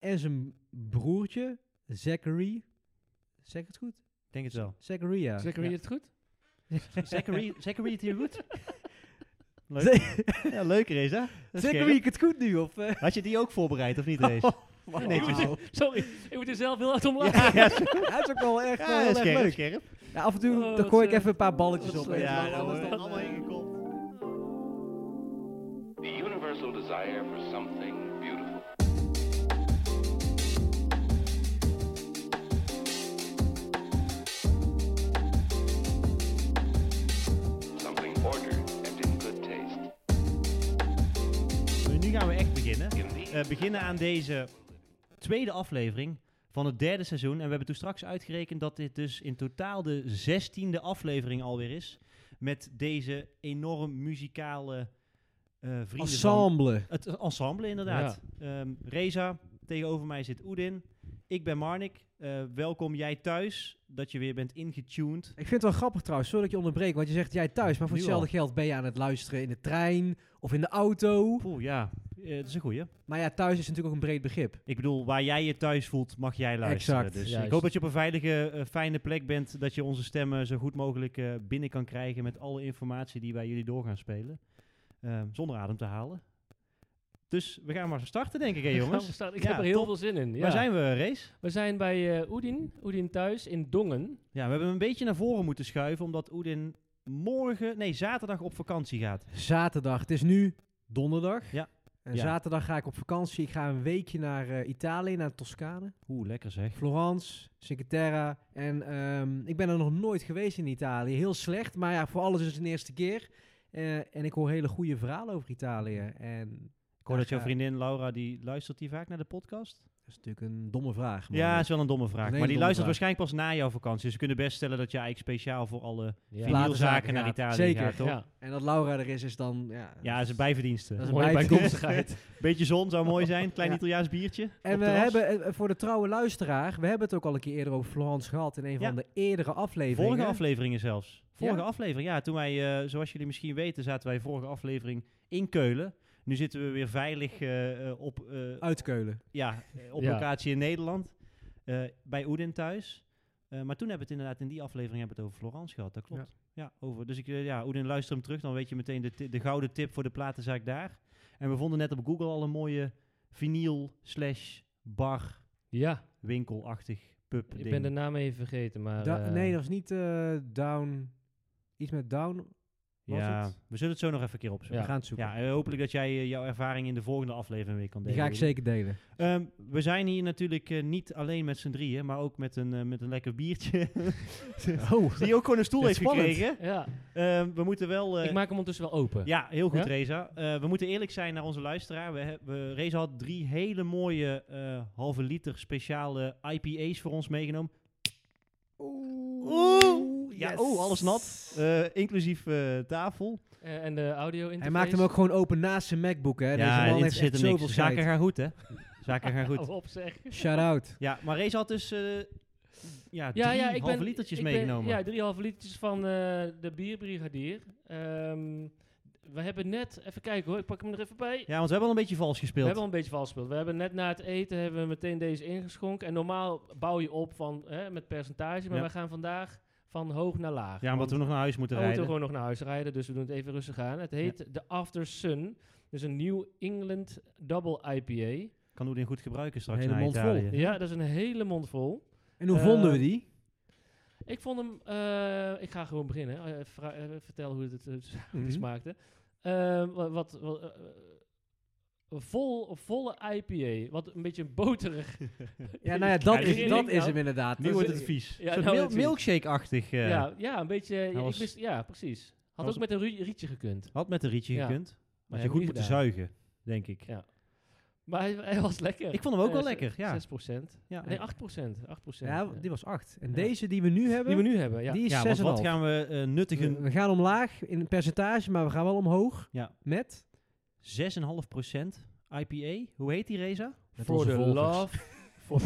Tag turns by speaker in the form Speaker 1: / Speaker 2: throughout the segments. Speaker 1: en zijn broertje, Zachary. Zeg ik het goed? Ik Denk het wel. Zachariah.
Speaker 2: Zeker
Speaker 1: Ja.
Speaker 2: je het goed?
Speaker 3: Zachary, Zachary het hier goed? Leuk.
Speaker 1: Zeg-
Speaker 3: Ja, leuker is hè? Dat is
Speaker 1: Zachary,
Speaker 3: scherp.
Speaker 1: ik het goed nu? Of, eh? Oh,
Speaker 3: Had je die ook voorbereid of niet, Race?
Speaker 2: Ik moet er- Sorry, ik moet er zelf heel hard om lachen.
Speaker 3: Ja, ja,
Speaker 1: Hij is ook wel echt,
Speaker 3: ja,
Speaker 1: eh, heel erg
Speaker 3: scherp,
Speaker 1: leuk.
Speaker 3: scherp.
Speaker 1: Ja, af en toe
Speaker 2: Oh,
Speaker 1: dan
Speaker 2: wat,
Speaker 1: gooi ik
Speaker 2: eh,
Speaker 1: even een paar balletjes
Speaker 2: wat
Speaker 1: op.
Speaker 2: slecht.
Speaker 1: Ja,
Speaker 3: Ja,
Speaker 2: wel
Speaker 3: dat
Speaker 1: dan
Speaker 3: wordt
Speaker 2: anders
Speaker 1: wordt
Speaker 2: dan-
Speaker 3: allemaal ingekopt.
Speaker 4: The universal desire for something beautiful. Something ordered and in good taste.
Speaker 3: Nu gaan we echt beginnen.
Speaker 4: Indeed.
Speaker 3: Eh, beginnen aan deze tweede aflevering van het derde seizoen. En we hebben toen straks uitgerekend dat dit dus in totaal de zestiende aflevering alweer is. Met deze enorm muzikale eh vrienden van-
Speaker 1: Ensemble.
Speaker 3: Het ensemble inderdaad. Ehm, Reza, tegenover mij zit Oedin. Ik ben Marnik. Eh, welkom jij thuis, dat je weer bent ingetuned.
Speaker 1: Ik vind het wel grappig trouwens, sorry dat je onderbreekt, want je zegt jij thuis, maar voor
Speaker 3: Nu
Speaker 1: hetzelfde geld ben je aan het luisteren in de trein of in de auto.
Speaker 3: Oeh, ja, eh, dat is een goeie.
Speaker 1: Maar ja, thuis is natuurlijk ook een breed begrip.
Speaker 3: Ik bedoel, waar jij je thuis voelt, mag jij luisteren.
Speaker 1: Exact.
Speaker 3: Dus ik
Speaker 2: Juist.
Speaker 3: hoop dat je op een veilige, eh, fijne plek bent. Dat je onze stemmen zo goed mogelijk eh, binnen kan krijgen met alle informatie die wij jullie door gaan spelen. Ehm, zonder adem te halen. Dus we gaan maar starten, denk ik, hè,
Speaker 2: Gaan we
Speaker 3: jongens.
Speaker 2: starten. Ik
Speaker 3: Ja,
Speaker 2: heb er heel
Speaker 3: top.
Speaker 2: veel zin in. Ja.
Speaker 3: Waar zijn we, Race?
Speaker 2: We zijn bij eh Oedin, Oedin thuis in Dongen.
Speaker 3: Ja, we hebben hem een beetje naar voren moeten schuiven, omdat Oedin morgen, nee, zaterdag op vakantie gaat.
Speaker 1: Zaterdag, het is nu donderdag.
Speaker 3: Ja.
Speaker 1: En
Speaker 3: Ja.
Speaker 1: zaterdag ga ik op vakantie. Ik ga een weekje naar eh, Italië, naar Toscane,
Speaker 3: Oeh, lekker zeg.
Speaker 1: Florence, Cinque Terre. En ehm, ik ben er nog nooit geweest in Italië. Heel slecht, maar ja, voor alles is het een eerste keer. Eh, en ik hoor hele goede verhalen over Italië. En
Speaker 3: Ik hoor dat jouw
Speaker 1: Ja.
Speaker 3: vriendin Laura, die luistert die vaak naar de podcast?
Speaker 1: dat is natuurlijk een domme vraag. Maar
Speaker 3: Ja, is wel een domme vraag.
Speaker 1: Een hele
Speaker 3: maar die
Speaker 1: domme
Speaker 3: luistert
Speaker 1: vraag.
Speaker 3: waarschijnlijk pas na jouw vakantie. Dus we kunnen best stellen dat je eigenlijk speciaal voor alle
Speaker 2: Ja.
Speaker 1: Later
Speaker 3: vinylzaken
Speaker 1: zaken
Speaker 3: naar
Speaker 1: gaat.
Speaker 3: Italië
Speaker 1: Zeker,
Speaker 3: gaat, toch? Ja,
Speaker 2: Ja,
Speaker 1: En dat Laura er is, is dan... Ja,
Speaker 3: dat is een bijverdienste.
Speaker 1: dat is een
Speaker 2: mooie
Speaker 1: bijverdienst.
Speaker 2: bijkomstigheid.
Speaker 3: Beetje zon zou mooi zijn. Klein
Speaker 1: Ja.
Speaker 3: Italiaans biertje.
Speaker 1: En
Speaker 3: op
Speaker 1: we
Speaker 3: terras.
Speaker 1: hebben eh, voor de trouwe luisteraar, we hebben het ook al een keer eerder over Florence gehad in een
Speaker 3: Ja.
Speaker 1: van de eerdere afleveringen.
Speaker 3: Vorige afleveringen zelfs. Vorige
Speaker 1: Ja?
Speaker 3: aflevering, ja. Toen wij, eh, zoals jullie misschien weten, zaten wij vorige aflevering in Keulen. Nu zitten we weer veilig eh, eh, op, eh,
Speaker 1: Uit Keulen.
Speaker 3: ja, eh, op
Speaker 2: Ja.
Speaker 3: locatie in Nederland. eh, bij Oedin thuis. Eh, maar toen hebben we het inderdaad in die aflevering hebben we het over Florence gehad. Dat klopt. Ja. over, dus ik, eh, ja, Oedin, luister hem terug. Dan weet je meteen de, ti- de gouden tip voor de platenzaak daar. En we vonden net op Google al een mooie vinyl slash bar
Speaker 2: Ja,
Speaker 3: winkelachtig pub
Speaker 2: ik
Speaker 3: ding.
Speaker 2: ben de naam even vergeten, maar...
Speaker 1: Da-
Speaker 2: eh,
Speaker 1: nee, dat was niet eh, down. Iets met down. was
Speaker 3: ja,
Speaker 1: het?
Speaker 3: we zullen het zo nog even een keer opzoeken.
Speaker 1: We gaan het zoeken.
Speaker 3: Ja, eh, hopelijk dat jij eh, jouw ervaring in de volgende aflevering weer kan
Speaker 1: Die
Speaker 3: delen.
Speaker 1: ga ik
Speaker 3: Oedin.
Speaker 1: zeker delen.
Speaker 3: Ehm, we zijn hier natuurlijk eh, niet alleen met z'n drieën, maar ook met een, eh, met een lekker biertje.
Speaker 1: Oh,
Speaker 3: Die ook gewoon een stoel
Speaker 1: Dit
Speaker 3: heeft
Speaker 1: is spannend.
Speaker 3: gekregen.
Speaker 2: Ja,
Speaker 3: Ehm, we moeten wel... eh,
Speaker 2: ik maak hem ondertussen wel open.
Speaker 3: Ja, heel goed,
Speaker 2: Ja?
Speaker 3: Reza. Eh, we moeten eerlijk zijn naar onze luisteraar. We hebben, Reza had drie hele mooie eh, halve liter speciale IPA's voor ons meegenomen. Oeh, ja, oeh, alles nat. Eh, inclusief eh, tafel.
Speaker 2: Eh, en de audio interface.
Speaker 1: Hij maakt hem ook gewoon open naast zijn MacBook, hè. Deze man heeft echt zoveel
Speaker 3: Zaken
Speaker 1: scheid.
Speaker 3: gaan goed, hè? Zaken gaan goed.
Speaker 2: Hou Oh, op zeg.
Speaker 1: Shout-out.
Speaker 3: Ja, maar Reza had dus eh, ja, drie
Speaker 2: Ja, ja, ik
Speaker 3: halve
Speaker 2: ben,
Speaker 3: litertjes
Speaker 2: ik ben-
Speaker 3: meegenomen.
Speaker 2: ja, drie halve litertjes van eh, de bierbrigadier. Ehm, we hebben net, even kijken hoor, ik pak hem er even bij.
Speaker 3: Ja, want we hebben al een beetje vals
Speaker 2: We
Speaker 3: gespeeld.
Speaker 2: hebben al een beetje vals gespeeld. We hebben net na het eten hebben we meteen deze ingeschonken. En normaal bouw je op van, hè, met percentage, maar
Speaker 3: Ja.
Speaker 2: we gaan vandaag van hoog naar laag.
Speaker 3: ja, omdat
Speaker 2: Want
Speaker 3: we nog naar huis moeten
Speaker 2: we Oh,
Speaker 3: rijden.
Speaker 2: moeten gewoon nog naar huis rijden, dus we doen het even rustig aan. Het heet de After Sun. Dus een New England Double IPA.
Speaker 3: Kan Oedin goed gebruiken straks
Speaker 1: Hele
Speaker 3: naar
Speaker 1: mond vol.
Speaker 3: Italië.
Speaker 2: Ja, dat is een hele mond vol.
Speaker 1: En hoe
Speaker 2: Eh,
Speaker 1: vonden we die?
Speaker 2: Ik vond hem... eh, ik ga gewoon beginnen. Eh, vra- eh, vertel hoe het, het
Speaker 1: Mhm.
Speaker 2: die smaakte. Ehm, wa- wat, wa- eh, eh, vol, volle IPA. Wat een beetje boterig.
Speaker 1: Ja, nou ja, dat
Speaker 2: Ja,
Speaker 1: is,
Speaker 2: die-
Speaker 1: dat is
Speaker 2: nou,
Speaker 1: hem inderdaad.
Speaker 3: Nu
Speaker 2: Dus,
Speaker 3: wordt
Speaker 2: eh,
Speaker 3: het vies.
Speaker 2: ja,
Speaker 3: Een soort
Speaker 2: nou
Speaker 3: mil-
Speaker 2: wordt het vies.
Speaker 3: milkshake-achtig. eh,
Speaker 2: ja, ja, een beetje... eh,
Speaker 3: was-
Speaker 2: ik wist, ja, precies. Had
Speaker 3: was-
Speaker 2: ook met een ru- rietje gekund.
Speaker 3: Had met een rietje
Speaker 2: Ja.
Speaker 3: gekund. Maar
Speaker 2: heb
Speaker 3: je
Speaker 2: ik
Speaker 3: goed
Speaker 2: niet
Speaker 3: moeten
Speaker 2: gedaan.
Speaker 3: zuigen, denk ik.
Speaker 2: Ja. Maar hij, hij was lekker.
Speaker 3: Ik vond hem ook
Speaker 2: Eh,
Speaker 3: wel
Speaker 2: ze-
Speaker 3: lekker, ja.
Speaker 2: 6 procent.
Speaker 3: Ja.
Speaker 2: Nee, 8 procent. 8 procent.
Speaker 1: Ja,
Speaker 2: die,
Speaker 1: die was 8. En
Speaker 2: Ja.
Speaker 1: deze die we nu hebben,
Speaker 2: we nu hebben, ja.
Speaker 1: die is
Speaker 3: Ja,
Speaker 1: 6,5.
Speaker 3: want wat gaan we eh, nuttigen?
Speaker 1: we, we gaan omlaag in percentage, maar we gaan wel omhoog.
Speaker 3: Ja.
Speaker 1: Met?
Speaker 3: 6,5% IPA. Hoe heet die, Reza?
Speaker 1: Met
Speaker 2: For
Speaker 1: onze
Speaker 2: the
Speaker 1: volgers.
Speaker 2: love... For,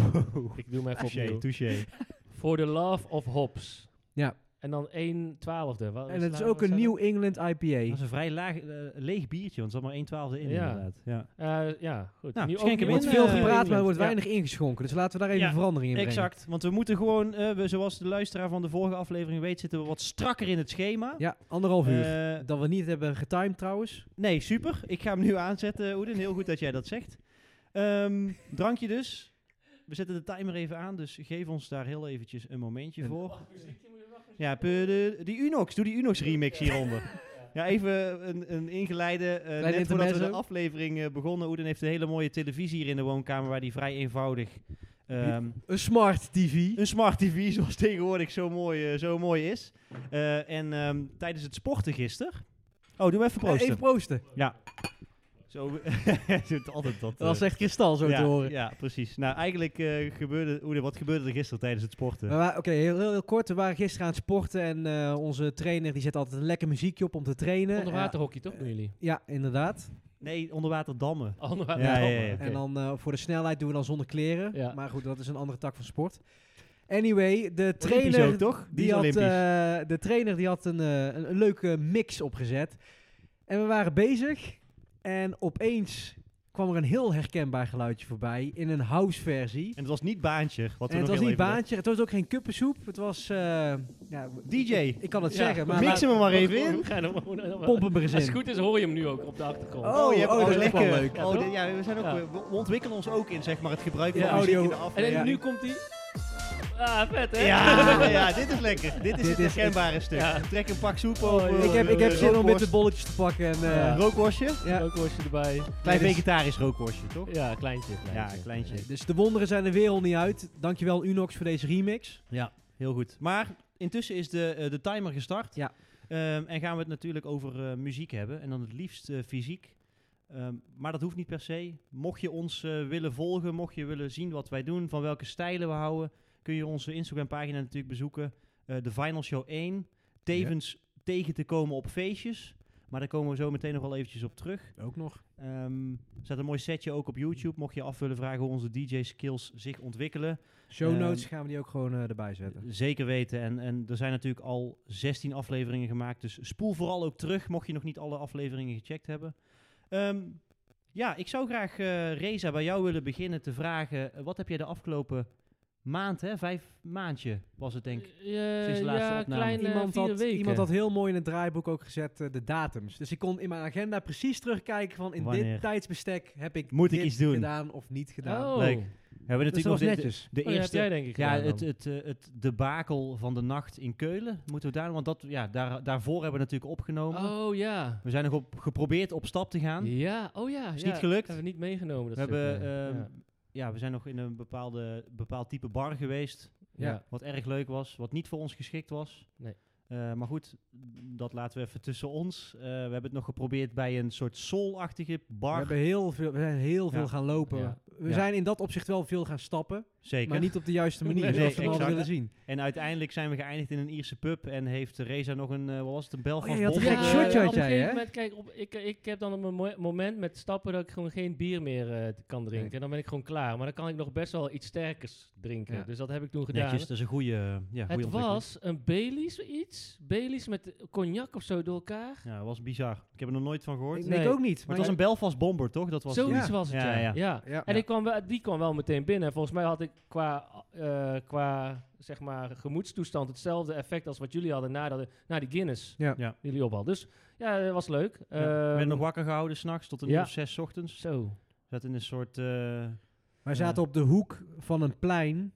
Speaker 2: ik doe hem even opnieuw.
Speaker 3: touché.
Speaker 2: For the love of hops.
Speaker 1: Ja.
Speaker 2: En dan 1 twaalfde. Wa-
Speaker 1: En het is
Speaker 2: waar-
Speaker 1: ook
Speaker 2: waar
Speaker 1: een
Speaker 2: staat
Speaker 1: New England
Speaker 3: Dat
Speaker 1: IPA.
Speaker 3: is een vrij laag, eh, leeg biertje, want er zat maar 1 twaalfde in
Speaker 2: Ja.
Speaker 3: inderdaad. Ja.
Speaker 2: dat? Eh, ja, goed.
Speaker 3: Nou,
Speaker 2: Nieuw-
Speaker 3: schenk
Speaker 2: ook
Speaker 3: hem
Speaker 1: Er
Speaker 3: in,
Speaker 1: wordt
Speaker 2: nieuw-
Speaker 3: eh,
Speaker 1: veel
Speaker 2: New
Speaker 1: gepraat, maar er
Speaker 2: England,
Speaker 1: wordt
Speaker 2: ja.
Speaker 1: weinig ingeschonken. Dus laten we daar even
Speaker 3: Ja,
Speaker 1: verandering in brengen.
Speaker 3: Exact, want we moeten gewoon, eh, we, zoals de luisteraar van de vorige aflevering weet, zitten we wat strakker in het schema.
Speaker 1: Ja, anderhalf uur.
Speaker 3: Eh,
Speaker 1: dat we niet hebben getimed trouwens.
Speaker 3: nee, super. Ik ga hem nu aanzetten, Oeden. Heel goed dat jij dat zegt. Ehm, drankje dus. We zetten de timer even aan, dus geef ons daar heel eventjes een momentje
Speaker 1: Een-
Speaker 3: voor. Ja, pe- de- die Unox. Doe die Unox remix hieronder. Ja, even een, een ingeleide. eh, net voordat we de
Speaker 1: intermezzo.
Speaker 3: aflevering eh, begonnen. Oeden heeft een hele mooie televisie hier in de woonkamer, waar die vrij eenvoudig... ehm,
Speaker 1: Een smart TV.
Speaker 3: een smart TV, zoals tegenwoordig zo mooi, eh, zo mooi is. Eh, en ehm, tijdens het sporten gisteren... Oh, doe even proosten.
Speaker 1: Eh, Even proosten.
Speaker 3: Ja. Zo het doet altijd dat.
Speaker 1: Dat was
Speaker 3: eh,
Speaker 1: echt kristal zo
Speaker 3: ja,
Speaker 1: te horen.
Speaker 3: Ja, precies. Nou, eigenlijk eh, gebeurde... Oede, wat gebeurde er gisteren tijdens het sporten?
Speaker 1: Maar, wa- Oké, heel, heel, heel kort. We waren gisteren aan het sporten en eh, onze trainer die zet altijd een lekker muziekje op om te trainen.
Speaker 2: Onderwaterhockey, toch doen jullie?
Speaker 1: Eh, ja, inderdaad.
Speaker 3: Nee, onderwater dammen.
Speaker 2: Onderwater.
Speaker 3: Ja, ja, ja.
Speaker 2: oké.
Speaker 1: En dan eh, voor de snelheid doen we dan zonder kleren.
Speaker 2: Ja.
Speaker 1: Maar goed, dat is een andere tak van sport. Anyway, de
Speaker 3: Olympisch
Speaker 1: trainer,
Speaker 3: ook, toch? Die,
Speaker 1: die
Speaker 3: is
Speaker 1: had,
Speaker 3: Olympisch.
Speaker 1: eh, de trainer die had een, eh, een, een leuke mix opgezet. En we waren bezig en opeens kwam er een heel herkenbaar geluidje voorbij in een house versie.
Speaker 3: en het was niet baantje. Wat we
Speaker 1: en het
Speaker 3: nog
Speaker 1: was
Speaker 3: heel
Speaker 1: niet
Speaker 3: even-
Speaker 1: baantje, het was ook geen kuppensoep. Het was, eh, ja,
Speaker 3: DJ.
Speaker 1: Ik, ik kan het
Speaker 2: Ja,
Speaker 1: zeggen, maar
Speaker 3: Mix
Speaker 1: laat-
Speaker 3: hem er maar even in.
Speaker 2: Hoe ga je nou- hoe- hoe-
Speaker 1: pompen we er eens
Speaker 2: Als het
Speaker 1: in.
Speaker 2: goed is, hoor je hem nu ook op de achtergrond.
Speaker 1: Oh,
Speaker 3: je hebt
Speaker 1: oh,
Speaker 3: ook
Speaker 1: dat is ook wel
Speaker 3: lekker.
Speaker 1: leuk.
Speaker 2: Ja,
Speaker 3: Oh,
Speaker 2: toch?
Speaker 3: dit- ja, we, zijn ook,
Speaker 2: Ja.
Speaker 3: we- we ontwikkelen ons ook in zeg maar, het gebruik
Speaker 1: Ja,
Speaker 3: van muziek
Speaker 1: audio.
Speaker 3: in de
Speaker 2: en
Speaker 3: aflevering.
Speaker 2: dan
Speaker 1: Ja.
Speaker 2: nu komt hij. Ah, vet hè?
Speaker 3: Ja, ja, dit is lekker. Dit is
Speaker 1: Dit
Speaker 3: het
Speaker 1: is-
Speaker 3: herkenbare stuk.
Speaker 2: Ja.
Speaker 3: Trek een pak soep
Speaker 2: Oh,
Speaker 3: over.
Speaker 2: ja.
Speaker 1: Ik heb, ik heb
Speaker 3: eh,
Speaker 1: zin om met de
Speaker 3: rookworst.
Speaker 1: bolletjes te pakken. En, eh,
Speaker 2: Ja.
Speaker 3: Rookworstje?
Speaker 1: ja.
Speaker 2: Ook worstje erbij.
Speaker 3: Klein
Speaker 1: dit is-
Speaker 3: vegetarisch rookworstje, toch?
Speaker 2: Ja, kleintje. kleintje.
Speaker 3: Ja, kleintje.
Speaker 1: Dus de wonderen zijn de wereld niet uit. Dankjewel Unox voor deze remix.
Speaker 3: Ja, heel goed. Maar intussen is de, eh, de timer gestart.
Speaker 1: Ja.
Speaker 3: Ehm, en gaan we het natuurlijk over eh, muziek hebben. En dan het liefst eh, fysiek. Ehm, maar dat hoeft niet per se. Mocht je ons eh, willen volgen, mocht je willen zien wat wij doen, van welke stijlen we houden, kun je onze Instagram-pagina natuurlijk bezoeken. Eh de Final Show 1. Tevens tegen te komen op feestjes. Maar daar komen we zo meteen nog wel eventjes op terug.
Speaker 1: Ook nog.
Speaker 3: Ehm, er staat een mooi setje ook op YouTube. Mocht je af willen vragen hoe onze DJ-skills zich ontwikkelen.
Speaker 1: Show notes
Speaker 3: Ehm,
Speaker 1: gaan we die ook gewoon eh, erbij zetten.
Speaker 3: Zeker weten. En, en er zijn natuurlijk al 16 afleveringen gemaakt. Dus spoel vooral ook terug, mocht je nog niet alle afleveringen gecheckt hebben. Ehm, ja, ik zou graag, eh, Reza, bij jou willen beginnen te vragen. eh, Wat heb jij de afgelopen maand, hè? Vijf maandje was het denk ik.
Speaker 2: Eh,
Speaker 3: Sinds de laatste
Speaker 2: ja,
Speaker 3: opname.
Speaker 2: kleine
Speaker 1: Iemand
Speaker 2: vier
Speaker 1: had,
Speaker 2: weken.
Speaker 1: iemand had heel mooi in het draaiboek ook gezet eh, de datums. Dus ik kon in mijn agenda precies terugkijken van in
Speaker 3: Wanneer?
Speaker 1: dit tijdsbestek heb ik,
Speaker 3: Moet ik
Speaker 1: dit
Speaker 3: iets doen?
Speaker 1: gedaan of niet gedaan.
Speaker 2: Oh.
Speaker 3: Leuk.
Speaker 2: Oh,
Speaker 3: We hebben
Speaker 1: Dus dat was
Speaker 3: nog de-
Speaker 1: netjes.
Speaker 3: De,
Speaker 2: ja, heb
Speaker 3: eerste.
Speaker 2: jij denk ik
Speaker 3: ja,
Speaker 2: gedaan
Speaker 3: het,
Speaker 2: dan.
Speaker 3: het, eh, het debakel van de nacht in Keulen. Moeten we daar, want dat, ja, daar, daarvoor hebben we natuurlijk opgenomen.
Speaker 1: eh,
Speaker 2: Oh ja.
Speaker 3: We zijn nog op, geprobeerd op stap te gaan.
Speaker 2: Ja, oh ja.
Speaker 3: Is
Speaker 2: ja.
Speaker 3: niet gelukt.
Speaker 2: Hebben we niet meegenomen. Dat
Speaker 3: We
Speaker 2: stuk,
Speaker 3: hebben,
Speaker 2: nee.
Speaker 3: ehm,
Speaker 2: ja.
Speaker 3: ja, we zijn nog in een bepaalde, bepaald type bar geweest.
Speaker 1: ja.
Speaker 2: Ja.
Speaker 3: Wat erg leuk was, wat niet voor ons geschikt was.
Speaker 2: Nee.
Speaker 3: Eh, maar goed, dat laten we even tussen ons. Eh, we hebben het nog geprobeerd bij een soort soul-achtige
Speaker 1: we,
Speaker 3: bar.
Speaker 1: hebben heel veel, we zijn heel veel
Speaker 3: Ja.
Speaker 1: gaan lopen.
Speaker 2: Ja.
Speaker 1: We
Speaker 3: Ja.
Speaker 1: zijn in dat opzicht wel veel gaan stappen,
Speaker 3: Zeker.
Speaker 1: maar niet op de juiste manier
Speaker 2: Nee,
Speaker 1: zoals we hem hadden
Speaker 3: exact.
Speaker 1: willen zien.
Speaker 3: En uiteindelijk zijn we geëindigd in een Ierse pub. En heeft Reza nog een, eh, wat was het, een bel
Speaker 1: Oh,
Speaker 3: van
Speaker 1: ja, je had een
Speaker 3: Bommel,
Speaker 1: gek
Speaker 3: eh,
Speaker 1: shirtje
Speaker 2: op
Speaker 1: had
Speaker 2: een
Speaker 1: jij,
Speaker 2: gegeven
Speaker 1: hè?
Speaker 2: moment, kijk, op, ik, eh, ik heb dan een mo- moment met stappen dat ik gewoon geen bier meer eh, kan drinken.
Speaker 1: Nee.
Speaker 2: En dan ben ik gewoon klaar. Maar dan kan ik nog best wel iets sterkers drinken.
Speaker 1: Ja.
Speaker 2: Dus dat heb ik toen gedaan.
Speaker 3: Netjes, dat is een goede ja, goeie
Speaker 2: het
Speaker 3: ontwikkeling.
Speaker 2: was een Baileys iets. Baileys met cognac of zo door elkaar.
Speaker 3: Ja, dat was bizar. Ik heb er nog nooit van gehoord.
Speaker 1: Ik,
Speaker 3: Maar
Speaker 1: nee, ik
Speaker 2: Nee.
Speaker 1: ook niet.
Speaker 3: het was een Belfast bomber, toch? Dat was
Speaker 2: Zoiets
Speaker 1: Ja.
Speaker 2: was het,
Speaker 3: Ja,
Speaker 2: ja.
Speaker 3: ja.
Speaker 2: ja.
Speaker 1: ja.
Speaker 2: En Ik kwam wel, die kwam wel meteen binnen. Volgens mij had ik qua, eh, qua zeg maar, gemoedstoestand hetzelfde effect als wat jullie hadden na, dat, na die Guinness
Speaker 1: Ja.
Speaker 3: Ja.
Speaker 2: die jullie op hadden. Dus ja, dat was leuk.
Speaker 3: Ja. Ik
Speaker 2: Ehm,
Speaker 3: ben nog wakker gehouden s'nachts tot een
Speaker 2: ja.
Speaker 3: uur of zes ochtends.
Speaker 2: Zo.
Speaker 3: Zat in een soort... eh,
Speaker 1: Wij zaten op de hoek van een plein.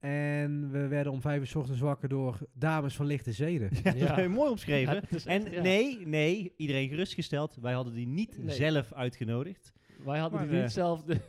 Speaker 1: En we werden om vijf uur 's ochtends wakker door dames van lichte zeden.
Speaker 3: Ja, dat
Speaker 2: Ja.
Speaker 3: heb je mooi omschreven.
Speaker 2: Ja, dat is echt-
Speaker 3: en
Speaker 2: ja.
Speaker 3: nee, nee, iedereen gerustgesteld. Wij hadden die niet
Speaker 2: Nee.
Speaker 3: zelf uitgenodigd. Dus
Speaker 2: Wij hadden
Speaker 3: Maar,
Speaker 2: die niet
Speaker 3: eh,
Speaker 2: hetzelfde.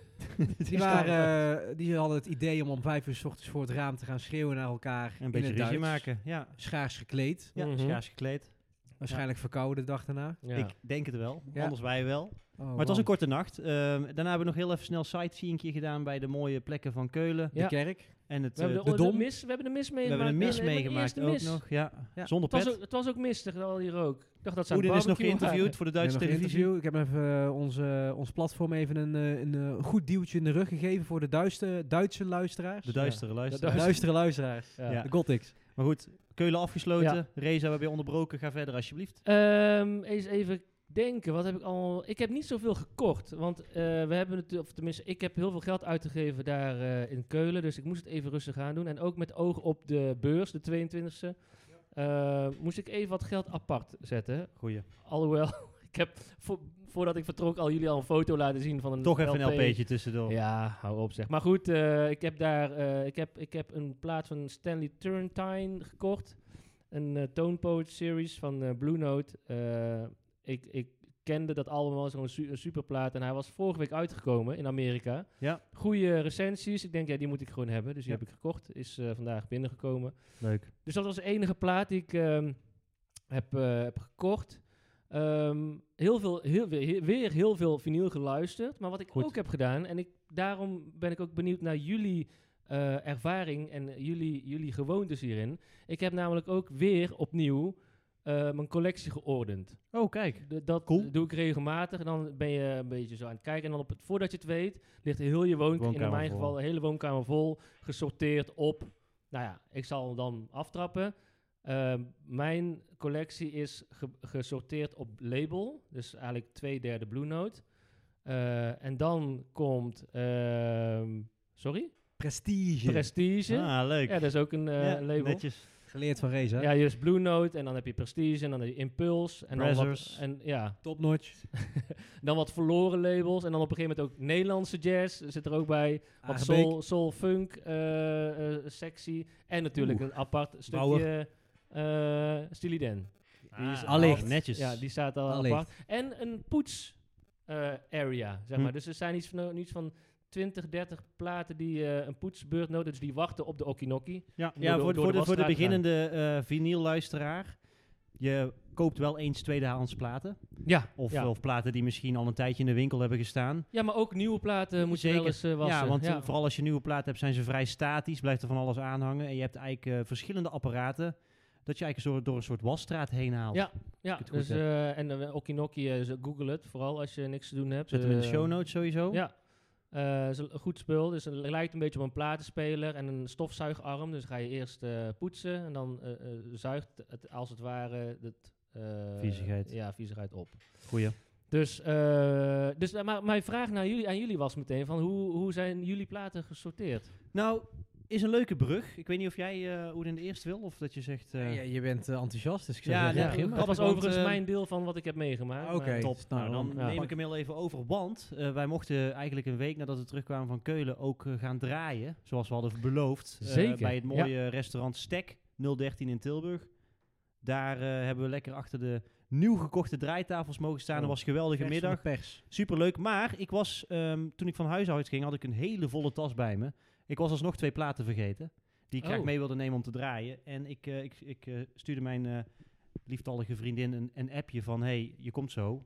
Speaker 1: Die, waren, eh, die hadden het idee om om vijf uur 's ochtends voor het raam te gaan schreeuwen naar elkaar.
Speaker 3: Een beetje
Speaker 1: in het
Speaker 3: ruzie
Speaker 1: Duits.
Speaker 3: maken. Ja,
Speaker 1: Schaars gekleed.
Speaker 3: ja
Speaker 2: Mhm.
Speaker 3: schaars gekleed.
Speaker 1: Waarschijnlijk verkouden de dag daarna.
Speaker 2: Ja.
Speaker 3: Ik denk het wel.
Speaker 1: Ja.
Speaker 3: Anders wij wel. Maar
Speaker 1: Oh,
Speaker 3: het was
Speaker 1: man.
Speaker 3: een korte nacht. Ehm, daarna hebben we nog heel even snel sightseeingje gedaan bij de mooie plekken van Keulen.
Speaker 1: De
Speaker 2: Ja.
Speaker 1: kerk.
Speaker 3: En het,
Speaker 2: we, hebben
Speaker 3: eh,
Speaker 2: de,
Speaker 1: de
Speaker 2: de
Speaker 1: dom.
Speaker 2: mis, we hebben de mis
Speaker 3: we
Speaker 2: meegemaakt.
Speaker 3: hebben een mis
Speaker 2: Ja, de
Speaker 3: meegemaakt
Speaker 2: eerste
Speaker 3: ook
Speaker 2: mis.
Speaker 3: nog. Ja.
Speaker 1: Ja.
Speaker 3: Zonder
Speaker 2: Het was,
Speaker 3: pet.
Speaker 2: ook, het was ook mistig, al die rook. Ik dacht dat ze aan het
Speaker 3: Oeden is nog
Speaker 2: barbecuen waren.
Speaker 3: geïnterviewd voor de Duitse
Speaker 1: Ik heb nog een
Speaker 3: televisie.
Speaker 1: interview. Ik heb even eh, onze ons platform even een, eh, een eh, goed duwtje in de rug gegeven voor de Duitse, Duitse luisteraars.
Speaker 3: De Duitsere luisteraar.
Speaker 1: Duitsere luisteraars.
Speaker 2: Ja.
Speaker 3: Ja.
Speaker 1: De Gothics.
Speaker 3: Maar goed, Keulen afgesloten.
Speaker 2: Ja.
Speaker 3: Reza, we hebben je onderbroken. Ga verder alsjeblieft.
Speaker 2: Ehm, eens even denken, wat heb ik al... Ik heb niet zoveel gekocht, want eh, we hebben natuurlijk... Of tenminste, ik heb heel veel geld uitgegeven daar eh, in Keulen, dus ik moest het even rustig aan doen. En ook met oog op de beurs, de 22e, eh, moest ik even wat geld apart zetten.
Speaker 3: Goeie.
Speaker 2: Alhoewel, ik heb vo- voordat ik vertrok al jullie al een foto laten zien van een
Speaker 3: Toch even
Speaker 2: LP.
Speaker 3: een LP'tje tussendoor.
Speaker 2: Ja, hou op zeg. Maar goed, eh, ik heb daar eh, ik heb, ik heb een plaat van Stanley Turrentine gekocht. Een eh, Tone Poet series van eh, Blue Note. Eh, ik, ik kende dat allemaal als zo'n su- een superplaat. En hij was vorige week uitgekomen in Amerika.
Speaker 3: Ja.
Speaker 2: Goede recensies. Ik denk, ja, die moet ik gewoon hebben. Dus die
Speaker 3: Ja.
Speaker 2: heb ik gekocht. Is eh, vandaag binnengekomen.
Speaker 3: Leuk.
Speaker 2: Dus dat was de enige plaat die ik ehm, heb, eh, heb gekocht. Ehm, heel veel, heel, weer, weer heel veel vinyl geluisterd. Maar wat ik
Speaker 3: Goed.
Speaker 2: ook heb gedaan, en ik, daarom ben ik ook benieuwd naar jullie eh, ervaring en eh, jullie, jullie gewoontes hierin. Ik heb namelijk ook weer opnieuw eh, mijn collectie geordend.
Speaker 3: Oh, kijk.
Speaker 2: D- dat
Speaker 3: Cool.
Speaker 2: doe ik regelmatig. En dan ben je een beetje zo aan het kijken. En dan op het, voordat je het weet, ligt heel je woonkamer, in
Speaker 3: Woonkamer
Speaker 2: mijn
Speaker 3: vol.
Speaker 2: geval, de hele woonkamer vol, gesorteerd op. Nou ja, ik zal dan aftrappen. Ehm, mijn collectie is ge- gesorteerd op label, dus eigenlijk twee derde Blue Note. Eh, en dan komt, ehm, sorry,
Speaker 1: Prestige.
Speaker 2: Prestige.
Speaker 3: Ah, leuk.
Speaker 2: ja, dat is ook een eh,
Speaker 3: Ja,
Speaker 2: label.
Speaker 3: Netjes.
Speaker 1: Geleerd van Reza.
Speaker 2: Ja, je hebt Blue Note en dan heb je Prestige en dan heb je Impulse. En dan wat,
Speaker 3: Brazzers.
Speaker 2: en, ja,
Speaker 1: Top notch.
Speaker 2: dan wat verloren labels. En dan op een gegeven moment ook Nederlandse jazz zit er ook bij. Wat
Speaker 1: Agebeek.
Speaker 2: soul, soul funk, eh, eh, sexy. En natuurlijk een apart stukje
Speaker 3: Bauer.
Speaker 2: eh Steely Dan.
Speaker 3: Die is
Speaker 1: Ah,
Speaker 3: allicht.
Speaker 1: allicht.
Speaker 3: Netjes.
Speaker 2: Ja, die staat al
Speaker 1: Allicht.
Speaker 2: apart. En een poets eh, area, zeg
Speaker 3: Hm.
Speaker 2: maar. Dus er zijn iets van, iets van 20, 30 platen die eh, een poetsbeurt nodig Dus die wachten op de okinoki.
Speaker 3: Ja,
Speaker 2: Door
Speaker 3: ja
Speaker 2: de-
Speaker 3: voor, de,
Speaker 2: door
Speaker 3: voor,
Speaker 2: de
Speaker 3: de, voor de
Speaker 2: wasstraat gaan.
Speaker 3: beginnende eh vinylluisteraar. Je koopt wel eens tweedehands platen.
Speaker 2: Ja,
Speaker 3: Of,
Speaker 2: ja.
Speaker 3: of platen die misschien al een tijdje in de winkel hebben gestaan.
Speaker 2: ja, maar ook nieuwe platen moet je
Speaker 3: Zeker.
Speaker 2: wel eens eh, wassen.
Speaker 3: Ja, want eh, vooral als je nieuwe platen hebt, zijn ze vrij statisch. Blijft er van alles aan hangen. En je hebt eigenlijk eh, verschillende apparaten. Dat je eigenlijk zo door een soort wasstraat heen haalt.
Speaker 2: Ja. Ja,
Speaker 3: ik het goed
Speaker 2: dus,
Speaker 3: heb.
Speaker 2: eh, en eh, okinoki, eh, ze- google het. Vooral als je niks te doen hebt.
Speaker 3: Zet hem in de
Speaker 2: Eh,
Speaker 3: show notes sowieso.
Speaker 2: Ja. Eh, is een goed spul. Dus het lijkt een beetje op een platenspeler en een stofzuigarm. Dus ga je eerst eh, poetsen en dan eh, eh, zuigt het als het ware het, eh,
Speaker 3: Viezigheid.
Speaker 2: Ja, viezigheid op.
Speaker 3: Goeie.
Speaker 2: Dus, eh, dus eh, maar mijn vraag naar jullie, aan jullie was meteen van hoe, hoe zijn jullie platen gesorteerd?
Speaker 3: Nou, is een leuke brug. Ik weet niet of jij eh hoe in de eerste wil. Of dat je zegt... eh,
Speaker 1: Ja, je bent eh, enthousiast, dus ik zou
Speaker 3: Ja,
Speaker 1: zeggen,
Speaker 3: nee,
Speaker 1: begin maar.
Speaker 2: dat was
Speaker 3: want,
Speaker 2: overigens
Speaker 3: eh,
Speaker 2: mijn deel van wat ik heb meegemaakt.
Speaker 1: Oké.
Speaker 2: maar-
Speaker 3: Top.
Speaker 1: Nou,
Speaker 3: Nou, dan
Speaker 1: dan,
Speaker 2: ja.
Speaker 3: neem ik hem heel even over. Want eh, wij mochten eigenlijk een week nadat we terugkwamen van Keulen ook eh, gaan draaien. Zoals we hadden beloofd. eh,
Speaker 2: Zeker,
Speaker 3: bij het mooie restaurant Stek 013 in Tilburg. Daar eh, hebben we lekker achter de nieuw gekochte draaitafels mogen staan. Dat
Speaker 1: Oh,
Speaker 3: was een geweldige
Speaker 1: Vers van de
Speaker 3: middag.
Speaker 1: Pers.
Speaker 3: Superleuk. Maar ik was, ehm, toen ik van huis uit ging, had ik een hele volle tas bij me. Ik was alsnog twee platen vergeten. Die ik graag
Speaker 2: Oh.
Speaker 3: mee wilde nemen om te draaien. En ik, eh, ik, ik eh, stuurde mijn eh, lieftallige vriendin een, een appje van... hey, je komt zo.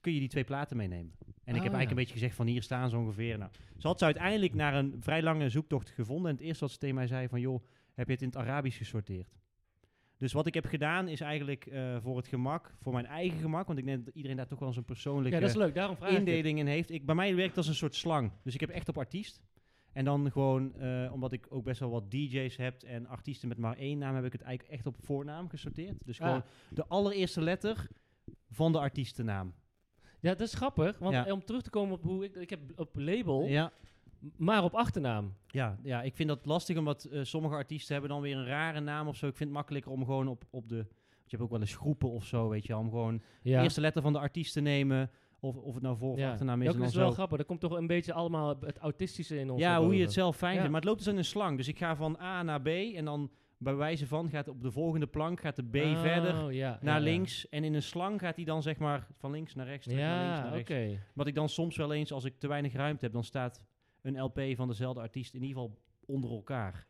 Speaker 3: Kun je die twee platen meenemen? En ik heb
Speaker 2: Ah,
Speaker 3: eigenlijk
Speaker 2: ja.
Speaker 3: een beetje gezegd van hier staan ze ongeveer. Nou, ze had ze uiteindelijk naar een vrij lange zoektocht gevonden. En het eerste wat ze tegen mij zei van... joh, heb je het in het Arabisch gesorteerd? Dus wat ik heb gedaan is eigenlijk eh, voor het gemak, voor mijn eigen gemak... want ik denk dat iedereen daar toch wel zijn persoonlijke
Speaker 2: Ja, dat is leuk. Daarom vraag ik het.
Speaker 3: indeling in heeft. Ik, bij mij werkt dat als een soort slang. Dus ik heb echt op artiest. En dan gewoon, eh, omdat ik ook best wel wat DJ's heb en artiesten met maar één naam, heb ik het eigenlijk echt op voornaam gesorteerd. Dus
Speaker 2: Ah.
Speaker 3: gewoon de allereerste letter van de artiestennaam.
Speaker 2: Ja, dat is grappig. Want
Speaker 3: Ja.
Speaker 2: eh, om terug te komen op hoe ik, ik heb op label,
Speaker 3: Ja,
Speaker 2: maar op achternaam.
Speaker 3: ja, ja, ik vind dat lastig, omdat eh, sommige artiesten hebben dan weer een rare naam of zo. Ik vind het makkelijker om gewoon op, op de... Je hebt ook wel eens groepen of zo, weet je wel, Om gewoon
Speaker 2: Ja.
Speaker 3: de eerste letter van de artiest te nemen. Of, of het nou voor- of achternaam is.
Speaker 2: Ja,
Speaker 3: en
Speaker 2: ook
Speaker 3: dan
Speaker 2: is wel
Speaker 3: zo.
Speaker 2: grappig. Er komt toch een beetje allemaal het autistische in ons.
Speaker 3: Ja,
Speaker 2: naar
Speaker 3: hoe je
Speaker 2: boven.
Speaker 3: het zelf fijn
Speaker 2: Ja.
Speaker 3: vindt. Maar het loopt dus in een slang. Dus ik ga van A naar B en dan bij wijze van gaat op de volgende plank gaat de B
Speaker 2: Oh,
Speaker 3: verder
Speaker 2: ja, ja,
Speaker 3: naar
Speaker 2: ja.
Speaker 3: links. En in een slang gaat die dan zeg maar van links naar rechts, terug naar links
Speaker 2: Ja,
Speaker 3: naar
Speaker 2: oké.
Speaker 3: rechts. Wat ik dan soms wel eens, als ik te weinig ruimte heb, dan staat een LP van dezelfde artiest in ieder geval onder elkaar.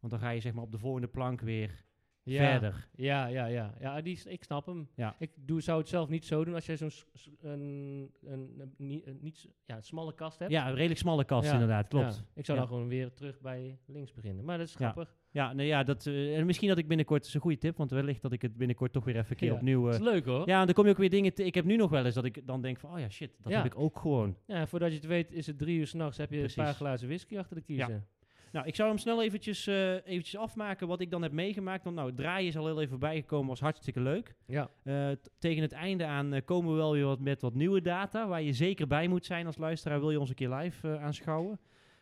Speaker 3: Want dan ga je zeg maar op de volgende plank weer
Speaker 2: Ja,
Speaker 3: verder.
Speaker 2: Ja, ja, ja. ja die, is- ik snap hem.
Speaker 3: Ja.
Speaker 2: Ik doe, zou het zelf niet zo doen als jij zo'n s- s- een, een, een, nie- een niet, s- ja, een smalle kast hebt.
Speaker 3: Ja, een redelijk smalle kast
Speaker 2: Ja,
Speaker 3: inderdaad, klopt.
Speaker 2: Ja, Ik zou
Speaker 3: Ja.
Speaker 2: dan gewoon weer terug bij links beginnen. Maar dat is
Speaker 3: Ja.
Speaker 2: grappig.
Speaker 3: Ja, nou ja, dat, eh, en misschien dat ik binnenkort, is een goede tip, want wellicht dat ik het binnenkort toch weer even een keer
Speaker 2: Ja.
Speaker 3: opnieuw... eh,
Speaker 2: Dat is leuk hoor. Ja.
Speaker 3: Ja, en dan kom je ook weer dingen te- Ik heb nu nog wel eens dat ik dan denk van, oh ja, shit, dat
Speaker 2: Ja.
Speaker 3: heb ik ook gewoon.
Speaker 2: voordat je het weet is het drie uur s'nachts. Heb je
Speaker 3: Precies.
Speaker 2: een paar glazen whisky achter de kiezen.
Speaker 3: Nou, ik zou hem snel eventjes, eh, eventjes afmaken wat ik dan heb meegemaakt. Want nou, het draaien is al heel even bijgekomen, was hartstikke leuk.
Speaker 2: Ja,
Speaker 3: Eh, t- tegen het einde aan eh, komen we wel weer wat met wat nieuwe data. Waar je zeker bij moet zijn als luisteraar. Wil je ons een keer live eh, aanschouwen?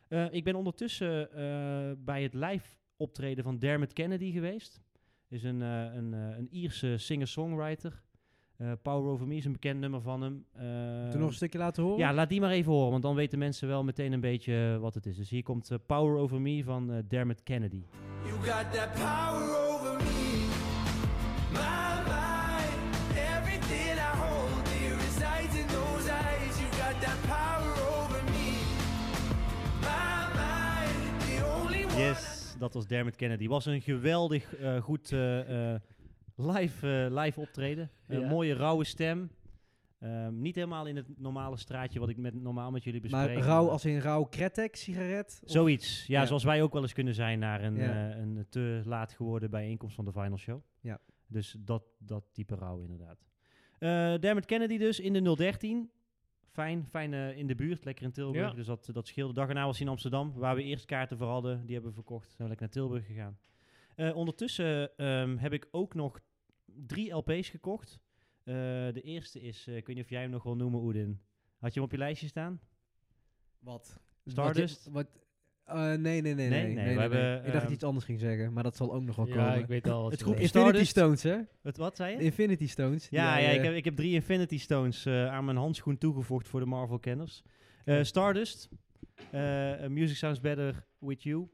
Speaker 3: Eh, ik ben ondertussen eh, bij het live optreden van Dermot Kennedy geweest. Is een, eh, een, eh, een Ierse singer-songwriter. Eh, Power Over Me is een bekend nummer van hem. Eh,
Speaker 1: Toen nog een stukje laten horen?
Speaker 3: ja, laat die maar even horen, want dan weten mensen wel meteen een beetje eh, wat het is. Dus hier komt eh, Power Over Me van eh, Dermot Kennedy.
Speaker 5: You got that power over me. My mind, everything I hold dear resides in those eyes. You got that power over me. My mind, the only one.
Speaker 3: Yes, dat was Dermot Kennedy. Was een geweldig eh, goed eh, eh, live, eh, live optreden. Een
Speaker 2: Ja.
Speaker 3: mooie rauwe stem. Ehm, niet helemaal in het normale straatje wat ik met, normaal met jullie bespreek.
Speaker 1: maar rauw als in rauw kretek sigaret? Of-
Speaker 3: Zoiets, ja,
Speaker 1: Ja.
Speaker 3: zoals wij ook wel eens kunnen zijn naar een,
Speaker 1: Ja.
Speaker 3: eh, een te laat geworden bijeenkomst van de Final Show.
Speaker 1: Ja.
Speaker 3: Dus dat, dat type rouw inderdaad. Eh Dermot Kennedy dus in de 013. Fijn, fijn eh, in de buurt, lekker in Tilburg.
Speaker 2: Ja.
Speaker 3: Dus dat, dat scheelde. Dag erna was hij in Amsterdam, waar we eerst kaarten voor hadden. Die hebben we verkocht. Zijn we lekker naar Tilburg gegaan. Eh, ondertussen ehm, heb ik ook nog drie LP's gekocht. Eh, de eerste is, eh, ik weet niet of jij hem nog wil noemen, Oedin. Had je hem op je lijstje staan?
Speaker 1: Wat?
Speaker 3: Stardust?
Speaker 1: Wat, wat- eh, nee, nee, nee, nee.
Speaker 3: nee, we hebben,
Speaker 1: Ik dacht dat
Speaker 3: ehm,
Speaker 1: je iets anders ging zeggen, maar dat zal ook nog wel
Speaker 2: ja
Speaker 1: komen.
Speaker 2: ik weet al. wat
Speaker 3: Het
Speaker 2: je
Speaker 3: groep
Speaker 2: bedoelt.
Speaker 3: is-
Speaker 1: Infinity
Speaker 3: Stardust?
Speaker 1: Stones, hè?
Speaker 3: Wat, wat zei je?
Speaker 1: De Infinity Stones. die
Speaker 3: Ja,
Speaker 1: jij,
Speaker 3: ja
Speaker 1: eh,
Speaker 3: ik, heb, ik heb drie Infinity Stones eh, aan mijn handschoen toegevoegd voor de Marvel-kenners. Eh, Stardust, eh, Music Sounds Better With You.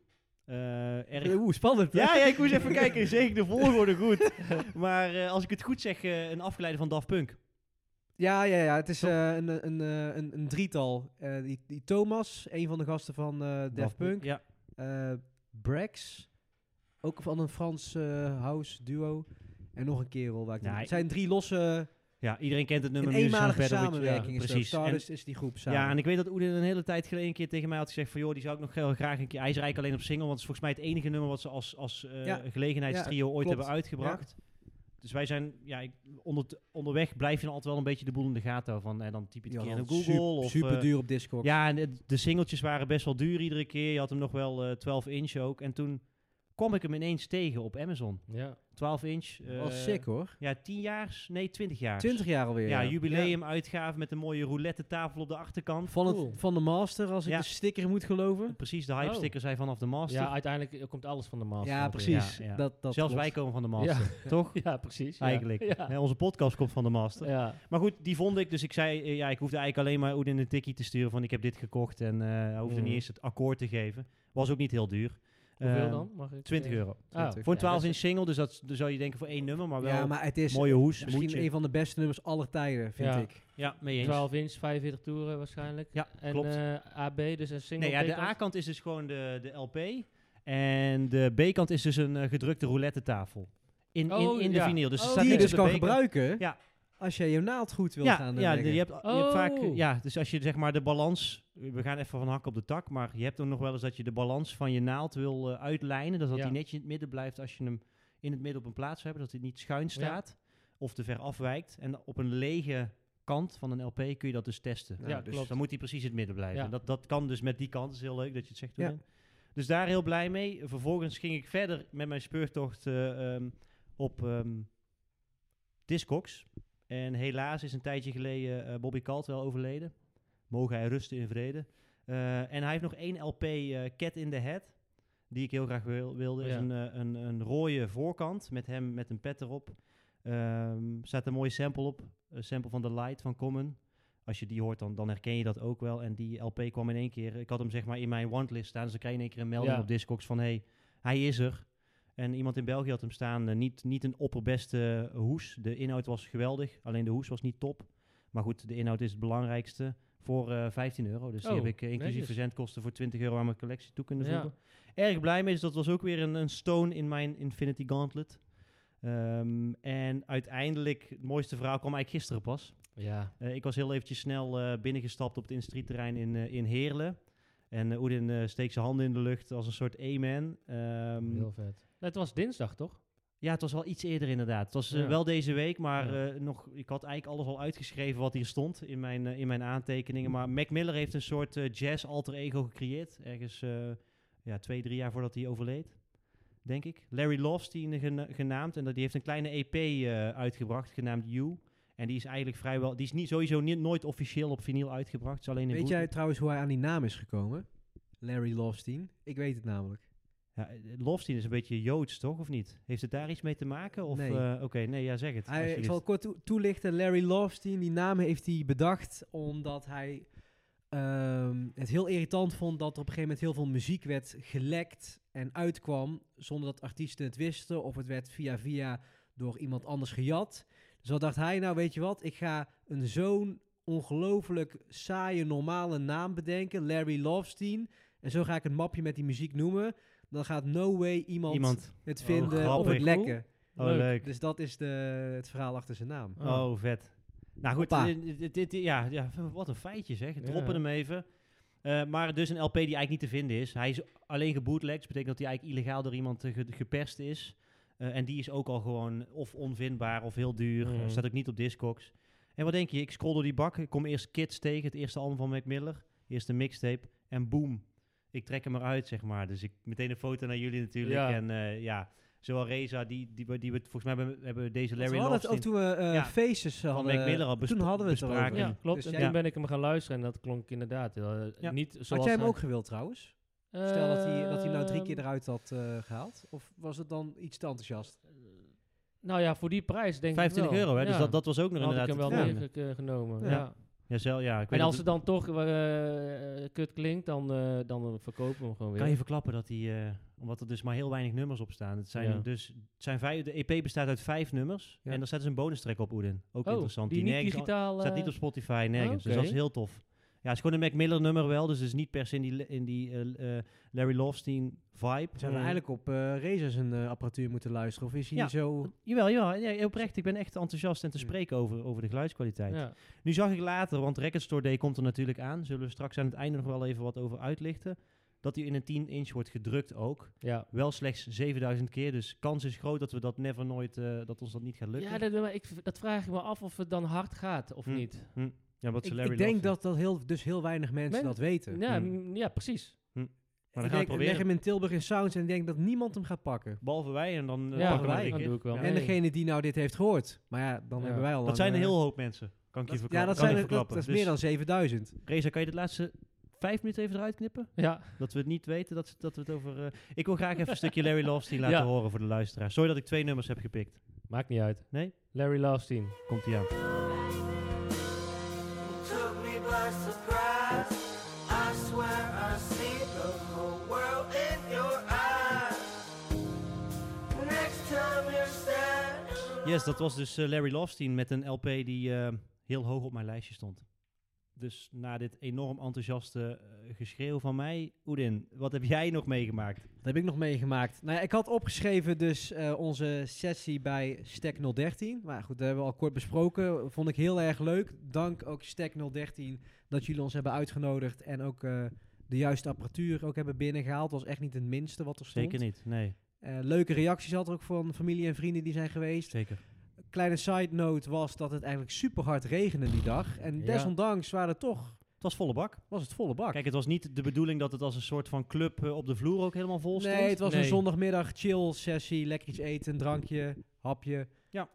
Speaker 3: eh, erg...
Speaker 1: Oeh, spannend. hè?
Speaker 3: Ja, ja, ik moest even kijken, zeg ik de volgorde goed? maar eh, als ik het goed zeg, eh, een afgeleide van Daft Punk.
Speaker 1: Ja, ja, ja. Het is eh, een, een, eh, een, een drietal. Eh, die, die Thomas, een van de gasten van eh Daft Punk.
Speaker 3: Ja,
Speaker 1: eh, Brax, ook van een Frans eh, house duo. En nog een kerel. Waar ik
Speaker 3: Nee.
Speaker 1: het zijn drie losse,
Speaker 3: ja iedereen kent het
Speaker 1: een
Speaker 3: nummer Music Sounds
Speaker 1: eenmalige
Speaker 3: Better With You. Ja,
Speaker 1: samenwerking. is dat.
Speaker 3: precies. En- eh,
Speaker 1: Stardust is die groep samen.
Speaker 3: Ja, en ik weet dat Oedin een hele tijd geleden een keer tegen mij had gezegd van... joh, die zou ik nog heel graag een keer... Hij is er eigenlijk alleen op single, want het is volgens mij het enige nummer... wat ze als, als eh,
Speaker 1: Ja.
Speaker 3: gelegenheidstrio ooit
Speaker 1: klopt.
Speaker 3: hebben uitgebracht. Dus wij zijn... Ja, ik, onder, onderweg blijf je dan altijd wel een beetje de boel in de gaten houden. Van, en dan typ je het
Speaker 1: Die
Speaker 3: een keer in
Speaker 1: hadden
Speaker 3: op Google.
Speaker 1: sup-
Speaker 3: of,
Speaker 1: super
Speaker 3: eh,
Speaker 1: duur op Discord.
Speaker 3: ja, en het- de singeltjes waren best wel duur iedere keer. Je had hem nog wel eh, 12 inch ook. En toen kwam ik hem ineens tegen op Amazon.
Speaker 2: Ja.
Speaker 3: 12 inch. eh,
Speaker 1: was Oh, sick hoor.
Speaker 3: Ja, 10 jaar. Nee, 20 jaar.
Speaker 1: 20 jaar alweer.
Speaker 3: Ja, jubileum uitgave met een mooie roulette tafel op de achterkant.
Speaker 1: Van,
Speaker 2: Cool.
Speaker 1: het, van de master, als ik
Speaker 3: Ja.
Speaker 1: de sticker moet geloven.
Speaker 3: Precies, de hype
Speaker 2: Oh.
Speaker 3: sticker zijn vanaf de master.
Speaker 2: ja, uiteindelijk eh, komt alles van de master.
Speaker 1: ja,
Speaker 2: natuurlijk.
Speaker 1: precies.
Speaker 3: Ja, ja.
Speaker 1: Dat, dat
Speaker 3: Zelfs
Speaker 1: klopt.
Speaker 3: wij komen van de master, toch?
Speaker 2: Ja, precies. ja.
Speaker 3: Eigenlijk.
Speaker 2: Ja.
Speaker 3: Hè, onze podcast komt van de master.
Speaker 2: Ja.
Speaker 3: Maar goed, die vond ik. Dus ik zei, eh, ja, ik hoefde eigenlijk alleen maar Oedin een tikkie te sturen van ik heb dit gekocht. En eh, hij hoefde
Speaker 2: Mhm.
Speaker 3: niet eens het akkoord te geven. Was ook niet heel duur.
Speaker 2: Hoeveel
Speaker 3: Eh,
Speaker 2: dan? Mag ik,
Speaker 3: 20
Speaker 2: eh,
Speaker 3: euro.
Speaker 2: ah,
Speaker 1: €20.
Speaker 3: Voor een
Speaker 2: ja, dat
Speaker 3: 12 inch single, dus dat is- dan zou je denken voor één nummer, maar wel
Speaker 1: Ja, maar het is
Speaker 3: mooie hoes,
Speaker 1: misschien
Speaker 3: hoedje.
Speaker 1: een van de beste nummers aller tijden, vind
Speaker 2: Ja.
Speaker 1: ik.
Speaker 3: Ja, mee eens.
Speaker 2: 12 inch, 45 toeren waarschijnlijk.
Speaker 3: Ja,
Speaker 2: en,
Speaker 3: klopt.
Speaker 2: eh, AB, dus een single
Speaker 3: nee, ja, de
Speaker 2: B-kant.
Speaker 3: A-kant is dus gewoon de, de LP. En de B-kant is dus een eh, gedrukte roulette tafel. In, in,
Speaker 2: Oh,
Speaker 3: in de
Speaker 2: ja.
Speaker 3: vinyl. Dus er
Speaker 2: Oh,
Speaker 3: staat
Speaker 1: Die je
Speaker 3: niks
Speaker 1: dus
Speaker 3: op de
Speaker 1: kan
Speaker 3: B-kant.
Speaker 1: gebruiken
Speaker 3: Ja.
Speaker 1: als je je naald goed wil
Speaker 3: ja,
Speaker 1: gaan eh,
Speaker 3: ja,
Speaker 1: leggen.
Speaker 3: je hebt, je hebt vaak,
Speaker 2: Oh.
Speaker 3: ja, dus als je zeg maar de balans, we gaan even van hak op de tak, maar je hebt ook nog wel eens dat je de balans van je naald wil eh, uitlijnen, dus dat
Speaker 2: Ja.
Speaker 3: die netjes in het midden blijft als je hem in het midden op een plaats hebt, dat hij niet schuin staat of te ver afwijkt. En op een lege kant van een LP kun je dat dus testen.
Speaker 1: Nou,
Speaker 2: Ja,
Speaker 1: dus
Speaker 2: klopt.
Speaker 3: Dan moet hij precies in het midden blijven.
Speaker 2: Ja.
Speaker 3: En dat, dat kan dus met die kant. Dat is heel leuk dat je het zegt.
Speaker 1: Ja.
Speaker 3: Oedin. Dus daar heel blij mee. Vervolgens ging ik verder met mijn speurtocht eh, ehm, op ehm, Discogs. En helaas is een tijdje geleden eh, Bobby Caldwell overleden. Mogen hij rusten in vrede. Eh, en hij heeft nog één LP, eh, Cat in the Head. Die ik heel graag wil, wilde. Is
Speaker 2: Oh Ja.
Speaker 3: een, eh, een, een rode voorkant met hem met een pet erop. Ehm staat een mooie sample op. Een sample van The Light van Common. Als je die hoort, dan, dan herken je dat ook wel. En die LP kwam in één keer. Ik had hem zeg maar in mijn wantlist staan. Dus dan kreeg je in één keer een melding
Speaker 2: Ja.
Speaker 3: op Discogs van... hey, hij is er. En iemand in België had hem staan. eh, niet, niet een opperbeste hoes. De inhoud was geweldig. Alleen de hoes was niet top. Maar goed, de inhoud is het belangrijkste. Voor eh 15 euro. Dus
Speaker 2: Oh,
Speaker 3: die heb ik eh, inclusief
Speaker 2: netjes.
Speaker 3: verzendkosten voor 20 euro aan mijn collectie toe kunnen
Speaker 2: Ja.
Speaker 3: voegen. Erg blij mee. Dus dat was ook weer een, een stone in mijn Infinity Gauntlet. Ehm, en uiteindelijk, het mooiste verhaal kwam eigenlijk gisteren pas.
Speaker 2: Ja.
Speaker 3: Eh, ik was heel eventjes snel eh, binnengestapt op het industrieterrein in, eh, in Heerlen. En eh, Oedin eh, steekt zijn handen in de lucht als een soort amen. Ehm,
Speaker 2: Heel vet. Het was dinsdag, toch?
Speaker 3: ja, het was wel iets eerder inderdaad. Het was eh,
Speaker 2: Ja.
Speaker 3: wel deze week, maar
Speaker 2: Ja.
Speaker 3: eh, nog, ik had eigenlijk alles al uitgeschreven wat hier stond in mijn, eh, in mijn aantekeningen. Maar Mac Miller heeft een soort eh, jazz alter ego gecreëerd. Ergens eh, ja, twee, drie jaar voordat hij overleed, denk ik. Larry Lovestein gena- genaamd. En dat, die heeft een kleine EP eh, uitgebracht, genaamd You. En die is eigenlijk vrijwel... Die is niet, sowieso niet, nooit officieel op vinyl uitgebracht. Het is alleen in
Speaker 1: Weet
Speaker 3: bootleg.
Speaker 1: jij trouwens hoe hij aan die naam is gekomen? Larry Lovestein. Ik weet het namelijk.
Speaker 3: Ja, eh, Lovestein is een beetje Joods, toch? Of niet? Heeft het daar iets mee te maken? Of,
Speaker 1: Nee.
Speaker 3: eh, Oké, nee, ja, zeg het.
Speaker 1: Hij, ik
Speaker 3: alsjeblieft.
Speaker 1: zal kort toe- toelichten. Larry Lovestein, die naam heeft hij bedacht omdat hij ehm, het heel irritant vond dat er op een gegeven moment heel veel muziek werd gelekt en uitkwam zonder dat artiesten het wisten of het werd via via door iemand anders gejat. Dus wat dacht hij nou, weet je wat, ik ga een zo'n ongelooflijk saaie normale naam bedenken, Larry Lovestein. En zo ga ik een mapje met die muziek noemen. Dan gaat no way iemand,
Speaker 3: Iemand.
Speaker 1: het
Speaker 3: Oh,
Speaker 1: vinden of het
Speaker 3: grappig.
Speaker 1: lekken.
Speaker 3: Oh,
Speaker 2: Leuk.
Speaker 3: leuk.
Speaker 1: Dus dat is de, het verhaal achter zijn naam.
Speaker 2: Oh.
Speaker 3: Oh, vet. Nou goed,
Speaker 1: Hoppa.
Speaker 3: dit, dit- dit- ja, ja, wat een feitje zeg. Droppen
Speaker 2: Ja.
Speaker 3: hem even. Eh, maar dus een LP die eigenlijk niet te vinden is. Hij is alleen gebootlegd. betekent dat hij eigenlijk illegaal door iemand eh, ge- geperst is. Eh, en die is ook al gewoon of onvindbaar of heel duur.
Speaker 2: Mhm.
Speaker 3: Eh, staat ook niet op Discogs. En wat denk je? Ik scroll door die bak. Ik kom eerst Kids tegen, het eerste album van Mac Miller. Eerste mixtape. En boom. Ik trek hem eruit, zeg maar. Dus ik meteen een foto naar jullie natuurlijk.
Speaker 2: Ja.
Speaker 3: En eh, ja, zowel Reza, die, die, we- die we volgens mij hebben, hebben we deze Larry
Speaker 1: we hadden het
Speaker 3: Lovestein-
Speaker 1: ook toen we eh
Speaker 3: Ja.
Speaker 1: Faces
Speaker 3: Van
Speaker 1: hadden.
Speaker 3: Mac Miller al
Speaker 1: toen
Speaker 3: besp-
Speaker 1: hadden we het
Speaker 3: bespraken.
Speaker 1: erover.
Speaker 3: Ja.
Speaker 2: Ja, klopt.
Speaker 1: Dus
Speaker 2: en
Speaker 1: jij-
Speaker 2: toen ben ik hem gaan luisteren en dat klonk inderdaad. eh,
Speaker 3: Ja.
Speaker 2: Niet zoals
Speaker 1: Had jij hem
Speaker 2: hij-
Speaker 1: ook gewild trouwens? Stel dat hij, dat hij nou drie keer
Speaker 2: Ehm,
Speaker 1: eruit had eh, gehaald. Of was het dan iets te enthousiast?
Speaker 2: Nou ja, voor die prijs denk ik
Speaker 3: 25
Speaker 2: wel.
Speaker 3: euro, hè? Dus
Speaker 2: Ja.
Speaker 3: dat, dat was ook nog
Speaker 2: Dan had ik
Speaker 3: inderdaad.
Speaker 2: hem wel
Speaker 3: het-
Speaker 1: het
Speaker 2: mee ge- eh, genomen.
Speaker 1: Ja.
Speaker 2: Ja.
Speaker 3: Ja, zelf, ja. Ik weet
Speaker 2: En
Speaker 3: dat
Speaker 2: als het dan toch eh, eh, kut klinkt, dan, eh, dan verkopen we hem gewoon
Speaker 3: het-
Speaker 2: weer.
Speaker 3: kan je verklappen dat die, eh, omdat er dus maar heel weinig nummers op staan. Het zijn
Speaker 2: Ja.
Speaker 3: dus, het zijn vijf, de EP bestaat uit vijf nummers
Speaker 1: Ja.
Speaker 3: en daar staat dus een bonus track op Oeden. Ook
Speaker 2: oh,
Speaker 3: interessant.
Speaker 2: Die, niet
Speaker 3: nergens an-
Speaker 2: digitaal.
Speaker 3: staat
Speaker 2: eh,
Speaker 3: niet op Spotify nergens, dus
Speaker 2: oké.
Speaker 3: dat is heel tof. Ja, het is gewoon een Mac Miller nummer wel, dus het is niet per se in die, le- in die eh, eh, Larry Lovestein vibe. Mm.
Speaker 1: Zouden we eigenlijk op eh Razer zijn eh, apparatuur moeten luisteren? Of is hij
Speaker 3: Ja.
Speaker 1: zo...
Speaker 3: Jawel, jawel. Ja, oprecht, ik ben echt enthousiast en te
Speaker 1: Hmm.
Speaker 3: spreken over, over de geluidskwaliteit.
Speaker 2: ja.
Speaker 3: Nu zag ik later, want Record Store Day komt er natuurlijk aan. Zullen we straks aan het einde nog wel even wat over uitlichten. Dat hij in een 10-inch wordt gedrukt ook.
Speaker 2: Ja.
Speaker 3: Wel slechts 7000 keer. Dus kans is groot dat we dat never nooit, eh, dat ons dat niet gaat lukken.
Speaker 2: Ja, dat, maar ik, dat vraag ik me af of het dan hard gaat of
Speaker 3: Hm.
Speaker 2: niet.
Speaker 3: Ja, wat
Speaker 1: Ik,
Speaker 3: Larry
Speaker 1: ik denk
Speaker 3: Love
Speaker 1: dat, dat heel, dus heel weinig mensen
Speaker 2: Men-
Speaker 1: dat weten.
Speaker 2: Ja,
Speaker 3: Hm.
Speaker 2: m, ja, precies.
Speaker 3: vindt. Maar
Speaker 1: ik
Speaker 3: we gaan
Speaker 1: denk,
Speaker 3: het
Speaker 1: leg
Speaker 3: proberen.
Speaker 1: hem in Tilburg in Sounds en ik denk dat niemand hem gaat pakken.
Speaker 3: Behalve wij en dan eh,
Speaker 2: ja,
Speaker 3: pakken
Speaker 1: wij.
Speaker 3: we
Speaker 2: dan
Speaker 3: Rick, hè?
Speaker 2: doe ik wel.
Speaker 3: Ja.
Speaker 2: mee.
Speaker 1: En degene die nou dit heeft gehoord. Maar ja, dan
Speaker 2: Ja.
Speaker 1: hebben wij al
Speaker 3: Dat
Speaker 1: lang,
Speaker 3: zijn een
Speaker 1: eh,
Speaker 3: hele hoop mensen. Kan ik je
Speaker 1: dat-
Speaker 3: verklappen.
Speaker 1: Ja, dat,
Speaker 3: kan ik
Speaker 1: zijn, er- dat,
Speaker 3: verklappen.
Speaker 1: dat is meer dan 7000.
Speaker 3: Dus, Reza, kan je de laatste vijf minuten even eruit knippen?
Speaker 2: Ja.
Speaker 3: Dat we het niet weten, dat, ze- dat we het over... eh, ik wil graag even een stukje Larry Lovestein
Speaker 2: Ja.
Speaker 3: laten horen voor de luisteraar. Sorry dat ik twee nummers heb gepikt.
Speaker 2: Maakt niet uit.
Speaker 3: Nee?
Speaker 2: Larry Lovestein.
Speaker 3: Komt ie aan.
Speaker 5: took me by surprise. I swear I see the whole world in your eyes. Next time you're sad.
Speaker 3: Yes, dat was dus eh, Larry Lovestein met een LP die eh, heel hoog op mijn lijstje stond. Dus na dit enorm enthousiaste eh, geschreeuw van mij, Oedin, wat heb jij nog meegemaakt?
Speaker 1: Dat heb ik nog meegemaakt. Nou ja, ik had opgeschreven dus eh, onze sessie bij Stack 013. Maar goed, dat hebben we al kort besproken. Vond ik heel erg leuk. Dank ook Stack 013 dat jullie ons hebben uitgenodigd. En ook eh, de juiste apparatuur ook hebben binnengehaald. was echt niet het minste wat er stond.
Speaker 3: Zeker niet, nee.
Speaker 1: Eh, leuke reacties had er ook van familie en vrienden die zijn geweest.
Speaker 3: Zeker.
Speaker 1: Kleine side note was dat het eigenlijk super hard regende die dag. En
Speaker 2: Ja.
Speaker 1: desondanks waren er toch,
Speaker 3: Het was volle bak.
Speaker 1: was het volle bak.
Speaker 3: Kijk, het was niet de bedoeling dat het als een soort van club eh, op de vloer ook helemaal vol stond.
Speaker 1: nee, het was een
Speaker 2: Nee.
Speaker 1: zondagmiddag chill sessie. Lekker iets eten, drankje, hapje.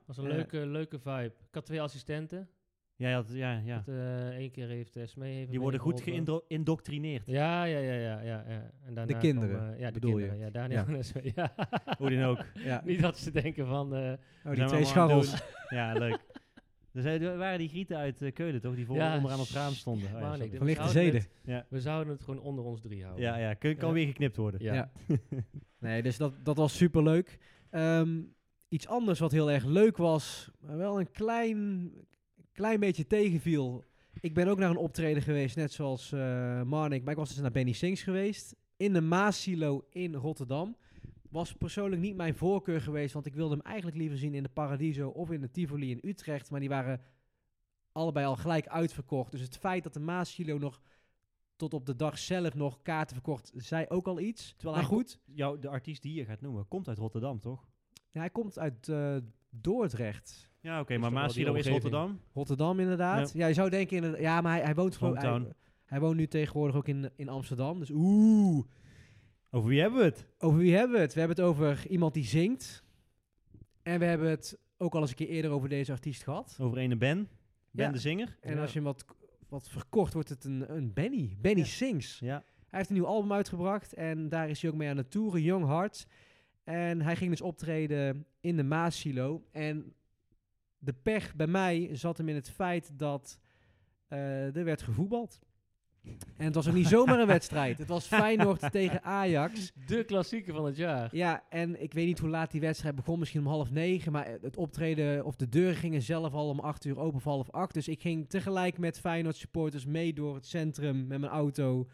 Speaker 2: was een
Speaker 1: Eh.
Speaker 2: leuke, leuke vibe. Ik had twee assistenten.
Speaker 3: Ja, ja, ja. ja.
Speaker 2: Dat, eh, Eén keer heeft Esme
Speaker 1: eh,
Speaker 2: even
Speaker 3: Die worden goed
Speaker 2: meegeholpen.
Speaker 3: geïndoctrineerd.
Speaker 2: Ja, ja, ja, ja, ja. ja. En daarna kwam,
Speaker 1: kinderen,
Speaker 2: eh, ja, de
Speaker 1: bedoel je?
Speaker 2: kinderen. Ja, Daniel
Speaker 1: Ja.
Speaker 2: en Esme. Ja.
Speaker 3: Oedin ook.
Speaker 1: Ja.
Speaker 2: Niet dat ze denken van... eh,
Speaker 1: Oh, die twee
Speaker 3: Zijn we allemaal aan het
Speaker 1: scharrels.
Speaker 3: doen. Ja, leuk. Er zijn- Er waren die grieten uit eh, Keulen, toch? Die voor,
Speaker 2: ja,
Speaker 3: onderaan op het raam stonden.
Speaker 2: shit,
Speaker 3: Oh, ja,
Speaker 2: man,
Speaker 3: sorry.
Speaker 2: ik- we
Speaker 1: Van lichte
Speaker 2: zouden
Speaker 1: zeden.
Speaker 2: het-
Speaker 3: Ja.
Speaker 2: we zouden het gewoon onder ons drie houden.
Speaker 3: ja, ja. Kun- kan
Speaker 2: Ja.
Speaker 3: weer geknipt worden.
Speaker 2: Ja.
Speaker 1: Ja. Nee, dus dat, dat was superleuk. Ehm, iets anders wat heel erg leuk was, maar wel een klein, klein beetje tegenviel. Ik ben ook naar een optreden geweest, net zoals eh Marnik. Maar ik was dus naar Benny Sings geweest. In de Maasilo in Rotterdam. Was persoonlijk niet mijn voorkeur geweest, want ik wilde hem eigenlijk liever zien in de Paradiso of in de Tivoli in Utrecht. Maar die waren allebei al gelijk uitverkocht. Dus het feit dat de Maasilo nog tot op de dag zelf nog kaarten verkocht, zei ook al iets.
Speaker 3: Terwijl
Speaker 1: maar
Speaker 3: hij
Speaker 1: goed,
Speaker 3: Jou, de artiest die je gaat noemen, komt uit Rotterdam, toch?
Speaker 1: ja, hij komt uit eh, Dordrecht.
Speaker 3: Ja, oké,
Speaker 2: maar
Speaker 3: maar Maasilo
Speaker 2: Maasilo
Speaker 3: is
Speaker 2: is
Speaker 3: Rotterdam.
Speaker 1: Rotterdam inderdaad. Ja, je zou denken... inderdaad- ja, maar hij, hij woont gewoon... Hij,
Speaker 3: Hometown.
Speaker 1: hij woont nu tegenwoordig ook in, in Amsterdam. Dus oeh.
Speaker 3: Over wie hebben we het?
Speaker 1: Over wie hebben we het? We hebben het over iemand die zingt. En we hebben het ook al eens een keer eerder over deze artiest gehad.
Speaker 3: Over ene Ben. Ben
Speaker 1: Ja.
Speaker 3: de zinger.
Speaker 1: En
Speaker 2: Ja.
Speaker 1: als je hem wat, wat verkocht, wordt het een, een Benny. Benny
Speaker 3: Ja.
Speaker 1: Sings.
Speaker 3: Ja.
Speaker 1: Hij heeft een nieuw album uitgebracht en daar is hij ook mee aan het toeren, Young Hearts. En hij ging dus optreden in de Maasilo. En de pech bij mij zat hem in het feit dat eh, er werd gevoetbald. En het was ook niet zomaar een wedstrijd. Het was Feyenoord tegen Ajax.
Speaker 2: De klassieke van het jaar.
Speaker 1: Ja, en ik weet niet hoe laat die wedstrijd begon. Misschien om half negen. Maar het optreden of de deuren gingen zelf al om acht uur open of half acht. Dus ik ging tegelijk met Feyenoord supporters mee door het centrum met mijn auto.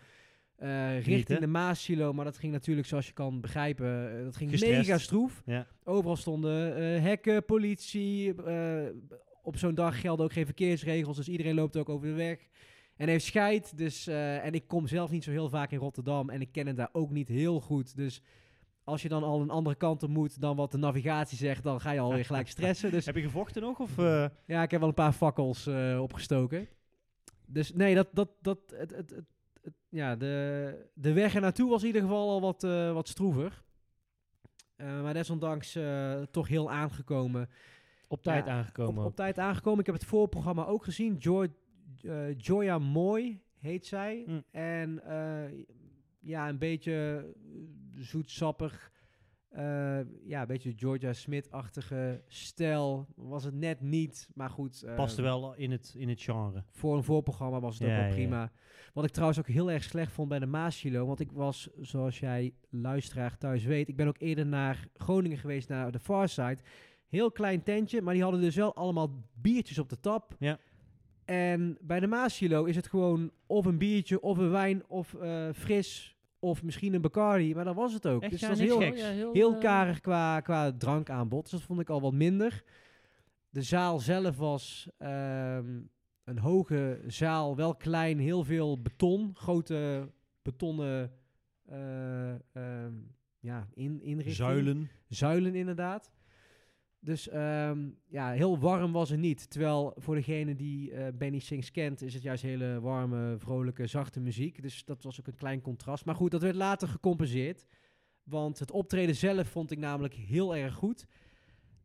Speaker 1: eh, richting
Speaker 3: Genieten.
Speaker 1: de Maasilo. Maar dat ging natuurlijk, zoals je kan begrijpen, eh, dat ging
Speaker 3: Gestrest.
Speaker 1: mega stroef.
Speaker 3: Ja.
Speaker 1: Overal stonden eh, hekken, politie. eh, op zo'n dag gelden ook geen verkeersregels. Dus iedereen loopt ook over de weg. En heeft scheid. Dus, eh, en ik kom zelf niet zo heel vaak in Rotterdam. En ik ken het daar ook niet heel goed. Dus als je dan al een andere kant op moet dan wat de navigatie zegt, dan ga je alweer gelijk stressen. Dus
Speaker 3: Heb je gevochten nog? Of, eh,
Speaker 1: ja, ik heb wel een paar fakkels eh, opgestoken. Dus nee, dat, dat, dat, het, het, het, het- ja, de, de weg er naartoe was in ieder geval al wat, eh, wat stroever. Eh, maar desondanks eh, toch heel aangekomen.
Speaker 2: Op tijd
Speaker 1: Ja, Op,
Speaker 2: aangekomen.
Speaker 1: op tijd aangekomen. Ik heb het voorprogramma ook gezien. Joy, eh, Joya Mooi heet zij.
Speaker 3: Mm.
Speaker 1: En eh, ja, een beetje eh, zoetsappig. eh, ja, een beetje Georgia Smith-achtige stijl. Was het net niet, maar goed. eh,
Speaker 3: paste wel in het, in het genre.
Speaker 1: voor een voorprogramma was het
Speaker 3: Ja,
Speaker 1: ook wel
Speaker 3: ja,
Speaker 1: prima. Wat ik trouwens ook heel erg slecht vond bij de Maasilo. Want ik was, zoals jij luisteraar thuis weet, ik ben ook eerder naar Groningen geweest, naar de Farside. Heel klein tentje, maar die hadden dus wel allemaal biertjes op de tap.
Speaker 3: Ja.
Speaker 1: En bij de Maasilo is het gewoon of een biertje, of een wijn, of eh, fris, of misschien een Bacardi. Maar dat was het ook.
Speaker 3: Echt,
Speaker 1: dus
Speaker 3: ja,
Speaker 1: het was
Speaker 3: niks
Speaker 1: heel,
Speaker 3: geks.
Speaker 2: heel,
Speaker 1: heel
Speaker 2: eh,
Speaker 1: karig qua, qua drankaanbod. Dus dat vond ik al wat minder. De zaal zelf was ehm, een hoge zaal, wel klein, heel veel beton. Grote betonnen eh, ehm, ja, in, inrichting.
Speaker 3: Zuilen.
Speaker 1: Zuilen, inderdaad. Dus ehm, ja, heel warm was het niet. Terwijl voor degene die eh, Benny Sings kent, is het juist hele warme, vrolijke, zachte muziek. Dus dat was ook een klein contrast. Maar goed, dat werd later gecompenseerd. Want het optreden zelf vond ik namelijk heel erg goed.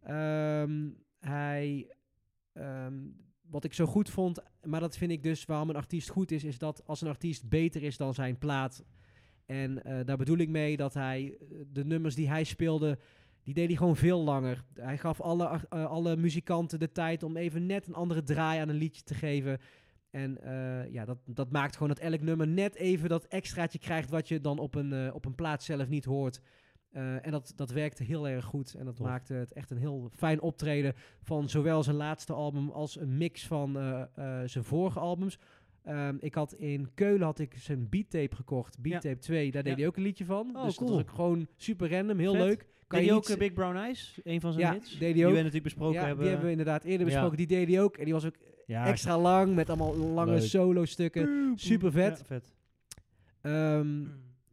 Speaker 1: Ehm, hij, ehm, wat ik zo goed vond, maar dat vind ik dus waarom een artiest goed is, is dat als een artiest beter is dan zijn plaat. En eh, daar bedoel ik mee dat hij eh, de nummers die hij speelde, die deed hij gewoon veel langer. Hij gaf alle, ar- eh, alle muzikanten de tijd om even net een andere draai aan een liedje te geven. En eh, ja, dat, dat maakt gewoon dat elk nummer net even dat extraatje krijgt wat je dan op een, eh, op een plaat zelf niet hoort. Eh, en dat, dat werkte heel erg goed. En dat
Speaker 3: Tof.
Speaker 1: maakte het echt een heel fijn optreden van zowel zijn laatste album als een mix van eh, eh, zijn vorige albums. Ehm, ik had in Keulen had ik zijn beattape gekocht, beattape 2. Daar deed
Speaker 3: Ja.
Speaker 1: hij ook een liedje van.
Speaker 3: Oh,
Speaker 1: dus dat
Speaker 3: cool.
Speaker 1: was ook gewoon super random, heel
Speaker 3: Vet.
Speaker 1: leuk. Kan
Speaker 3: Deed
Speaker 1: je
Speaker 3: hij
Speaker 1: niet
Speaker 3: ook eh, Big Brown Eyes? Een van zijn
Speaker 1: Ja,
Speaker 3: hits?
Speaker 1: deed hij
Speaker 3: Die
Speaker 1: ook.
Speaker 3: we natuurlijk besproken
Speaker 1: ja,
Speaker 3: hebben.
Speaker 1: die hebben we inderdaad eerder
Speaker 2: Ja.
Speaker 1: besproken. Die deed hij ook. En die was ook
Speaker 3: ja,
Speaker 1: extra lang met allemaal lange
Speaker 3: Leuk.
Speaker 1: solo-stukken. Super vet.
Speaker 3: Ja, vet.
Speaker 1: Ehm,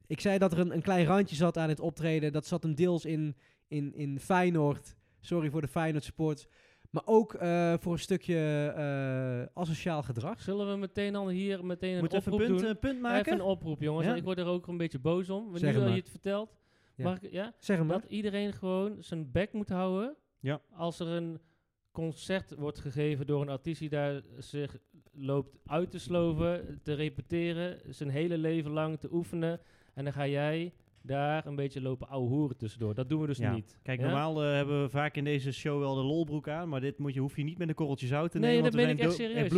Speaker 1: ik zei dat er een, een klein randje zat aan het optreden. Dat zat hem deels in, in, in Feyenoord. Sorry voor de Feyenoord support. Maar ook eh, voor een stukje eh, asociaal gedrag.
Speaker 2: Zullen we meteen dan hier meteen een
Speaker 3: Moet even een
Speaker 2: oproep
Speaker 3: punt,
Speaker 2: doen?
Speaker 3: een punt maken?
Speaker 2: Even een oproep, jongens.
Speaker 3: Ja.
Speaker 2: Ik word er ook een beetje boos om. Nu
Speaker 1: Zeg
Speaker 2: dat
Speaker 1: maar.
Speaker 2: je het vertelt.
Speaker 1: Ja.
Speaker 2: Mag ik, ja?
Speaker 1: Zeg hem maar.
Speaker 2: Dat iedereen gewoon zijn bek moet houden.
Speaker 3: Ja.
Speaker 2: Als er een concert wordt gegeven door een artiest die daar zich loopt uit te sloven, te repeteren, zijn hele leven lang te oefenen. En dan ga jij daar een beetje lopen ouwehoeren tussendoor. Dat doen we dus
Speaker 3: Ja.
Speaker 2: niet.
Speaker 3: Kijk,
Speaker 2: Ja?
Speaker 3: normaal eh, hebben we vaak in deze show wel de lolbroek aan, maar dit moet je, hoef je niet met de korreltjes zout te
Speaker 2: Nee,
Speaker 3: nemen.
Speaker 2: dat
Speaker 3: want we
Speaker 2: meen ik
Speaker 3: zijn
Speaker 2: echt
Speaker 3: do-
Speaker 2: serieus.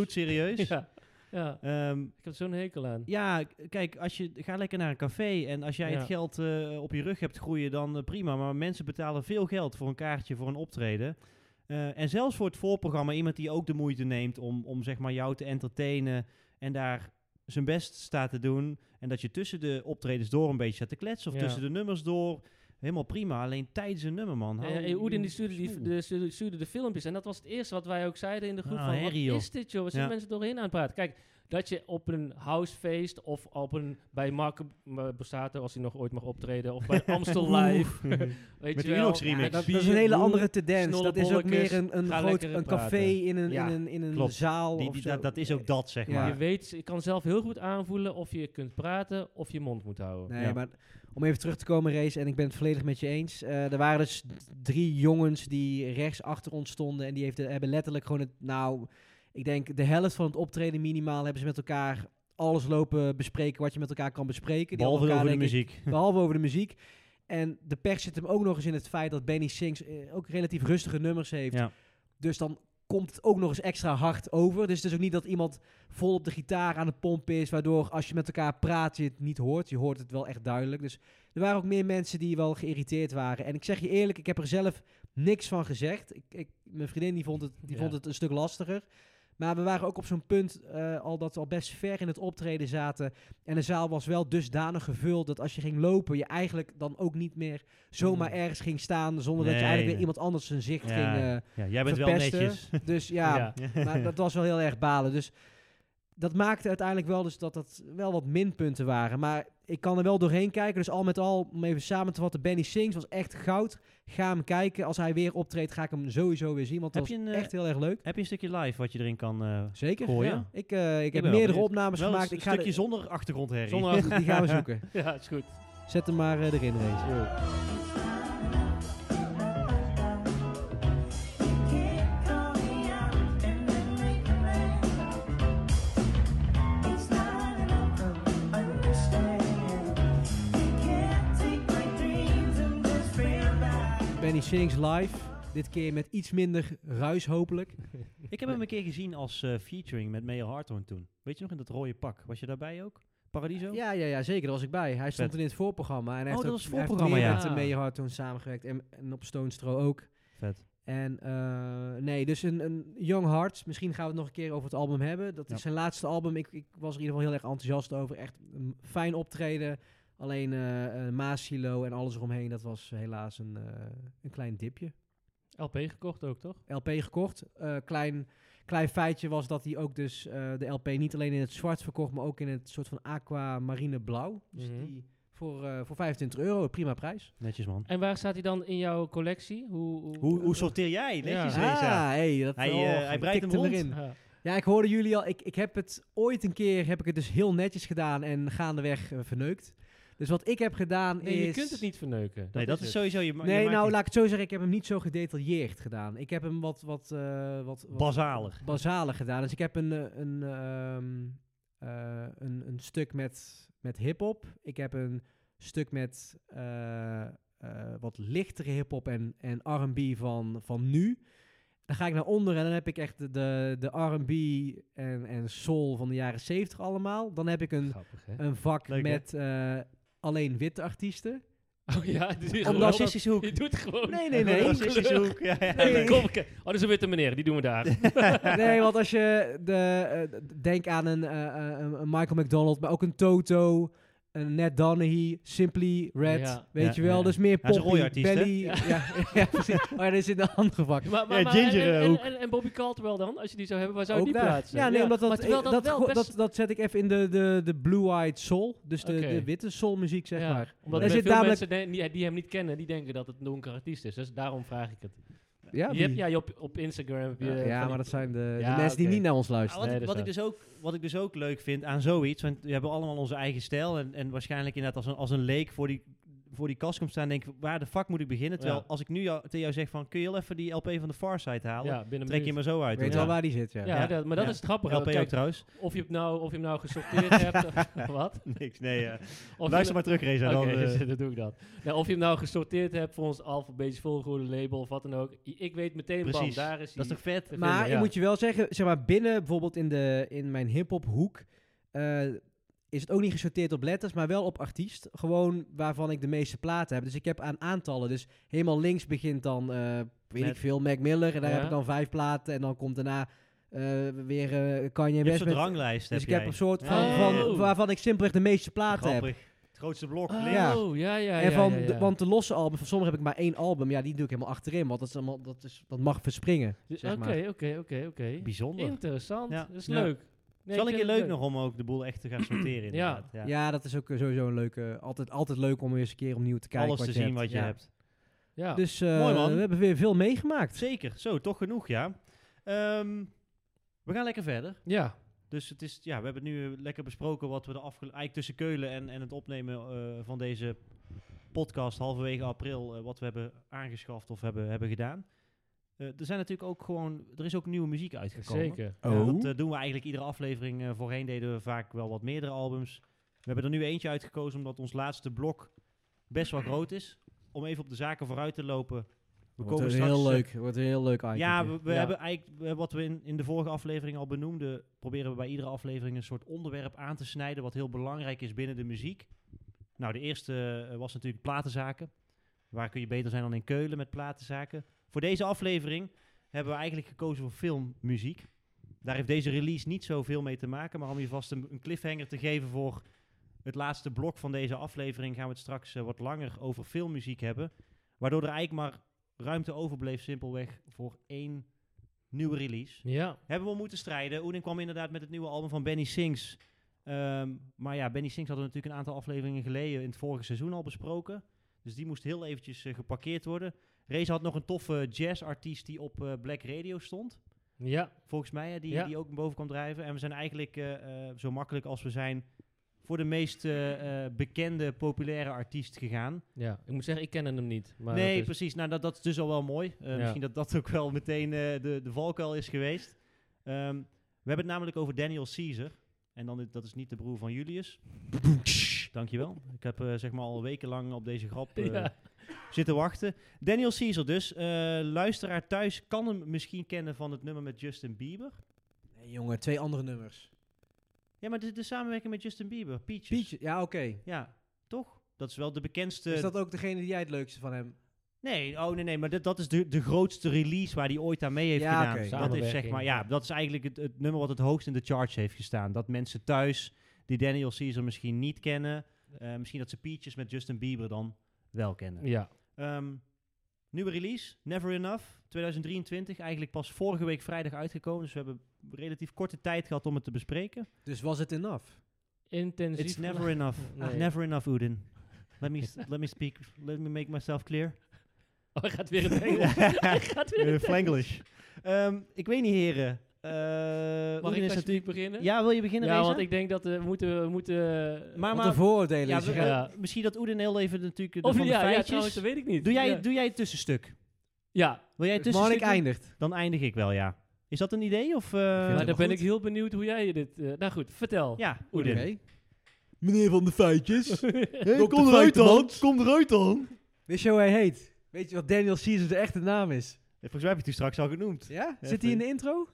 Speaker 3: bloedserieus.
Speaker 2: Ja. ja,
Speaker 3: Ehm,
Speaker 2: ik heb zo'n hekel aan.
Speaker 3: ja, k- kijk, als je ga lekker naar een café en als jij
Speaker 2: Ja.
Speaker 3: het geld eh, op je rug hebt groeien, dan eh, prima. Maar mensen betalen veel geld voor een kaartje, voor een optreden. Eh, en zelfs voor het voorprogramma, iemand die ook de moeite neemt om, om zeg maar jou te entertainen en daar zijn best staat te doen. En dat je tussen de optredens door een beetje staat te kletsen of
Speaker 2: Ja.
Speaker 3: tussen de nummers door. Helemaal prima, alleen tijdens een nummer, man.
Speaker 2: Ja,
Speaker 3: Hou
Speaker 2: ja, Eh, Oedin die
Speaker 3: je
Speaker 2: stuurde, die,
Speaker 3: smoel.
Speaker 2: de, stuurde, stuurde de filmpjes. En dat was het eerste wat wij ook zeiden in de groep.
Speaker 3: Ah,
Speaker 2: van,
Speaker 3: herrie,
Speaker 2: wat
Speaker 3: joh.
Speaker 2: is dit, joh? Wat zijn
Speaker 3: Ja.
Speaker 2: mensen doorheen aan het praten? Kijk, dat je op een housefeest of op een, bij Marco B- Borsato, als hij nog ooit mag optreden, of bij Amstel Live. weet
Speaker 3: Met
Speaker 2: je
Speaker 3: de
Speaker 2: wel.
Speaker 3: Unox remix.
Speaker 1: Ja, dat,
Speaker 2: bier,
Speaker 1: dat is een hele
Speaker 2: boel.
Speaker 1: andere tendens. Dat is ook
Speaker 2: snollebollekes,
Speaker 1: meer een, een,
Speaker 2: ga
Speaker 1: groot,
Speaker 2: lekker
Speaker 1: een café
Speaker 2: praten.
Speaker 1: in een,
Speaker 2: Ja,
Speaker 1: in een, in een
Speaker 3: klopt.
Speaker 1: zaal.
Speaker 3: Die-
Speaker 1: of
Speaker 3: die-
Speaker 1: zo.
Speaker 3: dat, dat is ook dat, zeg
Speaker 1: Ja.
Speaker 3: maar.
Speaker 2: Je weet, je kan zelf heel goed aanvoelen of je kunt praten of je mond moet houden.
Speaker 1: Nee,
Speaker 3: Ja.
Speaker 1: maar op om even terug te komen, Race, en ik ben het volledig met je eens. Eh, er waren dus d- drie jongens die rechts achter ons stonden. En die heeft, hebben letterlijk gewoon het. Nou, ik denk de helft van het optreden minimaal hebben ze met elkaar alles lopen bespreken wat je met elkaar kan bespreken. Die hadden
Speaker 3: Behalve
Speaker 1: elkaar,
Speaker 3: over de
Speaker 1: denk ik,
Speaker 3: muziek.
Speaker 1: Behalve over de muziek. En de pers zit hem ook nog eens in het feit dat Benny Sings eh, ook relatief rustige nummers heeft.
Speaker 3: Ja.
Speaker 1: Dus dan komt het ook nog eens extra hard over. Dus het is ook niet dat iemand vol op de gitaar aan het pompen is, waardoor als je met elkaar praat je het niet hoort. Je hoort het wel echt duidelijk. Dus er waren ook meer mensen die wel geïrriteerd waren. En ik zeg je eerlijk, ik heb er zelf niks van gezegd. Ik, ik, mijn vriendin die vond, het, die
Speaker 2: Ja.
Speaker 1: vond het een stuk lastiger. Maar we waren ook op zo'n punt eh, al dat we al best ver in het optreden zaten. En de zaal was wel dusdanig gevuld dat als je ging lopen, je eigenlijk dan ook niet meer zomaar
Speaker 2: Mm.
Speaker 1: ergens ging staan. Zonder dat je
Speaker 3: Nee,
Speaker 1: eigenlijk
Speaker 3: nee.
Speaker 1: weer iemand anders zijn zicht
Speaker 3: Ja.
Speaker 1: ging. eh,
Speaker 3: Ja, jij bent wel
Speaker 1: verpesten.
Speaker 3: netjes.
Speaker 1: dus ja,
Speaker 2: Ja.
Speaker 1: maar dat was wel heel erg balen. Dus dat maakte uiteindelijk wel dus dat dat wel wat minpunten waren. Maar ik kan er wel doorheen kijken. Dus al met al, om even samen te vatten, Benny Sings was echt goud. Ga hem kijken. Als hij weer optreedt, ga ik hem sowieso weer zien. Want dat
Speaker 3: Heb
Speaker 1: was
Speaker 3: je een, eh,
Speaker 1: echt heel erg leuk.
Speaker 3: Heb je een stukje live wat je erin kan... eh,
Speaker 1: Zeker.
Speaker 3: gooien?
Speaker 1: ja. Ik, eh, ik heb
Speaker 3: ben wel
Speaker 1: meerdere
Speaker 3: benieuwd.
Speaker 1: opnames
Speaker 3: wel
Speaker 1: gemaakt.
Speaker 3: een
Speaker 1: ik ga
Speaker 3: stukje
Speaker 1: de-
Speaker 3: zonder achtergrondherrie.
Speaker 2: Zonder achtergrond.
Speaker 1: die gaan we zoeken.
Speaker 2: Ja, is goed.
Speaker 1: Zet hem maar eh, erin, Rees. Benny Sings live. Dit keer met iets minder ruis, hopelijk.
Speaker 3: Ik heb hem een keer gezien als eh, featuring met Mayor Harthoorn toen. Weet je nog, in dat rode pak. Was je daarbij ook? Paradiso?
Speaker 1: Ja, ja, ja, zeker. Daar was ik bij. Hij stond
Speaker 3: Vet.
Speaker 1: in het voorprogramma. En hij heeft
Speaker 3: Oh, dat
Speaker 1: ook-
Speaker 3: was
Speaker 1: hij heeft
Speaker 3: voorprogramma,
Speaker 1: meer
Speaker 2: ja.
Speaker 1: Met de Major Hart toen samengewerkt. En, en op Stone Straw ook.
Speaker 3: Vet.
Speaker 1: En eh, nee, dus een, een Young Hearts. Misschien gaan we het nog een keer over het album hebben. Dat is
Speaker 3: Ja.
Speaker 1: zijn laatste album. Ik, ik was er in ieder geval heel erg enthousiast over. Echt een fijn optreden. Alleen eh eh, Maasilo en alles eromheen, dat was helaas een, eh, een klein dipje.
Speaker 2: LP gekocht ook, toch?
Speaker 1: LP gekocht. Eh, klein, klein feitje was dat hij ook dus eh, de LP niet alleen in het zwart verkocht, maar ook in het soort van aquamarine blauw. Dus
Speaker 2: Mhm.
Speaker 1: die voor, eh, voor 25 euro, prima prijs.
Speaker 3: Netjes, man.
Speaker 2: En waar staat hij dan in jouw collectie? Hoe, hoe,
Speaker 3: Hoe, hoe sorteer jij? Netjes,
Speaker 2: Ja.
Speaker 3: Reza.
Speaker 1: Ah, hey, dat,
Speaker 3: Hij,
Speaker 1: oh,
Speaker 3: eh, hij breidt
Speaker 1: tikt
Speaker 3: hem rond.
Speaker 1: erin.
Speaker 2: Ja.
Speaker 1: Ja, ik hoorde jullie al. Ik, ik heb het ooit een keer heb ik het dus heel netjes gedaan en gaandeweg eh, verneukt. Dus wat ik heb gedaan
Speaker 2: Nee,
Speaker 1: is.
Speaker 2: je kunt het niet verneuken.
Speaker 3: nee, dat is
Speaker 2: het.
Speaker 3: sowieso... Je ma- je
Speaker 1: nee,
Speaker 3: maakt
Speaker 1: nou
Speaker 3: niet
Speaker 1: laat ik het zo zeggen, ik heb hem niet zo gedetailleerd gedaan. Ik heb hem wat, wat, eh, wat, wat
Speaker 3: Basaler.
Speaker 1: basaler gedaan. Dus ik heb een, eh, een, ehm, eh, een, een stuk met, met hip-hop. Ik heb een stuk met eh, eh, wat lichtere hip-hop en, en RB van, van nu. Dan ga ik naar onder en dan heb ik echt de, de, de RB en, en soul van de jaren 70 allemaal. Dan heb ik een,
Speaker 2: dus Grappig, hè?
Speaker 1: een vak
Speaker 3: Leuk, hè?
Speaker 1: met eh, alleen witte artiesten.
Speaker 2: Oh ja, die
Speaker 1: Om
Speaker 2: gewoon-
Speaker 3: racistische hoek.
Speaker 2: Je doet gewoon.
Speaker 1: Nee, nee, nee.
Speaker 3: Racistische hoek. Ja, ja.
Speaker 1: Nee, nee.
Speaker 2: Kom, kijk. oh, dat is een witte meneer, die doen we daar.
Speaker 1: nee, want als je de, eh, d- denk aan een, eh, eh, een- een Michael McDonald, maar ook een Toto, een Ned Donaghy, Simply Red,
Speaker 2: Ja.
Speaker 1: weet
Speaker 3: Ja,
Speaker 1: je wel.
Speaker 3: ja.
Speaker 1: Dus meer
Speaker 3: Hij is een
Speaker 1: poppy,
Speaker 3: rooiartiest, hè?
Speaker 1: belly. Ja, ja, precies. Oh ja, dat is in de andere vak.
Speaker 2: Maar, maar,
Speaker 3: Ja,
Speaker 2: maar-
Speaker 3: Ginger,
Speaker 2: en,
Speaker 3: eh,
Speaker 2: en-
Speaker 3: hoek.
Speaker 2: en, en Bobby Caldwell dan, als je die zou hebben, waar zou je
Speaker 1: Ook
Speaker 2: die
Speaker 1: daar.
Speaker 2: plaatsen?
Speaker 1: Ja, nee, omdat
Speaker 2: maar
Speaker 1: dat,
Speaker 2: terwijl
Speaker 1: dat,
Speaker 2: wel
Speaker 1: go-
Speaker 2: best-
Speaker 1: dat, dat zet ik even in de, de, de blue-eyed soul, dus de, de
Speaker 2: Oké.
Speaker 1: witte soulmuziek, zeg
Speaker 2: ja,
Speaker 1: maar.
Speaker 2: Omdat
Speaker 1: Daar
Speaker 2: er
Speaker 1: zit
Speaker 2: veel
Speaker 1: namelijk-
Speaker 2: mensen de- die, die hem niet kennen, die denken dat het een donker artiest is. Dus daarom vraag ik het.
Speaker 1: Ja,
Speaker 2: je
Speaker 1: die-
Speaker 2: hebt, ja, je op, op Instagram heb je...
Speaker 1: ja,
Speaker 2: eh,
Speaker 1: ja,
Speaker 2: van
Speaker 1: maar
Speaker 2: die-
Speaker 1: dat zijn de, de
Speaker 2: Ja,
Speaker 1: mensen die
Speaker 2: oké.
Speaker 1: niet naar ons
Speaker 3: Ah,
Speaker 1: luisteren.
Speaker 3: wat,
Speaker 2: Nee,
Speaker 3: ik,
Speaker 2: dat
Speaker 3: wat, ik
Speaker 2: is
Speaker 3: dus ook, wat ik dus ook leuk vind aan zoiets, want we hebben allemaal onze eigen stijl en, en waarschijnlijk inderdaad als een, als een leek voor die, voor die kast komt staan, denk ik, waar de fuck moet ik beginnen? Terwijl
Speaker 2: Ja.
Speaker 3: als ik nu jou, tegen jou zeg van, kun je heel even die LP van de Far Side halen?
Speaker 2: Ja, binnen een
Speaker 3: Trek je
Speaker 2: minuut.
Speaker 3: maar zo uit.
Speaker 1: Weet
Speaker 3: hoor.
Speaker 1: wel
Speaker 3: Ja.
Speaker 1: waar die zit, ja.
Speaker 2: Ja,
Speaker 3: Ja.
Speaker 2: dat- maar dat
Speaker 3: Ja.
Speaker 2: is het grappige.
Speaker 3: LP ook
Speaker 2: Kijk,
Speaker 3: trouwens?
Speaker 2: of, je hem nou, of je hem nou gesorteerd hebt, of wat?
Speaker 3: Niks, nee. eh,
Speaker 2: Of je-
Speaker 3: luister maar terug, Reza.
Speaker 2: Oké,
Speaker 3: dan, eh,
Speaker 2: dan doe ik dat. Nou, of je hem nou gesorteerd hebt volgens alfabetisch volgorde, label of wat dan ook. i- Ik weet meteen,
Speaker 3: Precies.
Speaker 2: bam, daar is
Speaker 3: dat
Speaker 2: hij.
Speaker 3: is toch vet?
Speaker 2: vinden,
Speaker 1: Maar ik
Speaker 2: ja.
Speaker 1: moet je wel zeggen, zeg maar binnen bijvoorbeeld in, de, in mijn hip-hop hoek. eh, is het ook niet gesorteerd op letters, maar wel op artiest. Gewoon waarvan ik de meeste platen heb. Dus ik heb aan aantallen. Dus helemaal links begint dan, eh, weet
Speaker 3: Met-
Speaker 1: ik veel, Mac Miller. En daar
Speaker 2: Ja.
Speaker 1: heb ik dan vijf platen. En dan komt daarna eh, weer eh
Speaker 3: Je
Speaker 1: Kanye
Speaker 3: hebt
Speaker 1: West.
Speaker 3: zo'n
Speaker 1: met-
Speaker 3: ranglijst,
Speaker 1: dus ik
Speaker 3: jij.
Speaker 1: heb een soort van,
Speaker 2: Ja, Oh. ja, ja.
Speaker 1: van waarvan ik simpelweg de meeste platen heb.
Speaker 3: Grappig. Het grootste blok.
Speaker 2: Oh,
Speaker 3: links.
Speaker 1: Ja.
Speaker 2: ja, ja, ja.
Speaker 1: en van
Speaker 2: ja, ja.
Speaker 1: De, want de losse album, van sommige heb ik maar één album. Ja, die doe ik helemaal achterin. Want dat, is allemaal, dat, is, dat mag verspringen. zeg maar.
Speaker 2: Oké, oké, oké, oké.
Speaker 3: Bijzonder.
Speaker 2: Interessant.
Speaker 3: Ja.
Speaker 2: Dat is
Speaker 1: Ja.
Speaker 2: leuk.
Speaker 3: Het is wel
Speaker 2: Nee, ik
Speaker 3: een keer
Speaker 2: vind het
Speaker 3: leuk nog om ook de boel echt te gaan sorteren inderdaad.
Speaker 1: Ja.
Speaker 3: Ja.
Speaker 1: dat is ook eh, sowieso een leuke. Altijd, altijd leuk om weer eens een keer opnieuw te kijken.
Speaker 3: Alles te
Speaker 1: wat
Speaker 3: zien
Speaker 1: je hebt.
Speaker 3: wat je
Speaker 1: Ja.
Speaker 3: hebt.
Speaker 2: Ja.
Speaker 1: Dus eh,
Speaker 3: Mooi, man.
Speaker 1: we hebben weer veel meegemaakt.
Speaker 3: Zeker, zo, toch genoeg, ja. Ehm, we gaan lekker verder.
Speaker 2: ja.
Speaker 3: Dus het is, ja, we hebben nu eh, lekker besproken wat we de afgelopen... Eigenlijk tussen Keulen en, en het opnemen eh, van deze podcast halverwege april eh, wat we hebben aangeschaft of hebben, hebben gedaan. Eh, er zijn natuurlijk ook gewoon, er is ook nieuwe muziek uitgekomen.
Speaker 2: Zeker.
Speaker 3: Eh,
Speaker 1: Oh.
Speaker 3: dat eh, doen we eigenlijk iedere aflevering. eh, voorheen deden we vaak wel wat meerdere albums. We hebben er nu eentje uitgekozen omdat ons laatste blok best wel groot is. Om even op de zaken vooruit te lopen. We
Speaker 1: wordt een
Speaker 3: straks,
Speaker 1: heel
Speaker 3: eh,
Speaker 1: leuk, wordt een heel leuk item.
Speaker 3: ja, we, we
Speaker 2: Ja.
Speaker 3: hebben eigenlijk eh, wat we in, in de vorige aflevering al benoemden, proberen we bij iedere aflevering een soort onderwerp aan te snijden wat heel belangrijk is binnen de muziek. Nou, de eerste eh, was natuurlijk platenzaken. Waar kun je beter zijn dan in Keulen met platenzaken? Voor deze aflevering hebben we eigenlijk gekozen voor filmmuziek. Daar heeft deze release niet zoveel mee te maken, maar om je vast een, een cliffhanger te geven voor het laatste blok van deze aflevering, gaan we het straks eh, wat langer over filmmuziek hebben. Waardoor er eigenlijk maar ruimte overbleef simpelweg voor één nieuwe release.
Speaker 2: Ja.
Speaker 3: Hebben we om moeten strijden. Oedin kwam inderdaad met het nieuwe album van Benny Sings. Ehm, maar ja, Benny Sings hadden we natuurlijk een aantal afleveringen geleden in het vorige seizoen al besproken. Dus die moest heel eventjes eh, geparkeerd worden. Reza had nog een toffe jazzartiest die op eh, Black Radio stond.
Speaker 2: Ja.
Speaker 3: Volgens mij, hè, die,
Speaker 2: Ja.
Speaker 3: die ook boven kwam drijven. En we zijn eigenlijk eh, eh, zo makkelijk als we zijn voor de meest eh, eh, bekende, populaire artiest gegaan.
Speaker 2: Ja. Ik moet zeggen, ik ken hem niet. Maar
Speaker 3: nee,
Speaker 2: dat is-
Speaker 3: precies. Nou, dat, dat is dus al wel mooi. Eh,
Speaker 2: Ja.
Speaker 3: Misschien dat dat ook wel meteen eh, de, de valkuil is geweest. Ehm, we hebben het namelijk over Daniel Caesar. En dan, dat is niet de broer van Julius. Dankjewel. Ik heb eh, zeg maar al wekenlang op deze grap eh,
Speaker 2: Ja.
Speaker 3: zitten wachten. Daniel Caesar dus. Eh, luisteraar thuis kan hem misschien kennen van het nummer met Justin Bieber.
Speaker 1: Nee, jongen, twee andere nummers.
Speaker 3: Ja, maar de, de samenwerking met Justin Bieber. Peaches.
Speaker 1: Pietje, ja, oké.
Speaker 3: Ja, toch? Dat eh, is wel de bekendste...
Speaker 1: Is dat ook degene die jij het leukste van hem?
Speaker 3: Nee, oh nee, nee, maar dit- dat is de, de grootste release waar hij ooit aan mee heeft
Speaker 1: Ja,
Speaker 3: gedaan.
Speaker 1: oké.
Speaker 3: Dat is zeg
Speaker 2: Samenwerking,
Speaker 3: maar, ja,
Speaker 2: ja.
Speaker 3: dat is eigenlijk het, het nummer wat het hoogst in de charts heeft gestaan. Dat mensen thuis die Daniel Caesar misschien niet kennen, eh, misschien dat ze Peaches met Justin Bieber dan wel kennen.
Speaker 2: Ja.
Speaker 3: Ehm, nieuwe release, Never Enough, 2023, eigenlijk pas vorige week vrijdag uitgekomen, dus we hebben relatief korte tijd gehad om het te bespreken.
Speaker 1: Dus was het enough?
Speaker 2: Intensief.
Speaker 3: It's never enough, Ah,
Speaker 2: Nee.
Speaker 3: never enough, Udin. Let me, let me speak, let me make myself clear.
Speaker 2: Oh, hij gaat weer in het Engels. hij gaat weer in
Speaker 3: Eh,
Speaker 2: het
Speaker 3: Flanglish. Ehm, ik weet niet, heren. Eh,
Speaker 2: Mag
Speaker 3: Oedin is
Speaker 2: ik
Speaker 3: natuurlijk...
Speaker 2: natuurlijk beginnen?
Speaker 3: Ja, wil je beginnen,
Speaker 2: Ja,
Speaker 3: Reza?
Speaker 2: want ik denk dat eh, we moeten... We moeten
Speaker 3: Maar,
Speaker 1: Wat een
Speaker 3: maar...
Speaker 1: vooroordelen.
Speaker 3: Ja,
Speaker 1: is
Speaker 3: we-
Speaker 1: er-
Speaker 2: Ja.
Speaker 3: eh, Misschien dat Oedin heel even natuurlijk de,
Speaker 2: of
Speaker 3: van de
Speaker 2: ja, ja,
Speaker 3: feitjes...
Speaker 2: trouwens, dat weet ik niet.
Speaker 3: doe, jij,
Speaker 2: ja.
Speaker 3: doe jij het tussenstuk?
Speaker 2: ja.
Speaker 3: Wil jij het
Speaker 1: Dus Marnik
Speaker 3: tussenstuk doen?
Speaker 1: eindigt.
Speaker 3: Dan eindig ik wel, ja. Is dat een idee? Of, eh,
Speaker 1: vind
Speaker 2: maar
Speaker 1: het
Speaker 2: dan ben
Speaker 1: goed.
Speaker 2: ik heel benieuwd hoe jij je dit... eh, nou goed, vertel.
Speaker 3: Ja,
Speaker 1: Oké.
Speaker 3: Oedin.
Speaker 1: Meneer van de feitjes.
Speaker 3: kom eruit dan! Kom eruit dan!
Speaker 1: Wist je hoe hij heet? Weet je wat Daniel Caesar de echte naam is?
Speaker 3: Volgens mij heb ik het u straks al genoemd.
Speaker 1: Ja?
Speaker 3: Ja,
Speaker 1: Zit hij in de intro?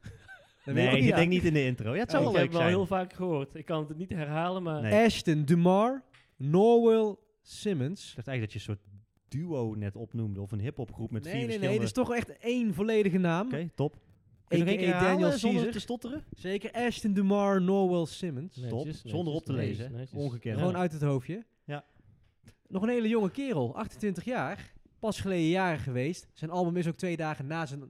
Speaker 1: Dat weet ik
Speaker 3: nee,
Speaker 1: niet.
Speaker 3: ik denk niet in de intro. Ja, het zou
Speaker 2: ik
Speaker 3: wel
Speaker 2: heb
Speaker 3: leuk
Speaker 2: hem al
Speaker 3: zijn.
Speaker 2: heel vaak gehoord. Ik kan het niet herhalen, maar...
Speaker 3: Nee.
Speaker 1: Ashton Dumar, Norwell Simmons.
Speaker 3: Ik dacht eigenlijk dat je een soort duo net opnoemde. Of een hiphopgroep met
Speaker 1: nee,
Speaker 3: vier
Speaker 1: nee, dus- nee.
Speaker 3: verschillende...
Speaker 1: Het is toch echt één volledige naam.
Speaker 3: Oké, top.
Speaker 1: Aka
Speaker 3: Kun je nog één keer herhalen
Speaker 1: Daniel
Speaker 3: zonder
Speaker 1: Caesar.
Speaker 3: te stotteren?
Speaker 1: Zeker Ashton Dumar, Norwell Simmons.
Speaker 2: Netjes,
Speaker 3: Top.
Speaker 2: netjes,
Speaker 3: Zonder op te
Speaker 2: netjes,
Speaker 3: lezen, hè.
Speaker 2: netjes.
Speaker 3: Ongekend.
Speaker 2: Ja.
Speaker 1: Gewoon uit het hoofdje.
Speaker 3: Ja.
Speaker 1: Nog een hele jonge kerel, 28 jaar. Pas geleden jaren geweest. Zijn album is ook twee dagen na zijn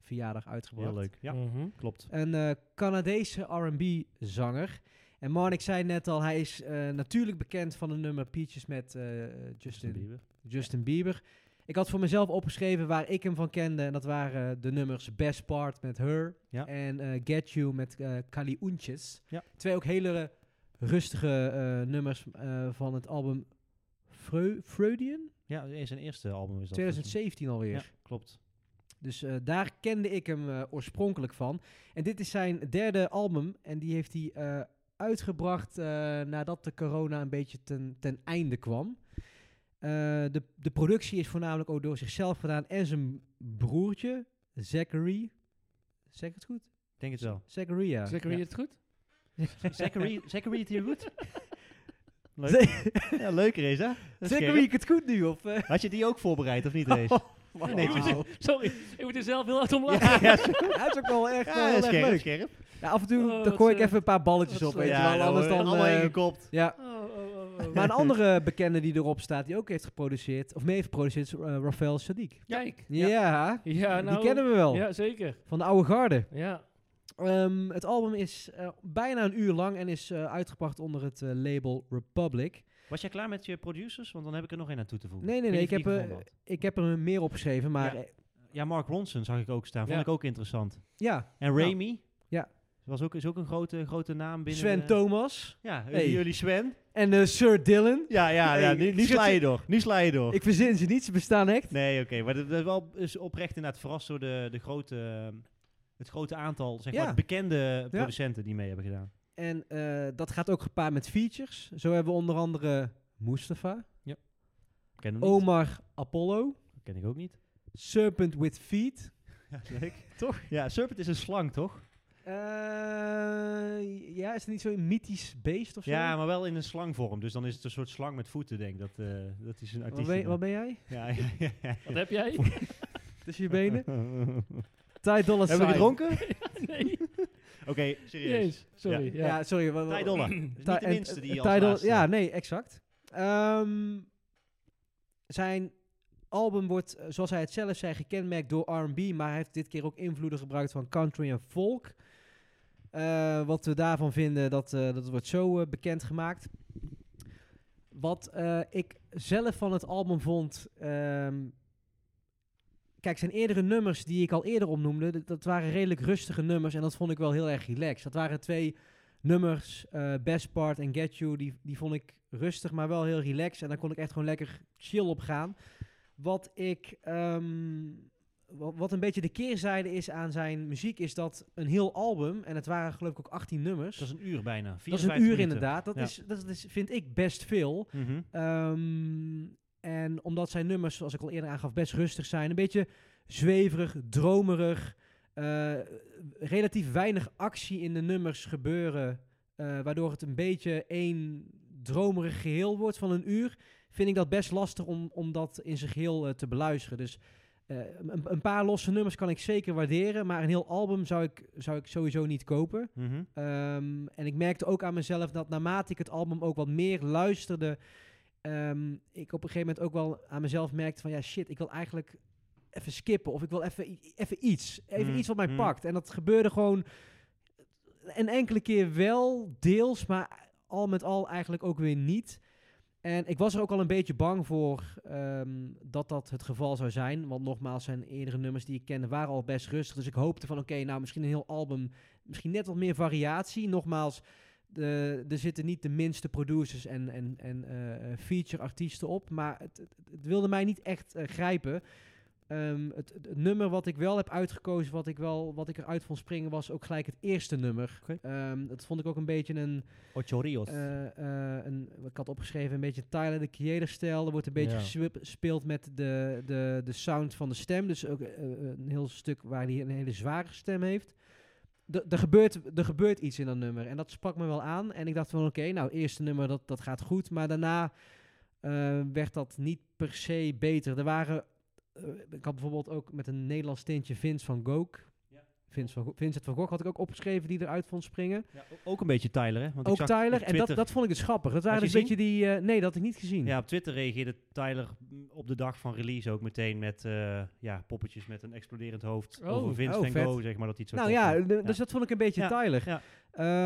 Speaker 1: verjaardag uitgebracht.
Speaker 3: Heel leuk. Ja,
Speaker 2: Mhm.
Speaker 3: klopt.
Speaker 1: Een eh, Canadese R&B-zanger. En Marnik zei net al, hij is eh, natuurlijk bekend van een nummer Peaches met eh, Justin, Justin Bieber. Ik had voor mezelf opgeschreven waar ik hem van kende. En dat waren eh, de nummers Best Part met Her
Speaker 3: Ja.
Speaker 1: en eh, Get You met eh Kali Untjes.
Speaker 3: Ja.
Speaker 1: Twee ook hele rustige eh, nummers eh, van het album Freu Freudian.
Speaker 3: Ja, eh, zijn eerste album is dat.
Speaker 1: 2017 alweer.
Speaker 3: Ja, klopt.
Speaker 1: Dus eh, daar kende ik hem eh, oorspronkelijk van. En dit is zijn derde album. En die heeft hij eh, uitgebracht eh, nadat de corona een beetje ten, ten einde kwam. Eh, de, de productie is voornamelijk ook door zichzelf gedaan en zijn broertje, Zachary. Zeg ik het goed?
Speaker 3: Ik Denk het wel.
Speaker 1: Zachariah.
Speaker 2: Zeker
Speaker 3: Ja.
Speaker 2: je het goed?
Speaker 3: Zachary, Zachary het hier goed? Leuk. ja, leuk Reza. Dat is
Speaker 1: Zachary,
Speaker 3: scherp.
Speaker 1: ik het goed nu? Of, eh? Oh,
Speaker 3: Had je die ook voorbereid of niet, Reza?
Speaker 2: Nee,
Speaker 1: Wauw.
Speaker 2: ik moet- Sorry, ik moet er zelf heel hard om lachen.
Speaker 3: ja, ja, scherp,
Speaker 1: Ja, het oh. is ook wel echt, eh, wel heel erg
Speaker 3: scherp.
Speaker 1: leuk.
Speaker 3: scherp.
Speaker 1: Nou, af en toe
Speaker 2: Oh,
Speaker 1: dan
Speaker 2: wat
Speaker 1: gooi ik
Speaker 2: slecht.
Speaker 1: even een paar balletjes
Speaker 2: Wat
Speaker 1: op. Weet
Speaker 2: slecht.
Speaker 1: je wel, anders
Speaker 3: hoor,
Speaker 1: dan...
Speaker 3: Allemaal
Speaker 1: eh,
Speaker 3: ingekopt.
Speaker 1: ja,
Speaker 2: Oh, oh, oh, oh.
Speaker 1: Maar een andere bekende die erop staat, die ook heeft geproduceerd, of mee heeft geproduceerd, is eh, Rafael Sadiq.
Speaker 2: Kijk.
Speaker 1: Ja,
Speaker 2: Ja, nou,
Speaker 1: die kennen we wel,
Speaker 2: Ja, zeker.
Speaker 1: van de oude garde.
Speaker 2: Ja.
Speaker 1: Ehm, het album is eh, bijna een uur lang en is eh, uitgebracht onder het eh, label Republic.
Speaker 3: Was jij klaar met je producers? Want dan heb ik er nog één aan toe te voegen.
Speaker 1: Nee, nee,
Speaker 3: Ik weet
Speaker 1: nee,
Speaker 3: niet
Speaker 1: ik
Speaker 3: wie
Speaker 1: heb, eh,
Speaker 3: gevonden had.
Speaker 1: Ik heb er meer opgeschreven, maar
Speaker 3: Ja.
Speaker 1: eh,
Speaker 3: Ja, Mark Ronson zag ik ook staan. Vond
Speaker 2: Ja.
Speaker 3: ik ook interessant.
Speaker 1: ja.
Speaker 3: En Remy?
Speaker 1: Nou, Ja.
Speaker 3: Was ook, is ook een grote, grote naam binnen...
Speaker 1: Sven
Speaker 3: de-
Speaker 1: Thomas
Speaker 3: Ja,
Speaker 1: Hey.
Speaker 3: jullie Sven.
Speaker 1: en eh, Sir Dylan.
Speaker 3: Ja, ja,
Speaker 1: Hey,
Speaker 3: ja nu, nu
Speaker 1: schitterend.
Speaker 3: sla je door. Nu sla je door.
Speaker 1: Ik verzin ze niet, ze bestaan echt.
Speaker 3: Nee, oké. maar dat dat is wel is oprecht inderdaad verrast door de, de grote, eh, het grote aantal zeg
Speaker 1: Ja.
Speaker 3: maar, bekende producenten die mee hebben gedaan.
Speaker 1: En eh, dat gaat ook gepaard met features. Zo hebben we onder andere Mustafa,
Speaker 3: Ken, hem niet.
Speaker 1: Omar Apollo,
Speaker 3: Ken ik ook niet.
Speaker 1: Serpent with Feet.
Speaker 3: Leuk. toch? Ja, Serpent is een slang, toch?
Speaker 1: Eh, ja, is het niet zo'n mythisch beest of zo?
Speaker 3: Ja, maar wel in een slangvorm. Dus dan is het een soort slang met voeten, denk ik. Dat, eh, dat is een
Speaker 1: wat,
Speaker 3: artiest.
Speaker 1: ben,
Speaker 3: die
Speaker 1: wat ben
Speaker 3: dat-
Speaker 1: jij?
Speaker 3: Ja, ja, ja.
Speaker 2: Wat heb jij?
Speaker 1: Tussen je benen? Ty Dolla
Speaker 3: Hebben we
Speaker 1: Sign.
Speaker 3: gedronken? Oké,
Speaker 2: nee.
Speaker 3: serieus.
Speaker 2: Jezus, sorry. Ja.
Speaker 1: Ja, sorry. wa- wa-
Speaker 3: Ty Dolla. Niet de
Speaker 1: Ty- en-
Speaker 3: minste die
Speaker 1: eh,
Speaker 3: als
Speaker 1: Ty Dolla-
Speaker 3: laatste-
Speaker 1: Ja, nee, exact. Ehm, zijn album wordt, eh, zoals hij het zelf zei, gekenmerkt door R&B, maar hij heeft dit keer ook invloeden gebruikt van country en folk. Eh, wat we daarvan vinden, dat, eh, dat wordt zo bekend bekendgemaakt. Wat eh, ik zelf van het album vond. ehm, kijk, zijn eerdere nummers die ik al eerder opnoemde, dat, dat waren redelijk rustige nummers. En dat vond ik wel heel erg relaxed. Dat waren twee nummers, eh, Best Part en Get You, die, die vond ik rustig, maar wel heel relaxed. En daar kon ik echt gewoon lekker chill op gaan. Wat ik. ehm, wa- wat een beetje de keerzijde is aan zijn muziek, is dat een heel album, en het waren geloof ik ook 18 nummers.
Speaker 3: Dat is een uur bijna.
Speaker 1: Dat is
Speaker 3: 54
Speaker 1: een uur
Speaker 3: minuten.
Speaker 1: inderdaad. Dat,
Speaker 3: Ja.
Speaker 1: is, dat is, vind ik best veel.
Speaker 3: Mhm.
Speaker 1: Ehm, en omdat zijn nummers, zoals ik al eerder aangaf, best rustig zijn. Een beetje zweverig, dromerig. eh, relatief weinig actie in de nummers gebeuren. eh, waardoor het een beetje één dromerig geheel wordt van een uur. Vind ik dat best lastig om, om dat in zijn geheel eh, te beluisteren. Dus eh, een, een paar losse nummers kan ik zeker waarderen. Maar een heel album zou ik, zou ik sowieso niet kopen.
Speaker 3: Mhm.
Speaker 1: Ehm, en ik merkte ook aan mezelf dat naarmate ik het album ook wat meer luisterde, ehm, ik op een gegeven moment ook wel aan mezelf merkte van ja shit, ik wil eigenlijk even skippen of ik wil even, i- even iets, even
Speaker 3: Mm,
Speaker 1: iets wat mij
Speaker 3: mm.
Speaker 1: pakt. En dat gebeurde gewoon een enkele keer wel deels, maar al met al eigenlijk ook weer niet. En ik was er ook al een beetje bang voor ehm, dat dat het geval zou zijn. Want nogmaals, zijn eerdere nummers die ik kende waren al best rustig. Dus ik hoopte van, oké, nou misschien een heel album misschien net wat meer variatie. Nogmaals, de, er zitten niet de minste producers en, en, en eh, eh, feature-artiesten op. Maar het, het, het wilde mij niet echt eh, grijpen. Ehm, het, het- het nummer wat ik wel heb uitgekozen, wat ik, wel, wat ik eruit vond springen, was ook gelijk het eerste nummer.
Speaker 3: Oké.
Speaker 1: Ehm, dat vond ik ook een beetje een.
Speaker 3: Ocho Rios.
Speaker 1: eh, eh, een ik had opgeschreven, een beetje Tyler de Creator-stijl. Er wordt een beetje
Speaker 3: Ja.
Speaker 1: geswip- gespeeld met de, de, de sound van de stem. Dus ook eh, eh, een heel stuk waar hij een hele zware stem heeft. D- Er gebeurt, er gebeurt iets in dat nummer. En dat sprak me wel aan. En ik dacht van oké, nou, het eerste nummer dat, dat gaat goed. Maar daarna eh, werd dat niet per se beter. Er waren. eh, ik had bijvoorbeeld ook met een Nederlands tintje Vince van Gogh. Vince van Go- Vincent van Gogh had ik ook opgeschreven die eruit vond springen.
Speaker 3: Ja, o- ook een beetje Tyler, hè? Want ik
Speaker 1: Ook
Speaker 3: zag op
Speaker 1: Tyler. En dat,
Speaker 3: Twitter-
Speaker 1: dat vond ik dus grappig. Dat waren
Speaker 3: je
Speaker 1: dus een beetje die... eh, nee, dat had ik niet gezien.
Speaker 3: Ja, op Twitter reageerde Tyler mm, op de dag van release ook meteen met eh, ja, poppetjes met een exploderend hoofd
Speaker 2: Oh,
Speaker 3: over Vince
Speaker 1: oh,
Speaker 3: van
Speaker 1: vet.
Speaker 3: Gogh, zeg maar, dat iets zo
Speaker 1: nou
Speaker 3: tof
Speaker 1: ja,
Speaker 3: vond.
Speaker 1: de- dus dat vond ik een beetje
Speaker 3: Ja,
Speaker 1: Tyler.
Speaker 3: ja.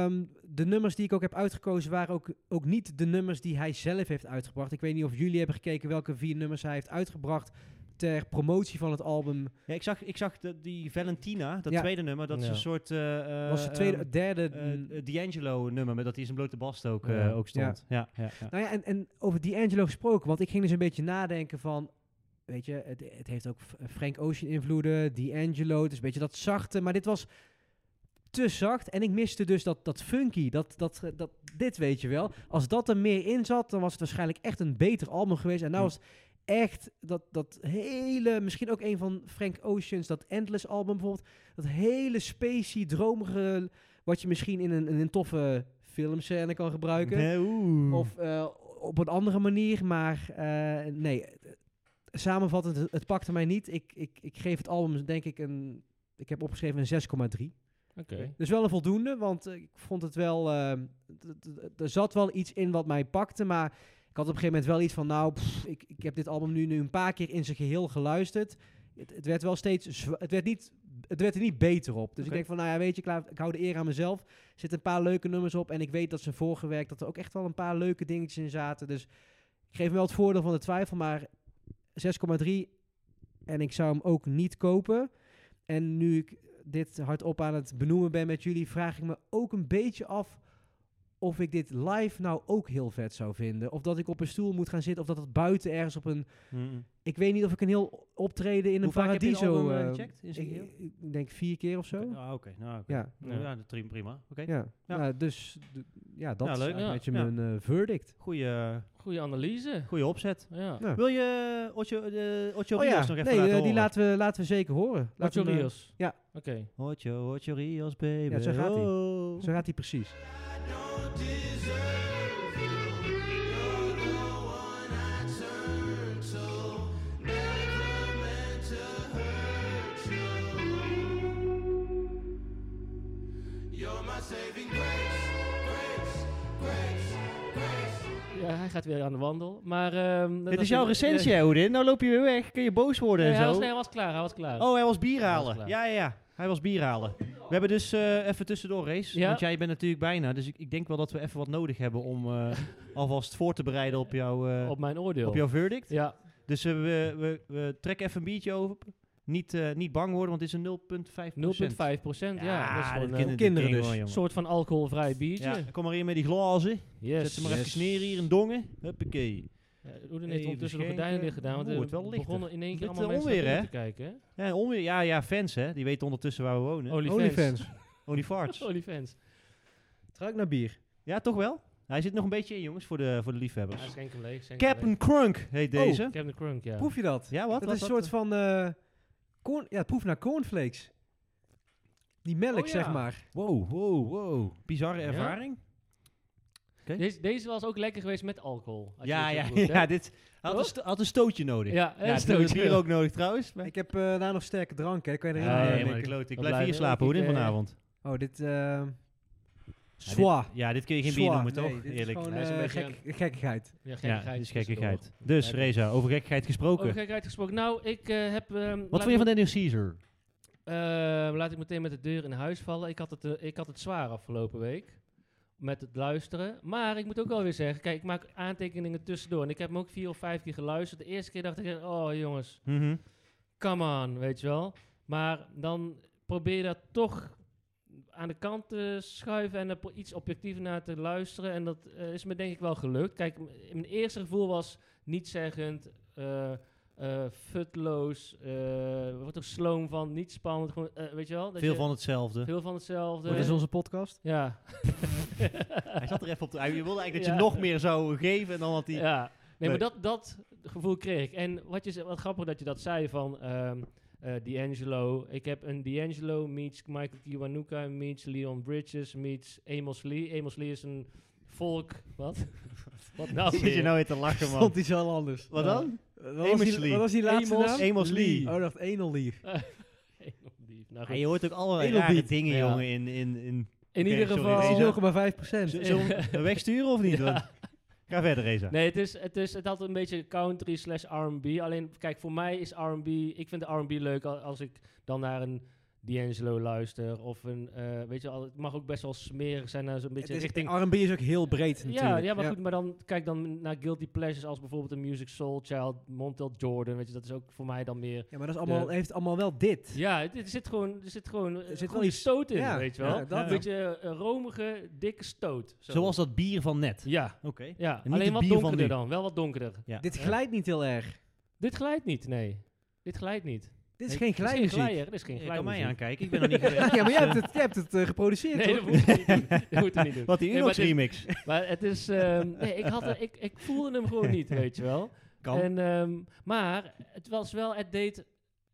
Speaker 1: Ehm, de nummers die ik ook heb uitgekozen waren ook, ook niet de nummers die hij zelf heeft uitgebracht. Ik weet niet of jullie hebben gekeken welke vier nummers hij heeft uitgebracht ter promotie van het album.
Speaker 3: Ja, ik zag, ik zag dat die Valentina, dat
Speaker 1: Ja.
Speaker 3: tweede nummer, dat is
Speaker 2: Ja.
Speaker 3: een soort... eh, eh,
Speaker 1: was het tweede,
Speaker 3: ehm,
Speaker 1: derde...
Speaker 3: eh,
Speaker 1: mm,
Speaker 3: eh, D'Angelo nummer, met dat hij in zijn blote bast ook, eh,
Speaker 2: Ja.
Speaker 3: ook stond. Ja. Ja, ja.
Speaker 1: Nou ja, en, en over D'Angelo gesproken, want ik ging dus een beetje nadenken van... Weet je, het, het heeft ook F- Frank Ocean invloeden, D'Angelo, het is een beetje dat zachte, maar dit was te zacht. En ik miste dus dat, dat funky, dat, dat, dat, dit weet je wel. Als dat er meer in zat, dan was het waarschijnlijk echt een beter album geweest. En nou
Speaker 3: Hm.
Speaker 1: was het echt dat, dat hele, misschien ook een van Frank Ocean's, dat Endless album bijvoorbeeld. Dat hele spacey, dromige, wat je misschien in een, in een toffe filmscène kan gebruiken.
Speaker 3: Nee, oeh.
Speaker 1: Nou, Of eh, op een andere manier, maar eh, nee. eh, Samenvattend, het, het pakte mij niet. Ik, ik, ik geef het album, denk ik, een. Ik heb opgeschreven een 6,3.
Speaker 2: Oké.
Speaker 1: Dus wel een voldoende, want eh, ik vond het wel. eh, d- d- d- er zat wel iets in wat mij pakte, maar ik had op een gegeven moment wel iets van. Nou, pff, ik, ik heb dit album nu, nu een paar keer in zijn geheel geluisterd. Het, het werd wel steeds. zwa- Het werd, niet, het werd er niet beter op. Dus ik
Speaker 2: Oké.
Speaker 1: denk van, nou ja, weet je, ik, laat- ik hou de eer aan mezelf. Er zitten een paar leuke nummers op en ik weet dat ze voorgewerkt, dat er ook echt wel een paar leuke dingetjes in zaten. Dus ik geef hem wel het voordeel van de twijfel, maar 6,3 en ik zou hem ook niet kopen. En nu ik dit hardop aan het benoemen ben met jullie, vraag ik me ook een beetje af of ik dit live nou ook heel vet zou vinden. Of dat ik op een stoel moet gaan zitten, of dat het buiten ergens op een... Ik weet niet of ik een heel optreden in
Speaker 3: Hoe
Speaker 1: een
Speaker 3: vaak heb je het
Speaker 1: paradiso...
Speaker 3: album, eh,
Speaker 1: eh,
Speaker 3: gecheckt in zijn
Speaker 1: ik,
Speaker 3: geheel?
Speaker 1: ik denk vier keer of zo.
Speaker 3: Ah, oké. Nou, oké.
Speaker 1: Ja.
Speaker 3: Nou, ja, dat prima, prima. Oké.
Speaker 1: Ja,
Speaker 3: Ja.
Speaker 1: Nou, dus d- ja, dat
Speaker 3: Ja,
Speaker 1: is
Speaker 3: leuk.
Speaker 1: eigenlijk
Speaker 2: Ja,
Speaker 1: een beetje
Speaker 3: ja.
Speaker 1: mijn eh, verdict.
Speaker 3: Goeie,
Speaker 2: Goede analyse.
Speaker 3: goeie opzet.
Speaker 2: Ja.
Speaker 1: Ja.
Speaker 3: Wil je Ocho, eh, Ocho
Speaker 1: Oh
Speaker 3: Rios
Speaker 1: ja,
Speaker 3: nog even
Speaker 1: nee,
Speaker 3: laten
Speaker 1: eh,
Speaker 3: horen?
Speaker 1: die laten we, laten we zeker horen. Laten
Speaker 2: Nacho
Speaker 1: we hem, eh,
Speaker 2: Rios.
Speaker 1: ja.
Speaker 2: Oké.
Speaker 3: Ocho, Ocho Rios, baby.
Speaker 1: Ja, zo gaat hij.
Speaker 3: oh.
Speaker 1: Zo gaat hij precies.
Speaker 2: Ja, hij gaat weer aan de wandel. Maar, ehm, dat
Speaker 3: Dit
Speaker 2: was
Speaker 3: is jouw
Speaker 2: een-
Speaker 3: recensie,
Speaker 2: Nee,
Speaker 3: hè, Hoedin. Nou loop je weer weg. Kun je boos worden
Speaker 2: nee,
Speaker 3: en
Speaker 2: hij,
Speaker 3: zo.
Speaker 2: was, nee, hij was klaar. Hij was klaar.
Speaker 3: Oh, hij was bier
Speaker 2: Hij was
Speaker 3: halen.
Speaker 2: klaar.
Speaker 3: ja, ja, ja. Hij was bier halen. We hebben dus eh, even tussendoor race.
Speaker 2: Ja.
Speaker 3: Want jij bent natuurlijk bijna. Dus ik, ik denk wel dat we even wat nodig hebben om eh, alvast voor te bereiden op, jouw eh,
Speaker 2: op mijn oordeel.
Speaker 3: op jouw verdict.
Speaker 2: ja,
Speaker 3: Dus eh, we, we, we trekken even een biertje over. Niet, eh, niet bang worden, want dit is een 0,5
Speaker 2: 0,5 procent. Ja, dat is gewoon eh,
Speaker 1: kinderen dus.
Speaker 2: een soort van alcoholvrij biertje.
Speaker 3: Ja, kom maar hier met die glazen.
Speaker 2: Yes.
Speaker 3: Zet ze maar even neer hier in dongen. Huppakee.
Speaker 2: Ja, Oeden heeft
Speaker 3: Even
Speaker 2: ondertussen de
Speaker 3: schenken.
Speaker 2: gordijnen dicht gedaan. Want
Speaker 3: Oeh,
Speaker 2: er
Speaker 3: het wel lichter.
Speaker 2: begonnen in één
Speaker 3: Dit
Speaker 2: keer allemaal mensen
Speaker 3: onweer,
Speaker 2: naar binnen
Speaker 3: hè?
Speaker 2: te kijken. hè?
Speaker 3: Ja, onweer- ja, ja, fans hè. Die weten ondertussen waar we wonen.
Speaker 2: Oh, Onlyfans.
Speaker 1: Onlyfans.
Speaker 3: Only
Speaker 2: Oh,
Speaker 3: farts.
Speaker 2: Onlyfans.
Speaker 1: Trak naar bier.
Speaker 3: Ja, toch wel? Hij zit nog een beetje in, jongens, voor de, voor de liefhebbers.
Speaker 2: Ja, schenk hem leeg. schenk hem
Speaker 3: Captain Crunk heet
Speaker 1: Oh.
Speaker 3: deze.
Speaker 2: leeg. Captain Crunk, ja.
Speaker 1: Proef je dat?
Speaker 3: Ja, wat?
Speaker 1: dat
Speaker 3: Wat-
Speaker 1: is een
Speaker 3: wat-
Speaker 1: soort van... eh corn, ja, proef naar cornflakes. Die melk,
Speaker 2: Oh,
Speaker 1: zeg
Speaker 2: ja.
Speaker 1: maar.
Speaker 3: Wow, wow, wow. Bizarre
Speaker 2: Ja?
Speaker 3: ervaring.
Speaker 2: Deze, deze was ook lekker geweest met alcohol. als je
Speaker 3: Ja,
Speaker 2: het
Speaker 3: ja,
Speaker 2: zo
Speaker 3: ja,
Speaker 2: proeft, hè?
Speaker 3: dit had,
Speaker 2: Toch?
Speaker 3: een sto- had een stootje nodig.
Speaker 2: Oh. Ja,
Speaker 3: Ja,
Speaker 2: en
Speaker 3: dat heb ik
Speaker 2: stootje.
Speaker 3: hier ook nodig trouwens. maar-
Speaker 1: Ik heb eh, daar nog sterke drank, hè. Kan je erin
Speaker 2: Ja,
Speaker 1: eh,
Speaker 2: ja,
Speaker 3: nee,
Speaker 2: maar
Speaker 3: maar
Speaker 1: denken?
Speaker 3: kloot. Ik
Speaker 2: dat
Speaker 3: blijf
Speaker 2: blijft
Speaker 3: hier
Speaker 2: heel
Speaker 3: slapen, hoe
Speaker 2: erg,
Speaker 3: dit
Speaker 2: eh,
Speaker 3: vanavond?
Speaker 1: Oh, dit... eh
Speaker 3: Ja, dit-
Speaker 1: Swa.
Speaker 3: Ja, dit kun je geen bier
Speaker 1: Swa.
Speaker 3: noemen,
Speaker 1: Nee,
Speaker 3: toch?
Speaker 1: dit is
Speaker 3: Eerlijk.
Speaker 1: gewoon
Speaker 2: Hij is een
Speaker 1: eh,
Speaker 2: beetje
Speaker 1: gek- gekkigheid.
Speaker 2: Ja, gekkigheid.
Speaker 3: Ja, dit is
Speaker 2: tussendoor.
Speaker 3: gekkigheid. Dus,
Speaker 2: Ja,
Speaker 3: Reza, over gekkigheid gesproken.
Speaker 2: Over gekkigheid gesproken. Nou, ik eh, heb... ehm, laat
Speaker 3: Wat vond je
Speaker 2: ik-
Speaker 3: van Daniel Caesar?
Speaker 2: Ehm, laat ik meteen met de deur in huis vallen. Ik had het, eh, ik had het zwaar afgelopen week. Met het luisteren. Maar ik moet ook alweer zeggen, kijk, ik maak aantekeningen tussendoor. En ik heb hem ook vier of vijf keer geluisterd. De eerste keer dacht ik, oh jongens,
Speaker 3: Mhm.
Speaker 2: come on, weet je wel. Maar dan probeer je dat toch aan de kant te schuiven en er pro- iets objectiever naar te luisteren. En dat eh, is me denk ik wel gelukt. Kijk, m- mijn eerste gevoel was nietzeggend, eh eh futloos, eh er wordt er sloom van, niet spannend, gewoon, eh, weet je wel. dat
Speaker 3: Veel
Speaker 2: je-
Speaker 3: van Oh, hetzelfde.
Speaker 2: veel van hetzelfde.
Speaker 3: eh?
Speaker 1: Dit is onze podcast.
Speaker 2: ja.
Speaker 3: Hij zat er even op de... Hij wilde eigenlijk dat
Speaker 2: Ja.
Speaker 3: je nog meer zou geven en dan had hij...
Speaker 2: ja. Nee, maar
Speaker 3: Leuk.
Speaker 2: dat, dat gevoel kreeg ik. En wat, je, ze- wat grappig dat je dat zei van ehm eh, D'Angelo. Ik heb een D'Angelo meets Michael Kiwanuka meets Leon Bridges meets Amos Lee. Amos Lee is een volk... Wat? wat nou
Speaker 3: Zit je
Speaker 2: weer?
Speaker 3: nou weer te lachen, man.
Speaker 1: Stond iets heel anders. Eh,
Speaker 3: Wat dan?
Speaker 1: Wat was
Speaker 3: Amos
Speaker 1: die,
Speaker 3: Lee.
Speaker 1: wat was die laatste
Speaker 2: Amos-
Speaker 1: naam?
Speaker 3: Amos Lee.
Speaker 1: Oh, dat Enel Lee.
Speaker 2: Amos Lee. Nou,
Speaker 3: Ja,
Speaker 2: goed.
Speaker 3: je hoort ook allerlei
Speaker 1: Edelbeat.
Speaker 3: rare dingen,
Speaker 2: Ja.
Speaker 3: jongen, in... in, in
Speaker 2: In
Speaker 3: Oké,
Speaker 2: ieder
Speaker 3: sorry,
Speaker 2: geval...
Speaker 3: Reza.
Speaker 1: Dat is 0,5%.
Speaker 3: Zul- zullen we hem wegsturen of niet?
Speaker 2: Ja.
Speaker 3: Want- Ga verder, Reza.
Speaker 2: Nee, het, is, het, is, het had een beetje country slash R&B. Alleen, kijk, voor mij is R&B... Ik vind de R&B leuk al- als ik dan naar een D'Angelo luister. Of een, eh, weet je wel, het mag ook best wel smerig zijn. naar Zo'n beetje
Speaker 1: Het is-
Speaker 2: richting...
Speaker 1: R&B is ook heel breed
Speaker 2: Ja,
Speaker 1: natuurlijk.
Speaker 2: ja, maar goed, maar dan kijk dan naar Guilty Pleasures als bijvoorbeeld een Music Soul Child, Montel Jordan, weet je, dat is ook voor mij dan meer...
Speaker 1: Ja, maar dat is allemaal, heeft allemaal wel dit.
Speaker 2: Ja, het, het zit gewoon, er zit gewoon
Speaker 1: Er
Speaker 2: er
Speaker 1: zit wel
Speaker 2: zit goede
Speaker 1: iets-
Speaker 2: stoot in,
Speaker 1: ja,
Speaker 2: weet je wel.
Speaker 1: ja,
Speaker 2: dat
Speaker 1: dat
Speaker 2: een
Speaker 1: wel.
Speaker 2: beetje eh, romige, dikke stoot. Zo.
Speaker 3: Zoals dat bier van net.
Speaker 2: Ja,
Speaker 3: Oké.
Speaker 2: ja.
Speaker 3: niet
Speaker 2: alleen
Speaker 3: het
Speaker 2: wat
Speaker 3: bier van
Speaker 2: donkerder
Speaker 3: nu.
Speaker 2: dan, wel wat donkerder.
Speaker 3: Ja.
Speaker 1: Dit glijdt niet heel erg.
Speaker 2: Dit glijdt niet, nee. Dit glijdt niet.
Speaker 1: Dit is
Speaker 2: Nee,
Speaker 1: geen
Speaker 2: Dit is geen
Speaker 1: glijmuziek.
Speaker 2: glijder, dit is geen
Speaker 3: Je kan mij
Speaker 2: glijmuziek.
Speaker 3: aankijken, ik ben nog niet geweest.
Speaker 1: ja, maar jij hebt het, jij hebt het eh, geproduceerd,
Speaker 2: Nee,
Speaker 1: toch?
Speaker 2: dat moet je niet doen. Dat moet je niet doen.
Speaker 3: Wat die
Speaker 2: Nee, maar
Speaker 3: Unox
Speaker 2: dit-
Speaker 3: remix.
Speaker 2: Maar het is... ehm, nee, ik, had, er- ik, ik voelde hem gewoon niet, weet je wel. En, ehm, maar het was wel, het deed.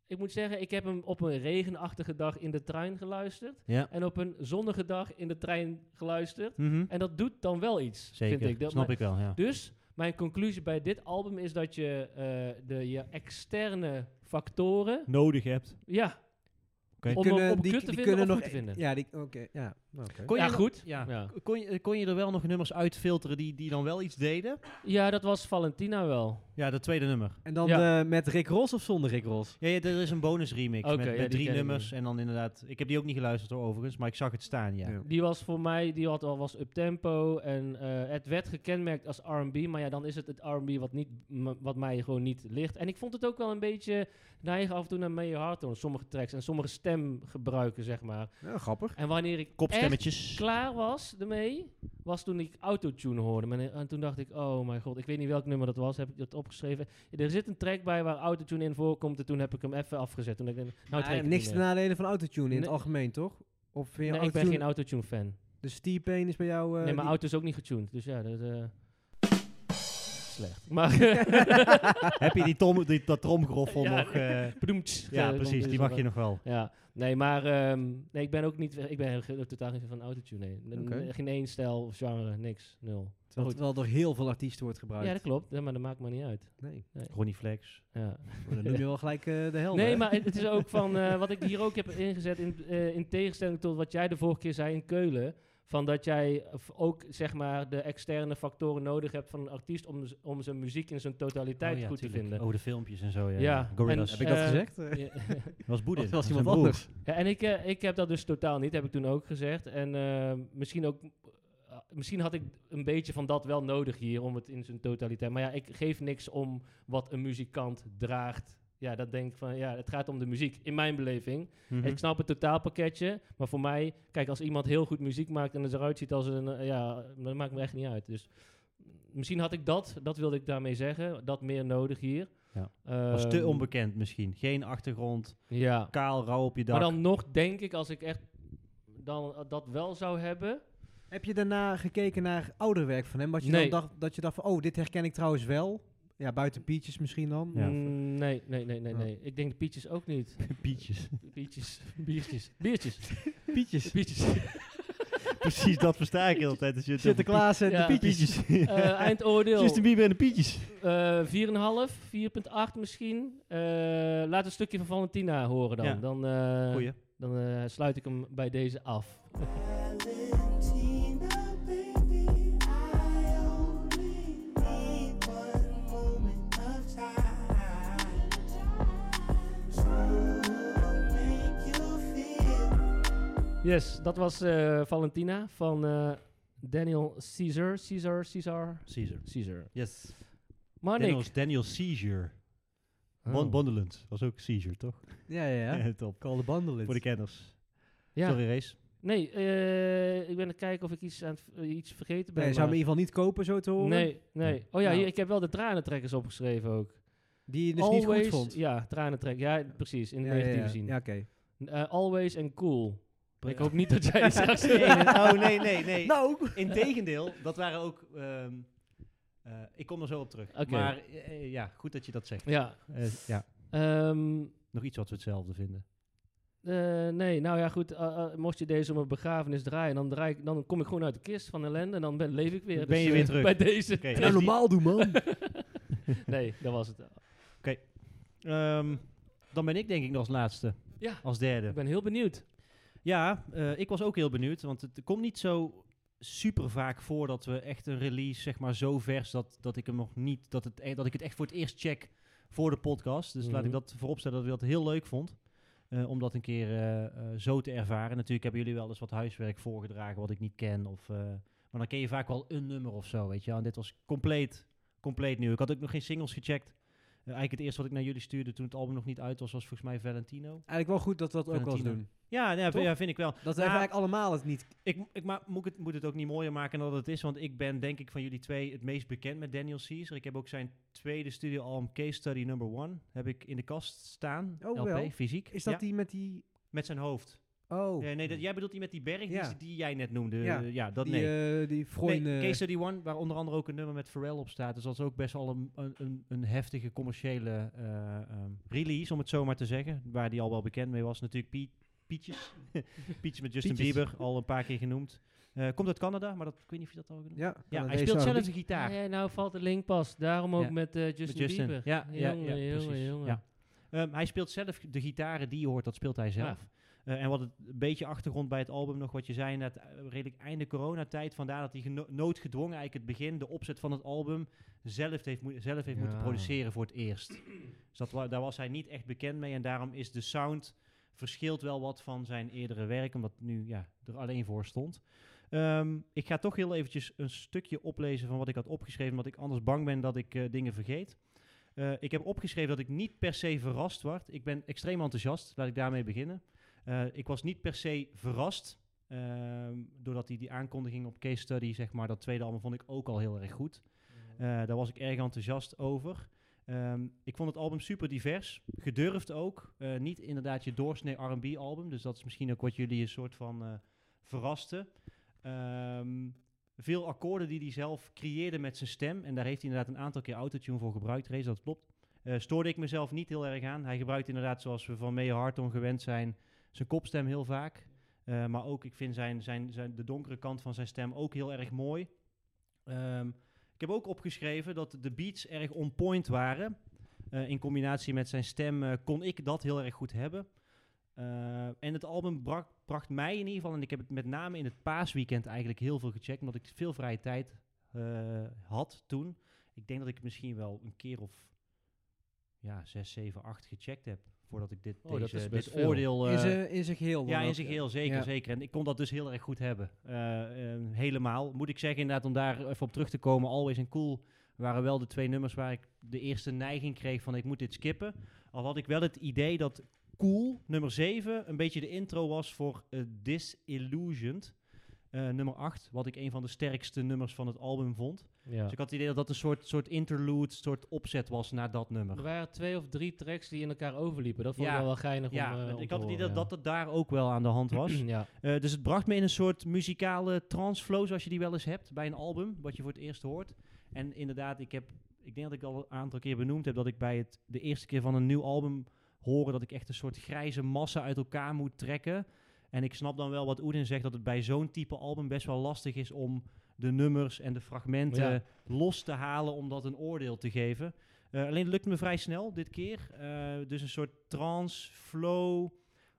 Speaker 2: Ik moet zeggen, ik heb hem op een regenachtige dag in de trein geluisterd.
Speaker 3: Ja.
Speaker 2: En op een zonnige dag in de trein geluisterd.
Speaker 3: Mhm.
Speaker 2: En dat doet dan wel iets.
Speaker 3: Zeker,
Speaker 2: vind ik. Dat
Speaker 3: snap
Speaker 2: maar-
Speaker 3: ik wel, ja.
Speaker 2: Dus mijn conclusie bij dit album is dat je eh, de, je externe factoren.
Speaker 3: Nodig hebt.
Speaker 2: Ja,
Speaker 3: Oké.
Speaker 2: om
Speaker 1: Die
Speaker 2: hem
Speaker 1: kunnen-
Speaker 2: om
Speaker 1: die-
Speaker 2: kut
Speaker 1: die
Speaker 2: te vinden
Speaker 1: kunnen
Speaker 2: of
Speaker 1: nog e-
Speaker 2: goed te vinden.
Speaker 1: Ja, die, oké, ja. Oké.
Speaker 3: Kon je
Speaker 2: Ja,
Speaker 3: nog-
Speaker 2: goed.
Speaker 3: Ja.
Speaker 2: Ja.
Speaker 3: Kon, je, kon je er wel nog nummers uitfilteren die, die dan wel iets deden?
Speaker 2: Ja, dat was Valentina wel.
Speaker 3: Ja, dat tweede nummer.
Speaker 1: En dan eh, met Rick Ross of zonder Rick Ross?
Speaker 3: Ja, ja, er is een bonus remix
Speaker 2: Oké,
Speaker 3: met,
Speaker 2: ja,
Speaker 3: met
Speaker 2: die
Speaker 3: drie
Speaker 2: ken ik
Speaker 3: nummers.
Speaker 2: niet.
Speaker 3: En dan inderdaad, ik heb die ook niet geluisterd hoor, overigens, maar ik zag het staan, ja.
Speaker 1: Ja.
Speaker 2: Die was voor mij, die had al was uptempo en eh, het werd gekenmerkt als R&B, maar ja, dan is het het R&B wat, niet, m- wat mij gewoon niet ligt. En ik vond het ook wel een beetje neigen af en toe naar May Your Heart Tone, sommige tracks en sommige stemgebruiken, zeg maar.
Speaker 1: Ja, grappig.
Speaker 2: En wanneer ik echt
Speaker 3: Kopstemmetjes.
Speaker 2: klaar was ermee, was toen ik autotune hoorde. Maar- En toen dacht ik, oh mijn god, ik weet niet welk nummer dat was, heb ik dat opgeschreven. Er zit een track bij waar autotune in voorkomt en toen heb ik hem even afgezet. Toen dacht ik, nou, het
Speaker 1: Maar,
Speaker 2: werkt
Speaker 1: eh,
Speaker 2: niet
Speaker 1: niks te
Speaker 2: meer.
Speaker 1: nadelen van autotune in het
Speaker 2: Nee.
Speaker 1: algemeen, toch? Of vind je
Speaker 2: Nee, ik ben
Speaker 1: autotune-
Speaker 2: geen autotune fan.
Speaker 1: Dus T-Pain is bij jou... eh,
Speaker 2: nee, mijn
Speaker 1: die-
Speaker 2: auto is ook niet getuned. Dus ja, dat is slecht. Maar eh,
Speaker 3: heb je die, tom, die, dat tromgroffel
Speaker 2: Ja.
Speaker 3: nog? eh,
Speaker 2: Bedoemd.
Speaker 3: ja,
Speaker 2: Eh,
Speaker 3: precies,
Speaker 2: dan-
Speaker 3: die mag je nog wel.
Speaker 2: Ja, nee, maar ehm, nee, ik ben ook niet, ik ben ge- totaal geen fan van autotune. Nee. N-
Speaker 1: Oké.
Speaker 2: n- Geen één stijl of genre, niks, nul.
Speaker 1: Terwijl het wel door heel veel artiesten wordt gebruikt.
Speaker 2: Ja, dat klopt, ja, maar dat maakt me niet uit.
Speaker 1: Nee,
Speaker 3: Ronnie Flex.
Speaker 2: Ja.
Speaker 1: maar dan noem je wel gelijk eh, de helden.
Speaker 2: Nee,
Speaker 1: hè?
Speaker 2: maar het, het is ook van eh, wat ik hier ook heb ingezet, in, eh, in tegenstelling tot wat jij de vorige keer zei in Keulen. Van dat jij eh, v- ook zeg maar de externe factoren nodig hebt van een artiest om, z- om zijn muziek in zijn
Speaker 3: Oh
Speaker 2: totaliteit goed te vinden.
Speaker 3: Over de filmpjes en zo, ja.
Speaker 2: Ja,
Speaker 3: Gorillaz.
Speaker 2: en-
Speaker 1: Heb ik dat
Speaker 2: eh,
Speaker 1: gezegd? Eh,
Speaker 2: Ja.
Speaker 3: Dat was Boedin.
Speaker 1: of was
Speaker 3: dat
Speaker 1: iemand
Speaker 3: zijn broer.
Speaker 1: anders?
Speaker 2: Ja, en ik, eh, ik heb dat dus totaal niet, heb ik toen ook gezegd. En eh, misschien ook, eh, misschien had ik een beetje van dat wel nodig hier om het in zijn totaliteit. Maar ja, ik geef niks om wat een muzikant draagt. Ja, dat denk ik van, ja, het gaat om de muziek in mijn beleving.
Speaker 3: Mhm.
Speaker 2: Ik snap het totaalpakketje, maar voor mij, kijk, als iemand heel goed muziek maakt en het eruit ziet als een, eh, ja, dat maakt me echt niet uit. Dus misschien had ik dat, dat wilde ik daarmee zeggen, dat meer nodig hier.
Speaker 3: Ja. was te
Speaker 2: Ehm,
Speaker 3: onbekend misschien. Geen achtergrond,
Speaker 2: Ja.
Speaker 3: kaal, rauw op je dak.
Speaker 2: Maar dan nog denk ik, als ik echt dan, eh, dat wel zou hebben.
Speaker 1: Heb je daarna gekeken naar ouder werk van hem? Wat je
Speaker 2: Nee.
Speaker 1: dan dacht, dat je dacht van, oh, dit herken ik trouwens wel. Ja, buiten Pietjes misschien dan.
Speaker 3: Ja.
Speaker 2: Mm, nee, nee, nee, nee,
Speaker 1: Ja.
Speaker 2: nee. Ik denk de pietjes ook niet.
Speaker 3: Pietjes.
Speaker 2: Pietjes, biertjes, biertjes,
Speaker 1: Pietjes.
Speaker 2: pietjes.
Speaker 3: Precies, dat versta ik heel de tijd. als je het over
Speaker 1: Sinterklaas en
Speaker 2: Ja.
Speaker 1: de Pietjes.
Speaker 3: Pietjes.
Speaker 2: Eh, eindoordeel
Speaker 3: Justin Bieber en de Pietjes.
Speaker 2: eh 4,5, 4,8 misschien. Eh, laat een stukje van Valentina horen dan.
Speaker 3: Ja.
Speaker 2: Dan, eh,
Speaker 3: Goeie.
Speaker 2: dan eh, sluit ik hem bij deze af.
Speaker 5: Valentina, baby, I only need one moment of time to make you feel
Speaker 2: Yes, dat was eh, Valentina van eh, Daniel Caesar. Caesar, Caesar,
Speaker 3: Caesar.
Speaker 2: Caesar.
Speaker 3: Yes.
Speaker 2: Maar
Speaker 3: Daniel,
Speaker 2: niks.
Speaker 3: Daniel Seizure.
Speaker 2: Oh.
Speaker 3: Bon, Bondelend. Was ook Seizure, toch?
Speaker 1: Ja, ja, ja.
Speaker 3: Top.
Speaker 1: Call the bundle
Speaker 3: Voor de kenners.
Speaker 2: Ja.
Speaker 3: Sorry, Race.
Speaker 2: Nee, eh, ik ben aan het kijken of ik iets, aan het v- eh, iets vergeten ben.
Speaker 1: Nee, zou hem
Speaker 2: maar-
Speaker 1: in ieder geval niet kopen, zo te horen.
Speaker 2: nee, nee. Oh ja,
Speaker 1: Nou.
Speaker 2: hier, ik heb wel de tranentrekkers opgeschreven ook.
Speaker 1: Die je dus niet goed vond.
Speaker 2: Ja, tranentrek. Ja, precies. In de
Speaker 1: ja, ja,
Speaker 2: negatieve
Speaker 1: ja.
Speaker 2: zin.
Speaker 1: Ja, oké.
Speaker 2: Eh, always en cool.
Speaker 1: Ja.
Speaker 2: Ik hoop niet dat jij iets gaat
Speaker 3: Nee,
Speaker 2: zeggen.
Speaker 3: oh, nee, nee, nee.
Speaker 1: Nou!
Speaker 3: Integendeel, dat waren ook... ehm, eh, ik kom er zo op terug.
Speaker 2: Oké.
Speaker 3: Maar eh, ja, goed dat je dat zegt.
Speaker 2: Ja.
Speaker 3: Eh, ja,
Speaker 2: Ehm,
Speaker 3: nog iets wat we hetzelfde vinden.
Speaker 2: eh, nee, nou ja, goed. eh, eh, mocht je deze op een begrafenis draaien, dan, draai ik, dan kom ik gewoon uit de kist van ellende en dan ben, leef ik weer.
Speaker 3: Ben je
Speaker 2: eh,
Speaker 3: weer terug.
Speaker 2: Bij deze.
Speaker 3: Oké.
Speaker 1: Nou, normaal doen, man.
Speaker 2: Nee, dat was het.
Speaker 3: Ehm, dan ben ik denk ik nog als laatste,
Speaker 2: Ja,
Speaker 3: als derde.
Speaker 2: ik ben heel benieuwd.
Speaker 3: Ja, eh, ik was ook heel benieuwd, want het komt niet zo super vaak voor dat we echt een release, zeg maar, zo vers dat, dat ik hem nog niet, dat, het, e- dat ik het echt voor het eerst check voor de podcast. Dus laat ik
Speaker 2: Mhm.
Speaker 3: dat vooropstellen dat ik dat heel leuk vond. eh, om dat een keer eh, eh, zo te ervaren. Natuurlijk hebben jullie wel eens wat huiswerk voorgedragen wat ik niet ken. Of, eh, maar dan ken je vaak wel een nummer of zo, weet je wel. En dit was compleet, compleet nieuw. Ik had ook nog geen singles gecheckt. Eh, eigenlijk het eerste wat ik naar jullie stuurde toen het album nog niet uit was, was volgens mij Valentino.
Speaker 1: Eigenlijk wel goed dat we dat ook wel eens
Speaker 3: Valentino.
Speaker 1: doen.
Speaker 3: Ja, ja,
Speaker 1: Toch?
Speaker 3: ja vind ik wel.
Speaker 1: Dat we
Speaker 3: Ja.
Speaker 1: eigenlijk allemaal het niet...
Speaker 3: Ik, ik ma- moet, het, moet het ook niet mooier maken dan dat het is, want ik ben denk ik van jullie twee het meest bekend met Daniel Caesar. Ik heb ook zijn tweede studioalbum Case Study Number One, heb ik in de kast staan,
Speaker 1: Oh,
Speaker 3: LP,
Speaker 1: wel.
Speaker 3: fysiek.
Speaker 1: Is dat
Speaker 3: Ja,
Speaker 1: die met die...
Speaker 3: Met zijn hoofd. Eh,
Speaker 1: Oh.
Speaker 3: Nee, nee dat, jij bedoelt die met die berg die
Speaker 1: Ja.
Speaker 3: ze- die, jij net noemde.
Speaker 1: Ja.
Speaker 3: Ja, dat
Speaker 1: die,
Speaker 3: nee.
Speaker 1: eh, die Freund...
Speaker 3: nee,
Speaker 1: eh,
Speaker 3: Case Study One, waar onder andere ook een nummer met Pharrell op staat. Dus dat is ook best wel een, een- een, een heftige commerciële eh, ehm, release, om het zo maar te zeggen. Waar die al wel bekend mee was. Natuurlijk Piet, Pietjes. Pietjes met Justin
Speaker 1: Pietjes.
Speaker 3: Bieber, al een paar keer genoemd. Eh, komt uit Canada, maar dat, ik weet niet of je dat al genoemd
Speaker 1: ja,
Speaker 3: Ja, hij
Speaker 1: Canadees
Speaker 3: speelt
Speaker 1: R&B.
Speaker 3: zelf een gitaar.
Speaker 2: Nee, nou valt de link pas. Daarom ook
Speaker 3: Ja.
Speaker 2: met eh, Justin,
Speaker 3: Met Justin.
Speaker 2: Bieber.
Speaker 3: Ja, ja, ja,
Speaker 2: jongen,
Speaker 3: precies.
Speaker 2: jongen, jongen.
Speaker 3: Ja. Ehm, hij speelt zelf de gitaren die je hoort, dat speelt hij zelf. Eh, en wat het, een beetje achtergrond bij het album nog, wat je zei, dat redelijk einde coronatijd, vandaar dat hij geno- noodgedwongen eigenlijk het begin, de opzet van het album, zelf heeft, moe- zelf heeft moeten
Speaker 2: Ja.
Speaker 3: produceren voor het eerst. Dus dat, wa- daar was hij niet echt bekend mee en daarom is de sound verschilt wel wat van zijn eerdere werk, omdat nu ja, er alleen voor stond. Ehm, ik ga toch heel eventjes een stukje oplezen van wat ik had opgeschreven, omdat ik anders bang ben dat ik eh, dingen vergeet. Eh, ik heb opgeschreven dat ik niet per se verrast werd. Ik ben extreem enthousiast, laat ik daarmee beginnen. Eh, ik was niet per se verrast, ehm, doordat hij die aankondiging op Case Study, zeg maar, dat tweede album vond ik ook al heel erg goed. Eh, daar was ik erg enthousiast over. Ehm, ik vond het album super divers, gedurfd ook. Eh, niet inderdaad je doorsnee R&B album, dus dat is misschien ook wat jullie een soort van eh, verraste. Ehm, veel akkoorden die hij zelf creëerde met zijn stem. En daar heeft hij inderdaad een aantal keer autotune voor gebruikt. Race, dat klopt. Eh, stoorde ik mezelf niet heel erg aan. Hij gebruikt inderdaad, zoals we van Mee Harton gewend zijn, zijn kopstem heel vaak. Eh, maar ook, ik vind zijn, zijn, zijn, de donkere kant van zijn stem ook heel erg mooi. Ehm, ik heb ook opgeschreven dat de beats erg on point waren. Eh, in combinatie met zijn stem eh, kon ik dat heel erg goed hebben. Eh, en het album brak- bracht mij in ieder geval, en ik heb het met name in het paasweekend eigenlijk heel veel gecheckt, omdat ik veel vrije tijd eh, had toen. Ik denk dat ik misschien wel een keer of ja, 6, 7, 8 gecheckt heb voordat ik dit,
Speaker 2: Oh, dat
Speaker 3: deze-
Speaker 2: is best
Speaker 3: dit
Speaker 2: veel.
Speaker 3: oordeel.
Speaker 1: in,
Speaker 3: eh,
Speaker 1: zijn, in zijn geheel.
Speaker 3: ja,
Speaker 1: dan
Speaker 3: in
Speaker 1: ook,
Speaker 3: zijn
Speaker 1: ja.
Speaker 2: eh,
Speaker 3: geheel, zeker,
Speaker 1: Ja.
Speaker 3: zeker. En ik kon dat dus heel erg goed hebben. Eh, eh, helemaal. Moet ik zeggen, inderdaad, om daar even op terug te komen, Always en Cool waren wel de twee nummers waar ik de eerste neiging kreeg van ik moet dit skippen. Al had ik wel het idee dat Cool, nummer 7, een beetje de intro was voor eh, Disillusioned. eh, nummer 8, wat ik een van de sterkste nummers van het album vond.
Speaker 2: Ja.
Speaker 3: Dus ik had het idee dat dat een soort, soort interlude, soort opzet was naar dat nummer.
Speaker 2: Er waren twee of drie tracks die in elkaar overliepen. Dat vond ik
Speaker 3: Ja.
Speaker 2: wel wel geinig om,
Speaker 3: Ja,
Speaker 2: eh, om
Speaker 3: ik
Speaker 2: te
Speaker 3: had het idee
Speaker 2: horen,
Speaker 3: dat dat het daar ook wel aan de hand was.
Speaker 2: ja. ja.
Speaker 3: Eh, dus het bracht me in een soort muzikale transflow, zoals je die wel eens hebt bij een album, wat je voor het eerst hoort. En inderdaad, ik heb, ik denk dat ik al een aantal keer benoemd heb dat ik bij het, de eerste keer van een nieuw album horen dat ik echt een soort grijze massa uit elkaar moet trekken. En ik snap dan wel wat Oedin zegt, dat het bij zo'n type album best wel lastig is om de nummers en de fragmenten
Speaker 2: Ja.
Speaker 3: los te halen om dat een oordeel te geven. Eh, alleen het lukt me vrij snel dit keer. Eh, dus een soort trance, flow.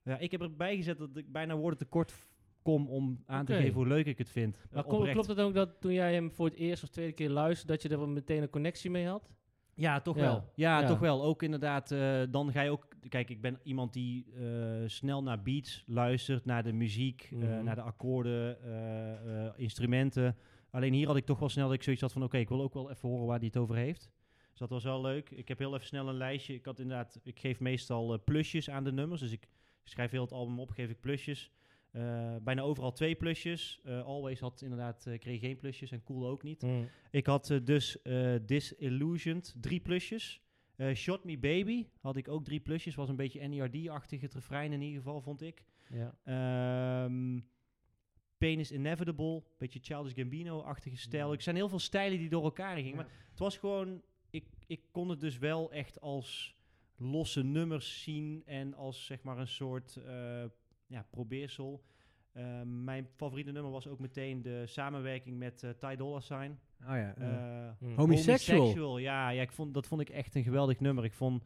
Speaker 3: Ja, ik heb erbij gezet dat ik bijna woorden tekort f- kom om aan
Speaker 2: Oké.
Speaker 3: te geven hoe leuk ik het vind. Eh,
Speaker 2: Maar kon-
Speaker 3: oprecht.
Speaker 2: klopt het ook dat toen jij hem voor het eerst of tweede keer luisterde, dat je er wel meteen een connectie mee had?
Speaker 3: Ja, toch
Speaker 2: Ja.
Speaker 3: wel. Ja,
Speaker 2: Ja.
Speaker 3: toch wel. Ook inderdaad, eh, dan ga je ook... Kijk, ik ben iemand die eh, snel naar beats luistert, naar de muziek, eh,
Speaker 2: Mhm.
Speaker 3: naar de akkoorden, eh, eh, instrumenten. Alleen hier had ik toch wel snel dat ik zoiets had van... Oké, ik wil ook wel even horen waar hij het over heeft. Dus dat was wel leuk. Ik heb heel even snel een lijstje. Ik had inderdaad... Ik geef meestal eh, plusjes aan de nummers. Dus ik schrijf heel het album op, geef ik plusjes. Eh, bijna overal twee plusjes. Eh, Always had inderdaad, eh, kreeg geen plusjes en Cool ook niet. Ik had eh, dus eh, Disillusioned, drie plusjes. Eh, Shot Me Baby had ik ook drie plusjes. Was een beetje NERD-achtig het refrein in ieder geval, vond ik.
Speaker 2: Ja.
Speaker 3: Ehm, Pain is Inevitable, beetje Childish Gambino-achtige stijl.
Speaker 2: Ja.
Speaker 3: Er zijn heel veel stijlen die door elkaar gingen.
Speaker 2: Ja.
Speaker 3: Maar het was gewoon... Ik, ik kon het dus wel echt als losse nummers zien. En als zeg maar een soort eh, ja, probeersel. Eh, mijn favoriete nummer was ook meteen de samenwerking met eh Ty Dolla Sign.
Speaker 1: Oh ja. eh,
Speaker 3: Eh,
Speaker 2: Hm.
Speaker 1: homosexual.
Speaker 3: ja, ja ik vond, dat vond ik echt een geweldig nummer. Ik vond,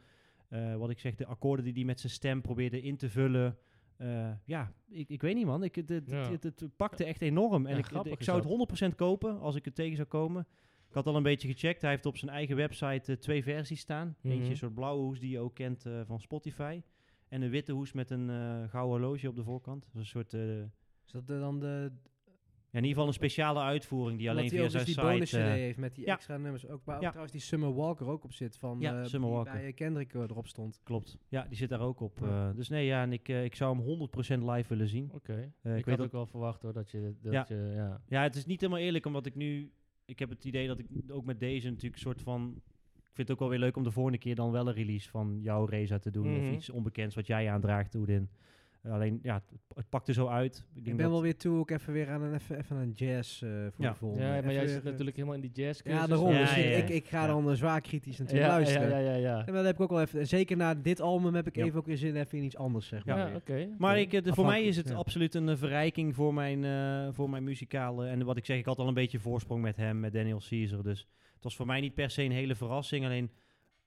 Speaker 3: eh, wat ik zeg, de akkoorden die hij met zijn stem probeerde in te vullen. eh, ja, ik, ik weet niet man. Ik, het, het,
Speaker 2: Ja.
Speaker 3: het, het pakte echt enorm. En
Speaker 2: Ja,
Speaker 3: ik,
Speaker 2: grappig
Speaker 3: ik
Speaker 2: is
Speaker 3: zou
Speaker 2: dat.
Speaker 3: het 100% kopen als ik het tegen zou komen. Ik had al een beetje gecheckt. Hij heeft op zijn eigen website eh, twee versies staan.
Speaker 2: Mhm.
Speaker 3: Eentje een soort blauwe hoes die je ook kent eh, van Spotify. En een witte hoes met een eh gouden horloge op de voorkant. Dat is een soort, eh,
Speaker 1: Is dat de- dan de...
Speaker 3: ja, in ieder geval een speciale uitvoering die alleen
Speaker 1: dat hij
Speaker 3: via
Speaker 1: ook dus
Speaker 3: zijn
Speaker 1: die
Speaker 3: site...
Speaker 1: bonus CD
Speaker 3: eh,
Speaker 1: heeft met die
Speaker 3: ja.
Speaker 1: extra nummers. Ook, waar ook
Speaker 3: Ja.
Speaker 1: trouwens die Summer Walker ook op zit. Van,
Speaker 3: Ja,
Speaker 1: eh,
Speaker 3: Summer
Speaker 1: die
Speaker 3: Walker.
Speaker 1: bij eh, Kendrick eh, erop stond.
Speaker 3: Klopt. Ja, die zit daar ook op.
Speaker 1: Ja.
Speaker 3: eh, dus nee, ja, en ik, eh, ik zou hem 100% live willen zien.
Speaker 2: Oké.
Speaker 3: Eh,
Speaker 2: ik,
Speaker 3: ik weet
Speaker 2: had
Speaker 3: dat-
Speaker 2: ook wel verwacht hoor, dat je... Dat
Speaker 3: Ja.
Speaker 2: Je, ja.
Speaker 3: Ja, het is niet helemaal eerlijk, omdat ik nu... Ik heb het idee dat ik ook met deze natuurlijk een soort van... Ik vind het ook wel weer leuk om de volgende keer dan wel een release van jouw Reza te doen.
Speaker 2: Mhm.
Speaker 3: Of iets onbekends wat jij aandraagt, Oedin. Eh, alleen, ja, het, het pakt er zo uit. Ik,
Speaker 1: Ik
Speaker 3: denk
Speaker 1: ben
Speaker 3: dat-
Speaker 1: wel weer toe ook even weer aan een, even, even aan jazz eh, voor
Speaker 3: Ja.
Speaker 1: de volgende.
Speaker 2: ja,
Speaker 1: Even
Speaker 2: maar jij
Speaker 1: weer,
Speaker 2: zit
Speaker 1: eh,
Speaker 2: natuurlijk helemaal in die jazz
Speaker 1: Ja, daarom.
Speaker 3: Ja,
Speaker 1: dus ik-
Speaker 3: ja, ja.
Speaker 1: Ik, ik ga dan eh, zwaar kritisch natuurlijk
Speaker 2: ja, ja,
Speaker 1: luisteren.
Speaker 2: ja, ja, ja.
Speaker 1: En dat heb ik ook wel even... Zeker na dit album heb ik
Speaker 3: Ja.
Speaker 1: even ook weer zin even in iets anders, zeg maar.
Speaker 2: Ja,
Speaker 1: weer.
Speaker 2: oké.
Speaker 3: Maar
Speaker 2: oké.
Speaker 3: ik, eh, de- voor mij is het
Speaker 1: ja.
Speaker 3: absoluut een eh, verrijking voor mijn, eh, voor mijn muzikale. En wat ik zeg, ik had al een beetje voorsprong met hem, met Daniel Caesar. Dus het was voor mij niet per se een hele verrassing. Alleen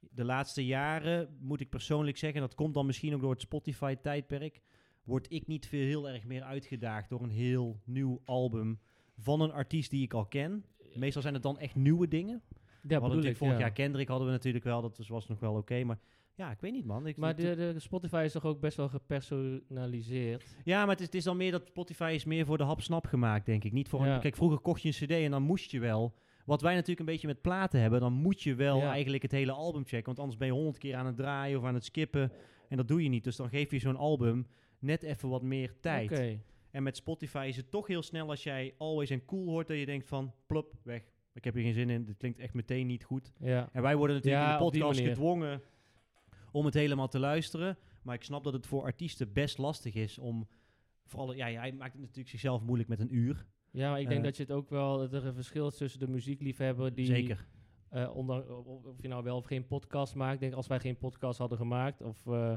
Speaker 3: de laatste jaren, moet ik persoonlijk zeggen, dat komt dan misschien ook door het Spotify-tijdperk. word ik niet veel heel erg meer uitgedaagd door een heel nieuw album van een artiest die ik al ken. Meestal zijn het dan echt nieuwe dingen.
Speaker 2: Ja,
Speaker 3: we hadden
Speaker 2: bedoel ik.
Speaker 3: natuurlijk vorig
Speaker 2: ja.
Speaker 3: jaar Kendrick hadden we natuurlijk wel, dat was, was nog wel oké. maar ja, ik weet niet man. Ik,
Speaker 2: Maar
Speaker 3: het- eh,
Speaker 2: de, de Spotify is toch ook best wel gepersonaliseerd.
Speaker 3: Ja, maar het is, het is dan meer dat Spotify is meer voor de hap-snap gemaakt, denk ik. Niet voor
Speaker 2: Ja.
Speaker 3: een, kijk, vroeger kocht je een cd en dan moest je wel. Wat wij natuurlijk een beetje met platen hebben, dan moet je wel
Speaker 2: Ja.
Speaker 3: eigenlijk het hele album checken. Want anders ben je honderd keer aan het draaien of aan het skippen. En dat doe je niet. Dus dan geef je zo'n album net even wat meer tijd.
Speaker 2: Oké.
Speaker 3: En met Spotify is het toch heel snel als jij Always en Cool hoort, dat je denkt van, plop, weg. Ik heb hier geen zin in, dit klinkt echt meteen niet goed.
Speaker 2: Ja.
Speaker 3: En wij worden natuurlijk
Speaker 2: Ja,
Speaker 3: in de
Speaker 2: op die
Speaker 3: podcast
Speaker 2: manier.
Speaker 3: gedwongen om het helemaal te luisteren. Maar ik snap dat het voor artiesten best lastig is om... Vooral, ja, hij maakt het natuurlijk zichzelf moeilijk met een uur.
Speaker 2: ja, maar ik denk
Speaker 3: Eh.
Speaker 2: dat je het ook wel... Dat er een verschil is tussen de muziekliefhebber die...
Speaker 3: Zeker.
Speaker 2: eh, onder, of, of je nou wel of geen podcast maakt. Ik denk, als wij geen podcast hadden gemaakt... Of, eh,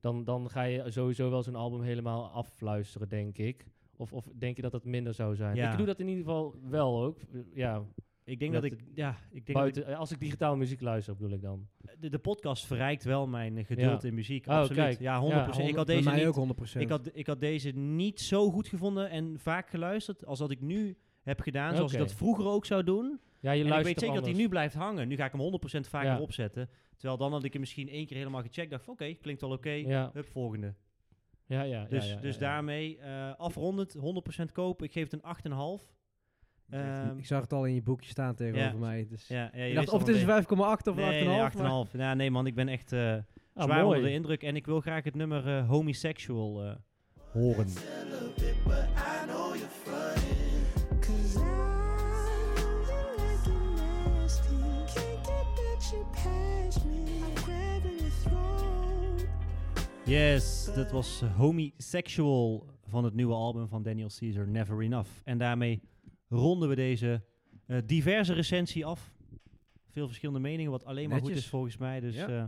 Speaker 2: dan, dan ga je sowieso wel zo'n album helemaal afluisteren, denk ik. Of, of denk je dat dat minder zou zijn?
Speaker 3: Ja.
Speaker 2: Ik doe dat in ieder geval wel ook. Ja,
Speaker 3: Ik denk dat,
Speaker 2: Dat
Speaker 3: ik... Ja, ik denk
Speaker 2: buiten, eh, als ik digitaal muziek luister, bedoel ik dan.
Speaker 3: dat ik- de, de podcast verrijkt wel mijn eh, geduld in muziek.
Speaker 2: Oh,
Speaker 3: absoluut.
Speaker 2: kijk.
Speaker 3: Ja, 100%.
Speaker 1: Ja,
Speaker 3: ik had
Speaker 1: bij
Speaker 3: deze
Speaker 1: mij
Speaker 3: niet,
Speaker 1: ook 100%.
Speaker 3: Ik had, ik had deze niet zo goed gevonden en vaak geluisterd als dat ik nu heb gedaan. Zoals ik
Speaker 2: Oké.
Speaker 3: dat vroeger ook zou doen.
Speaker 2: Ja, je
Speaker 3: En ik
Speaker 2: luistert
Speaker 3: weet zeker dat hij
Speaker 2: anders.
Speaker 3: nu blijft hangen. Nu ga ik hem 100% vaker
Speaker 2: Ja.
Speaker 3: opzetten. Terwijl dan had ik hem misschien één keer helemaal gecheckt. Dacht van oké, klinkt wel oké.
Speaker 2: Ja,
Speaker 3: Hup, volgende.
Speaker 2: ja, ja.
Speaker 3: Dus,
Speaker 2: ja, ja,
Speaker 3: dus
Speaker 2: ja.
Speaker 3: daarmee eh, afrondend, 100% kopen. Ik geef het een 8,5. Ehm,
Speaker 1: ik zag het al in je boekje staan tegenover mij. Dus.
Speaker 3: ja, ja, je
Speaker 1: ik
Speaker 3: wist
Speaker 1: dacht, of
Speaker 3: al
Speaker 1: het is 5,8
Speaker 3: meteen.
Speaker 1: of
Speaker 3: Nee, nee,
Speaker 1: 8,5. maar-
Speaker 3: 8,5. Ja, Nou, nee man, ik ben echt eh
Speaker 2: Ah,
Speaker 3: zwaar
Speaker 2: mooi.
Speaker 3: onder de indruk. En ik wil graag het nummer eh, Homosexual eh, horen.
Speaker 6: Cause I know you like it nasty. Can't get that you past me. I'm grabbing your throat.
Speaker 3: Yes, dat was Homosexual van het nieuwe album van Daniel Caesar, Never Enough. En daarmee ronden we deze eh, diverse recensie af. Veel verschillende meningen, wat alleen maar goed
Speaker 1: Netjes.
Speaker 3: is volgens mij. Dus
Speaker 1: Ja.
Speaker 3: eh,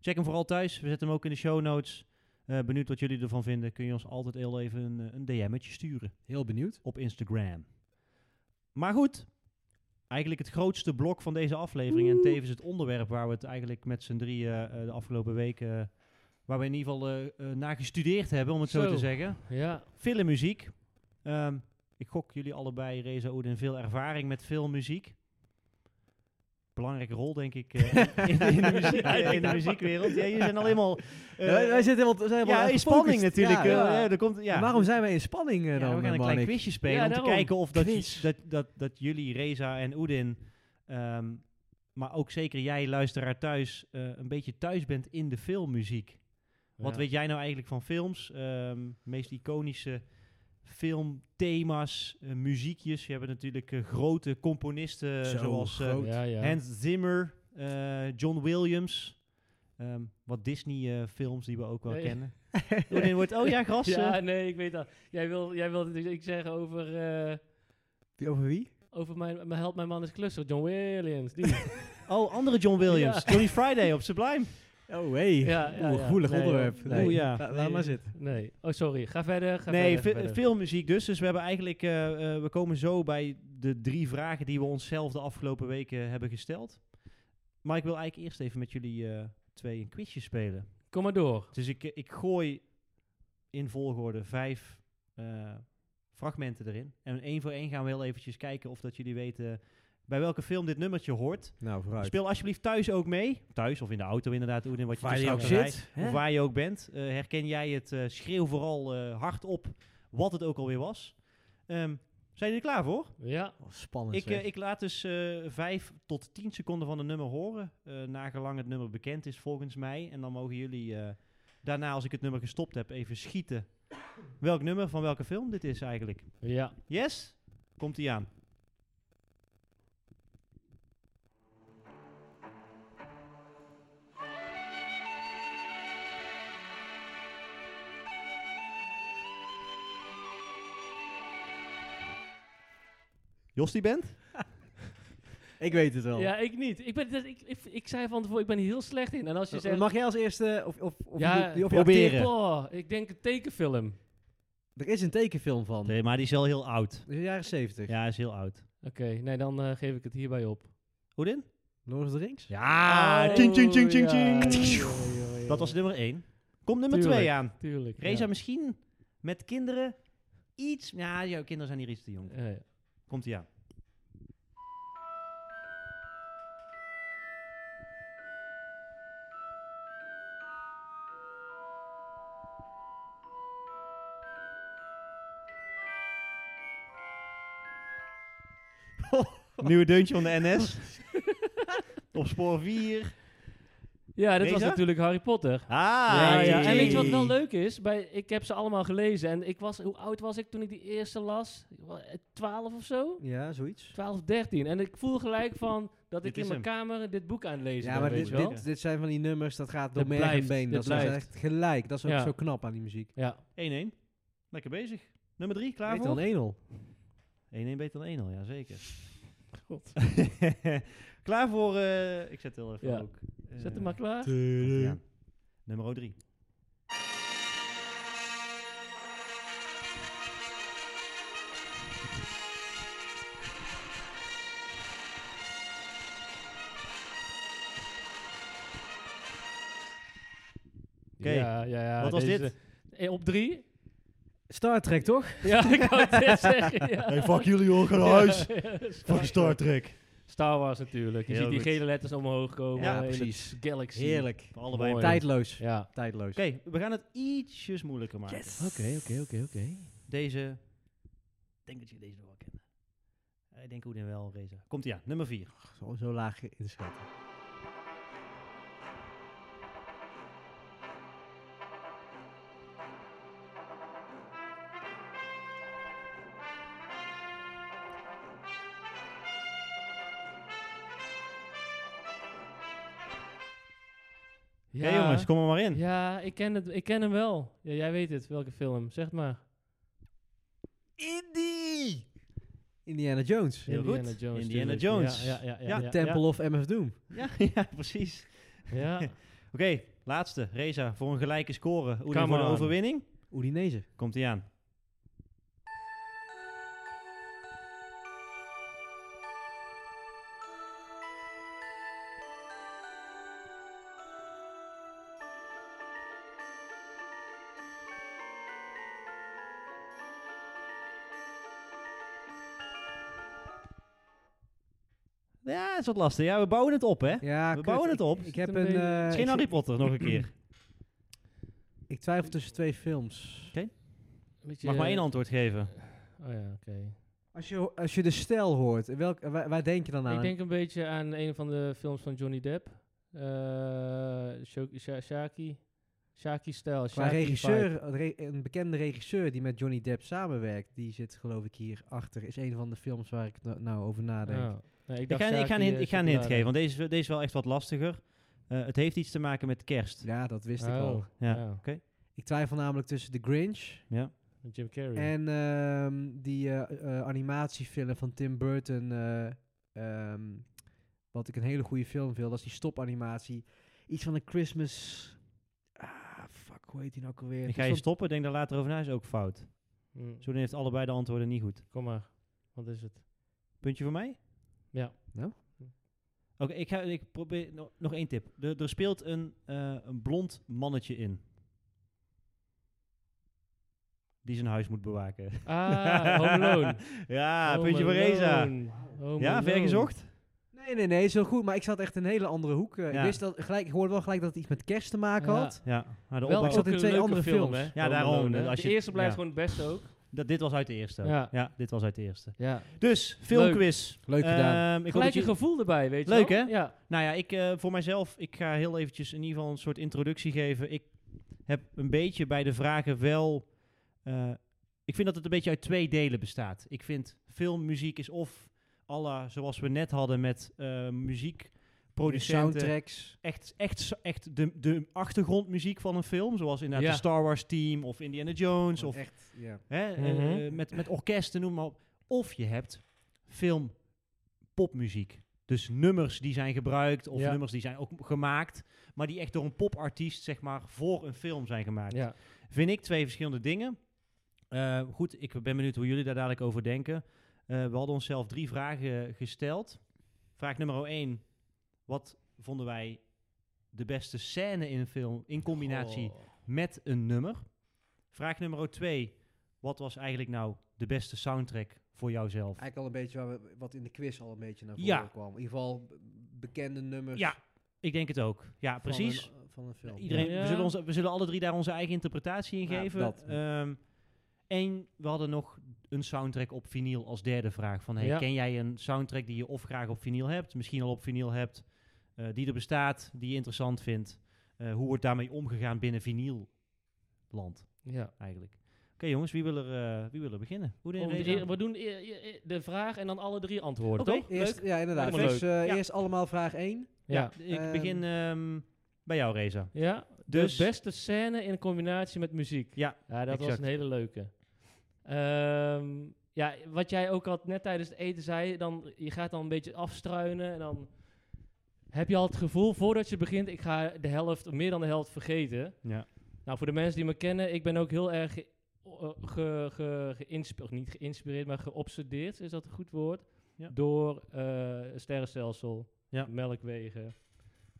Speaker 3: check hem vooral thuis. We zetten hem ook in de show notes. Eh, benieuwd wat jullie ervan vinden. Kun je ons altijd heel even een, eh, een DM'tje sturen
Speaker 1: Heel benieuwd.
Speaker 3: op Instagram. Maar goed, eigenlijk het grootste blok van deze aflevering en tevens het onderwerp waar we het eigenlijk met z'n drieën eh, de afgelopen weken, eh, waar we in ieder geval eh, eh, naar gestudeerd hebben, om het zo,
Speaker 2: Zo.
Speaker 3: te zeggen.
Speaker 2: Ja,
Speaker 3: Filmmuziek. Ehm ik gok jullie allebei, Reza Oedin, veel ervaring met filmmuziek. Belangrijke rol, denk ik, eh, in, in de muziek,
Speaker 1: Ja, ik
Speaker 3: in de
Speaker 1: denk-
Speaker 3: muziekwereld. Ja, jullie zijn al helemaal... eh,
Speaker 1: wij, wij zitten helemaal, zijn helemaal
Speaker 3: ja, in
Speaker 1: gefocust.
Speaker 3: spanning natuurlijk.
Speaker 1: Ja,
Speaker 3: eh,
Speaker 1: ja.
Speaker 3: ja, er komt, ja.
Speaker 1: Waarom zijn wij in spanning eh,
Speaker 3: Ja,
Speaker 1: dan,
Speaker 3: we gaan een
Speaker 1: eh,
Speaker 3: klein
Speaker 1: Marnik?
Speaker 3: quizje spelen
Speaker 2: Ja,
Speaker 3: om
Speaker 2: daarom.
Speaker 3: te kijken of dat,
Speaker 2: Quiz.
Speaker 3: dat, dat, dat jullie, Reza en Oedin, ehm, maar ook zeker jij, luisteraar thuis, eh, een beetje thuis bent in de filmmuziek. Wat
Speaker 2: Ja.
Speaker 3: weet jij nou eigenlijk van films? Ehm, de meest iconische filmthema's, eh, muziekjes. Je hebt natuurlijk eh, grote componisten
Speaker 1: Zo
Speaker 3: zoals eh,
Speaker 1: groot.
Speaker 2: Ja, ja.
Speaker 3: Hans Zimmer, eh, John Williams. Ehm, wat Disney-films die we ook wel
Speaker 2: Nee.
Speaker 3: kennen. Oedin wordt, oh ja, gras.
Speaker 2: Ja,
Speaker 3: eh,
Speaker 2: nee, ik weet dat. Jij wil, jij wil ik zeggen over, eh,
Speaker 1: Wie- Over wie?
Speaker 2: over mijn, mijn help mijn man is klusser, John Williams. Die.
Speaker 3: Oh, andere John Williams.
Speaker 2: Ja.
Speaker 3: Johnny Friday op Sublime.
Speaker 1: Oh, hey.
Speaker 2: Ja, ja,
Speaker 1: Oeh,
Speaker 2: ja.
Speaker 1: gevoelig
Speaker 2: Nee,
Speaker 1: onderwerp.
Speaker 2: joh. Nee.
Speaker 3: Oeh, ja.
Speaker 1: La-
Speaker 2: Nee.
Speaker 1: Laat maar zitten.
Speaker 2: nee. Oh, sorry. Ga verder. Ga
Speaker 3: Nee,
Speaker 2: verder,
Speaker 3: ve-
Speaker 2: ga verder.
Speaker 3: filmmuziek dus. Dus we hebben eigenlijk, eh, eh, we komen zo bij de drie vragen die we onszelf de afgelopen weken hebben gesteld. Maar ik wil eigenlijk eerst even met jullie eh, twee een quizje spelen.
Speaker 2: Kom maar door.
Speaker 3: Dus ik, eh, ik gooi in volgorde vijf eh, fragmenten erin. En één voor één gaan we heel eventjes kijken of dat jullie weten bij welke film dit nummertje hoort.
Speaker 1: Nou, vooruit.
Speaker 3: Speel alsjeblieft thuis ook mee. Thuis of in de auto inderdaad, Oedin, wat je
Speaker 1: Waar
Speaker 3: dus
Speaker 1: je ook
Speaker 3: straks zei.
Speaker 1: zit. hè?
Speaker 3: Of waar je ook bent. eh, herken jij het? eh, schreeuw vooral eh, hard op wat het ook alweer was. Ehm, zijn jullie er klaar voor?
Speaker 2: Ja.
Speaker 1: Oh, spannend.
Speaker 3: Ik,
Speaker 1: zeg.
Speaker 3: eh, ik laat dus eh 5 tot 10 seconden van het nummer horen. eh nagelang het nummer bekend is volgens mij. En dan mogen jullie eh, daarna, als ik het nummer gestopt heb, even schieten. Welk nummer van welke film dit is eigenlijk?
Speaker 2: Ja.
Speaker 3: Yes? Komt ie aan. Jos die bent?
Speaker 1: Ik weet het wel.
Speaker 2: Ja, ik niet. Ik, ben, dat- ik, ik, ik zei van tevoren, ik ben hier heel slecht in. En als je
Speaker 1: Eh,
Speaker 2: zegt...
Speaker 1: Mag jij als eerste... Of, of, of
Speaker 2: Ja,
Speaker 1: je doet- of je
Speaker 3: proberen.
Speaker 1: acteert-
Speaker 2: Boah, ik denk een tekenfilm. Oké.
Speaker 1: Er is een tekenfilm van.
Speaker 3: Nee, maar die is wel heel oud.
Speaker 1: Dat is de jaren 70.
Speaker 3: Ja, is heel oud.
Speaker 2: nee, dan eh, geef ik het hierbij op.
Speaker 3: Hoe din?
Speaker 1: Lord of the Rings? Ah,
Speaker 3: Ja!
Speaker 2: Oh,
Speaker 3: ching, ching, ching, ching,
Speaker 2: ja.
Speaker 3: ching.
Speaker 2: Joh, joh, joh, joh.
Speaker 3: Dat was nummer 1. Komt nummer
Speaker 2: Tuurlijk.
Speaker 3: 2 aan.
Speaker 2: Tuurlijk.
Speaker 3: Reza,
Speaker 2: ja.
Speaker 3: misschien Met kinderen iets... Ja, jouw kinderen zijn hier iets te jong. voor.
Speaker 2: Eh,
Speaker 3: Komt ie aan. Nieuwe deuntje van de NS. Op spoor 4.
Speaker 2: ja, dit was
Speaker 3: Reza?
Speaker 2: natuurlijk Harry Potter.
Speaker 3: Ah,
Speaker 2: Ja, ja.
Speaker 3: jee.
Speaker 2: En weet je wat wel leuk is? Bij, ik heb ze allemaal gelezen. En ik was, hoe oud was ik toen ik die eerste las? Ik was, eh, 12 of zo?
Speaker 1: Ja, zoiets.
Speaker 2: 12, 13. En ik voel gelijk van dat
Speaker 3: Dit
Speaker 2: ik in
Speaker 3: is
Speaker 2: mijn
Speaker 3: hem.
Speaker 2: kamer dit boek aan het lezen
Speaker 1: Ja,
Speaker 2: ben,
Speaker 1: maar
Speaker 2: weet
Speaker 1: dit,
Speaker 2: je wel.
Speaker 1: dit, dit zijn van die nummers, dat gaat door
Speaker 2: Dat
Speaker 1: merg en
Speaker 2: blijft,
Speaker 1: been.
Speaker 2: dat
Speaker 1: Dat zijn
Speaker 2: blijft.
Speaker 1: echt gelijk. Dat is ook
Speaker 2: Ja.
Speaker 1: zo knap aan die muziek.
Speaker 2: Ja.
Speaker 3: 1-1. Lekker bezig. Nummer 3, klaar
Speaker 1: Weet
Speaker 3: voor?
Speaker 1: dan 1-0.
Speaker 3: 1-1 beter dan 1-0, ja zeker. klaar voor... eh, ik zet heel even
Speaker 2: Ja.
Speaker 3: ook... eh,
Speaker 2: Zet hem maar klaar.
Speaker 3: komt-ie aan. Nummer 3. Oké,
Speaker 2: Ja, ja, ja,
Speaker 3: wat was
Speaker 2: deze-
Speaker 3: dit?
Speaker 2: Eh, op drie?
Speaker 1: Star Trek, toch?
Speaker 2: Ja, ik wou het net zeggen. Ja.
Speaker 3: jullie hoor, ga
Speaker 2: Ja, ja, Star,
Speaker 3: Trek.
Speaker 2: Star Wars natuurlijk. Je
Speaker 3: Heel
Speaker 2: ziet die
Speaker 3: goed.
Speaker 2: gele letters omhoog komen.
Speaker 3: Ja,
Speaker 2: in het
Speaker 1: precies.
Speaker 2: Galaxy.
Speaker 1: Heerlijk.
Speaker 3: Allebei
Speaker 2: Mooi.
Speaker 1: Tijdloos.
Speaker 2: Ja.
Speaker 1: Tijdloos.
Speaker 3: Oké, we gaan het ietsjes moeilijker maken.
Speaker 2: Oké, oké, oké, oké.
Speaker 3: Deze, ik denk dat je deze nog wel kent. Eh, Ik denk Oedin wel, Reza. Komt ie aan, nummer 4.
Speaker 1: Zo, zo laag inschatten.
Speaker 3: Ja jongens, kom er maar in.
Speaker 2: Ja, ik ken, het, ik ken hem wel. Ja, jij weet het, welke film. Zeg maar.
Speaker 1: Indy! Indiana Jones.
Speaker 3: Heel
Speaker 2: Indiana
Speaker 3: goed.
Speaker 2: Jones.
Speaker 3: Indiana
Speaker 2: tuurlijk.
Speaker 3: Jones.
Speaker 2: Ja, ja, ja. ja,
Speaker 3: Ja,
Speaker 2: ja,
Speaker 1: Temple of MF Doom.
Speaker 3: Ja, ja precies.
Speaker 2: Ja. ja.
Speaker 3: Oké, laatste. Reza voor een gelijke score. Oedin
Speaker 2: Come
Speaker 3: voor de
Speaker 2: on.
Speaker 3: overwinning.
Speaker 1: Oedinese.
Speaker 3: Komt ie aan. Ja, dat is wat lastig. Ja, we bouwen het op, hè?
Speaker 1: Ja,
Speaker 3: we
Speaker 1: kut.
Speaker 3: bouwen het
Speaker 1: Ik-
Speaker 3: op.
Speaker 1: Ik,
Speaker 2: Is het
Speaker 1: heb
Speaker 2: een
Speaker 1: een...
Speaker 2: beetje-
Speaker 1: eh,
Speaker 3: Het is geen
Speaker 1: ik-
Speaker 3: Harry Potter, nog een keer.
Speaker 1: Ik twijfel tussen twee films.
Speaker 2: Beetje,
Speaker 3: Mag maar
Speaker 2: eh,
Speaker 3: één antwoord geven.
Speaker 2: Oh ja, oké.
Speaker 1: Als je, als je de stijl hoort, in welk, waar, waar denk je dan
Speaker 3: Nou,
Speaker 1: aan?
Speaker 2: Ik denk een beetje aan een van de films van Johnny Depp. Eh, Sho- Sha- Shaki. Shaki-stijl.
Speaker 1: Qua
Speaker 2: Shaki
Speaker 1: regisseur, een re- een bekende regisseur die met Johnny Depp samenwerkt, die zit geloof ik hier achter. Is een van de films waar ik nou, nou over nadenk.
Speaker 2: Oh. ik,
Speaker 3: Ik
Speaker 2: dacht
Speaker 3: ga, ik ga, een,
Speaker 2: Shaki,
Speaker 3: hint,
Speaker 2: eh,
Speaker 3: ik ga een hint
Speaker 2: chocolade.
Speaker 3: geven, want deze, deze is wel echt wat lastiger. Eh, het heeft iets te maken met kerst.
Speaker 1: Ja, dat wist ik
Speaker 2: Oh,
Speaker 1: al.
Speaker 3: Ja.
Speaker 2: ja.
Speaker 1: Ik twijfel namelijk tussen The Grinch
Speaker 2: Met Jim Carrey.
Speaker 1: en ehm, die eh, eh, animatiefilm van Tim Burton. eh, ehm, wat ik een hele goede film vind, dat is die stopanimatie. Iets van een Christmas. Ah, fuck, hoe heet die nou ook alweer?
Speaker 3: Ik ga
Speaker 1: Iets
Speaker 3: je
Speaker 1: van-
Speaker 3: stoppen, denk daar later over na is ook fout.
Speaker 2: Mm,
Speaker 3: Zoeden heeft allebei de antwoorden niet goed.
Speaker 2: Kom maar. Wat is het?
Speaker 3: Puntje voor mij?
Speaker 2: Ja.
Speaker 1: Nou?
Speaker 3: Oké, ik, ga- ik probeer no- nog één tip. Er, er speelt een, eh, een blond mannetje in. Die zijn huis moet bewaken. Oh
Speaker 2: Ah, Home Alone.
Speaker 3: ja,
Speaker 2: Home
Speaker 3: Ah, puntje voor Reza.
Speaker 2: Alone. Home
Speaker 3: Ja, ver
Speaker 2: Alone.
Speaker 3: gezocht?
Speaker 1: Nee, nee, nee, is heel goed. Maar ik zat echt in een hele andere hoek. eh,
Speaker 3: Ja.
Speaker 1: Ik, wist dat, gelijk, ik hoorde wel gelijk dat het iets met kerst te maken
Speaker 2: Ja.
Speaker 1: had.
Speaker 3: Ja, maar de
Speaker 2: Wel
Speaker 3: opbouw-
Speaker 1: ik zat
Speaker 2: ook
Speaker 1: in
Speaker 2: een
Speaker 1: twee
Speaker 2: leuke
Speaker 1: andere
Speaker 2: film,
Speaker 1: films.
Speaker 2: hè?
Speaker 3: Ja,
Speaker 2: Home
Speaker 3: daarom,
Speaker 2: Alone, hè?
Speaker 3: als
Speaker 2: de
Speaker 3: je-
Speaker 2: eerste blijft
Speaker 3: ja.
Speaker 2: gewoon het beste ook.
Speaker 3: dat, dit was uit de eerste. ook.
Speaker 2: Ja.
Speaker 3: ja, dit was uit de eerste.
Speaker 2: Ja.
Speaker 3: Dus, filmquiz.
Speaker 1: Leuk gedaan.
Speaker 3: Ehm, ik hoop dat
Speaker 2: Gelijk
Speaker 3: je-
Speaker 2: een gevoel erbij, weet
Speaker 3: Leuk,
Speaker 2: je wel?
Speaker 3: hè?
Speaker 2: Ja.
Speaker 3: Nou ja, ik, eh, voor mijzelf, ik ga heel eventjes in ieder geval een soort introductie geven. Ik heb een beetje bij de vragen wel... eh, ik vind dat het een beetje uit twee delen bestaat. Ik vind filmmuziek is of alla zoals we net hadden met eh muziek, producenten,
Speaker 1: Soundtracks.
Speaker 3: echt, echt, zo- echt de, de achtergrondmuziek van een film, zoals inderdaad
Speaker 2: Ja.
Speaker 3: de Star Wars team of Indiana Jones of
Speaker 1: echt, ja.
Speaker 3: hè, eh,
Speaker 2: Mhm.
Speaker 3: met, met orkesten, noem maar op. Of je hebt film popmuziek. Dus nummers die zijn gebruikt of
Speaker 2: Ja.
Speaker 3: nummers die zijn ook m- gemaakt, maar die echt door een popartiest zeg maar voor een film zijn gemaakt.
Speaker 2: Ja.
Speaker 3: Vind ik twee verschillende dingen. Eh, goed, ik ben benieuwd hoe jullie daar dadelijk over denken. Eh, we hadden onszelf drie vragen gesteld. Vraag nummer 1. Wat vonden wij
Speaker 1: Oh.
Speaker 3: de beste scène in een film in combinatie met een nummer. Vraag nummer twee. Wat was eigenlijk nou de beste soundtrack voor jouzelf?
Speaker 1: Eigenlijk al een beetje waar we, wat in de quiz al een beetje naar voren
Speaker 3: Ja.
Speaker 1: kwam. In ieder geval b- bekende nummers
Speaker 3: Ja, ik denk het ook. Ja, precies.
Speaker 1: Van, een, van een film.
Speaker 3: Iedereen,
Speaker 2: Ja.
Speaker 3: we, zullen onze, we zullen alle drie daar onze eigen interpretatie in
Speaker 1: Ja,
Speaker 3: geven.
Speaker 1: dat.
Speaker 3: Ehm, en we hadden nog een soundtrack op vinyl als derde vraag. Van, hey,
Speaker 2: Ja.
Speaker 3: Ken jij een soundtrack die je of graag op vinyl hebt, misschien al op vinyl hebt, eh, die er bestaat, die je interessant vindt? Eh, hoe wordt daarmee omgegaan binnen vinylland
Speaker 2: Ja.
Speaker 3: eigenlijk? Oké jongens, wie wil er, eh, wie wil er beginnen? Hoe
Speaker 2: Om drie- we doen e- e- e- de vraag en dan alle drie antwoorden,
Speaker 3: Oké.
Speaker 2: toch?
Speaker 1: Eerst, ja, inderdaad.
Speaker 2: Allemaal
Speaker 1: Dus eh,
Speaker 3: Ja.
Speaker 1: eerst allemaal vraag 1.
Speaker 2: Ja.
Speaker 3: Ik begin ehm, bij jou, Reza.
Speaker 2: ja.
Speaker 3: Dus-
Speaker 2: de beste scène in combinatie met muziek.
Speaker 3: Ja,
Speaker 2: Ja, dat was
Speaker 3: exact.
Speaker 2: een hele leuke. Ehm, ja, wat jij ook al net tijdens het eten zei, dan, je gaat dan een beetje afstruinen en dan heb je al het gevoel voordat je begint, ik ga de helft, meer dan de helft vergeten.
Speaker 3: Ja.
Speaker 2: Nou, voor de mensen die me kennen, ik ben ook heel erg ge- eh, ge- ge- geïnsp- of niet geïnspireerd, maar geobsedeerd, is dat een goed woord?
Speaker 3: Ja.
Speaker 2: Door eh sterrenstelsel,
Speaker 3: Ja.
Speaker 2: melkwegen,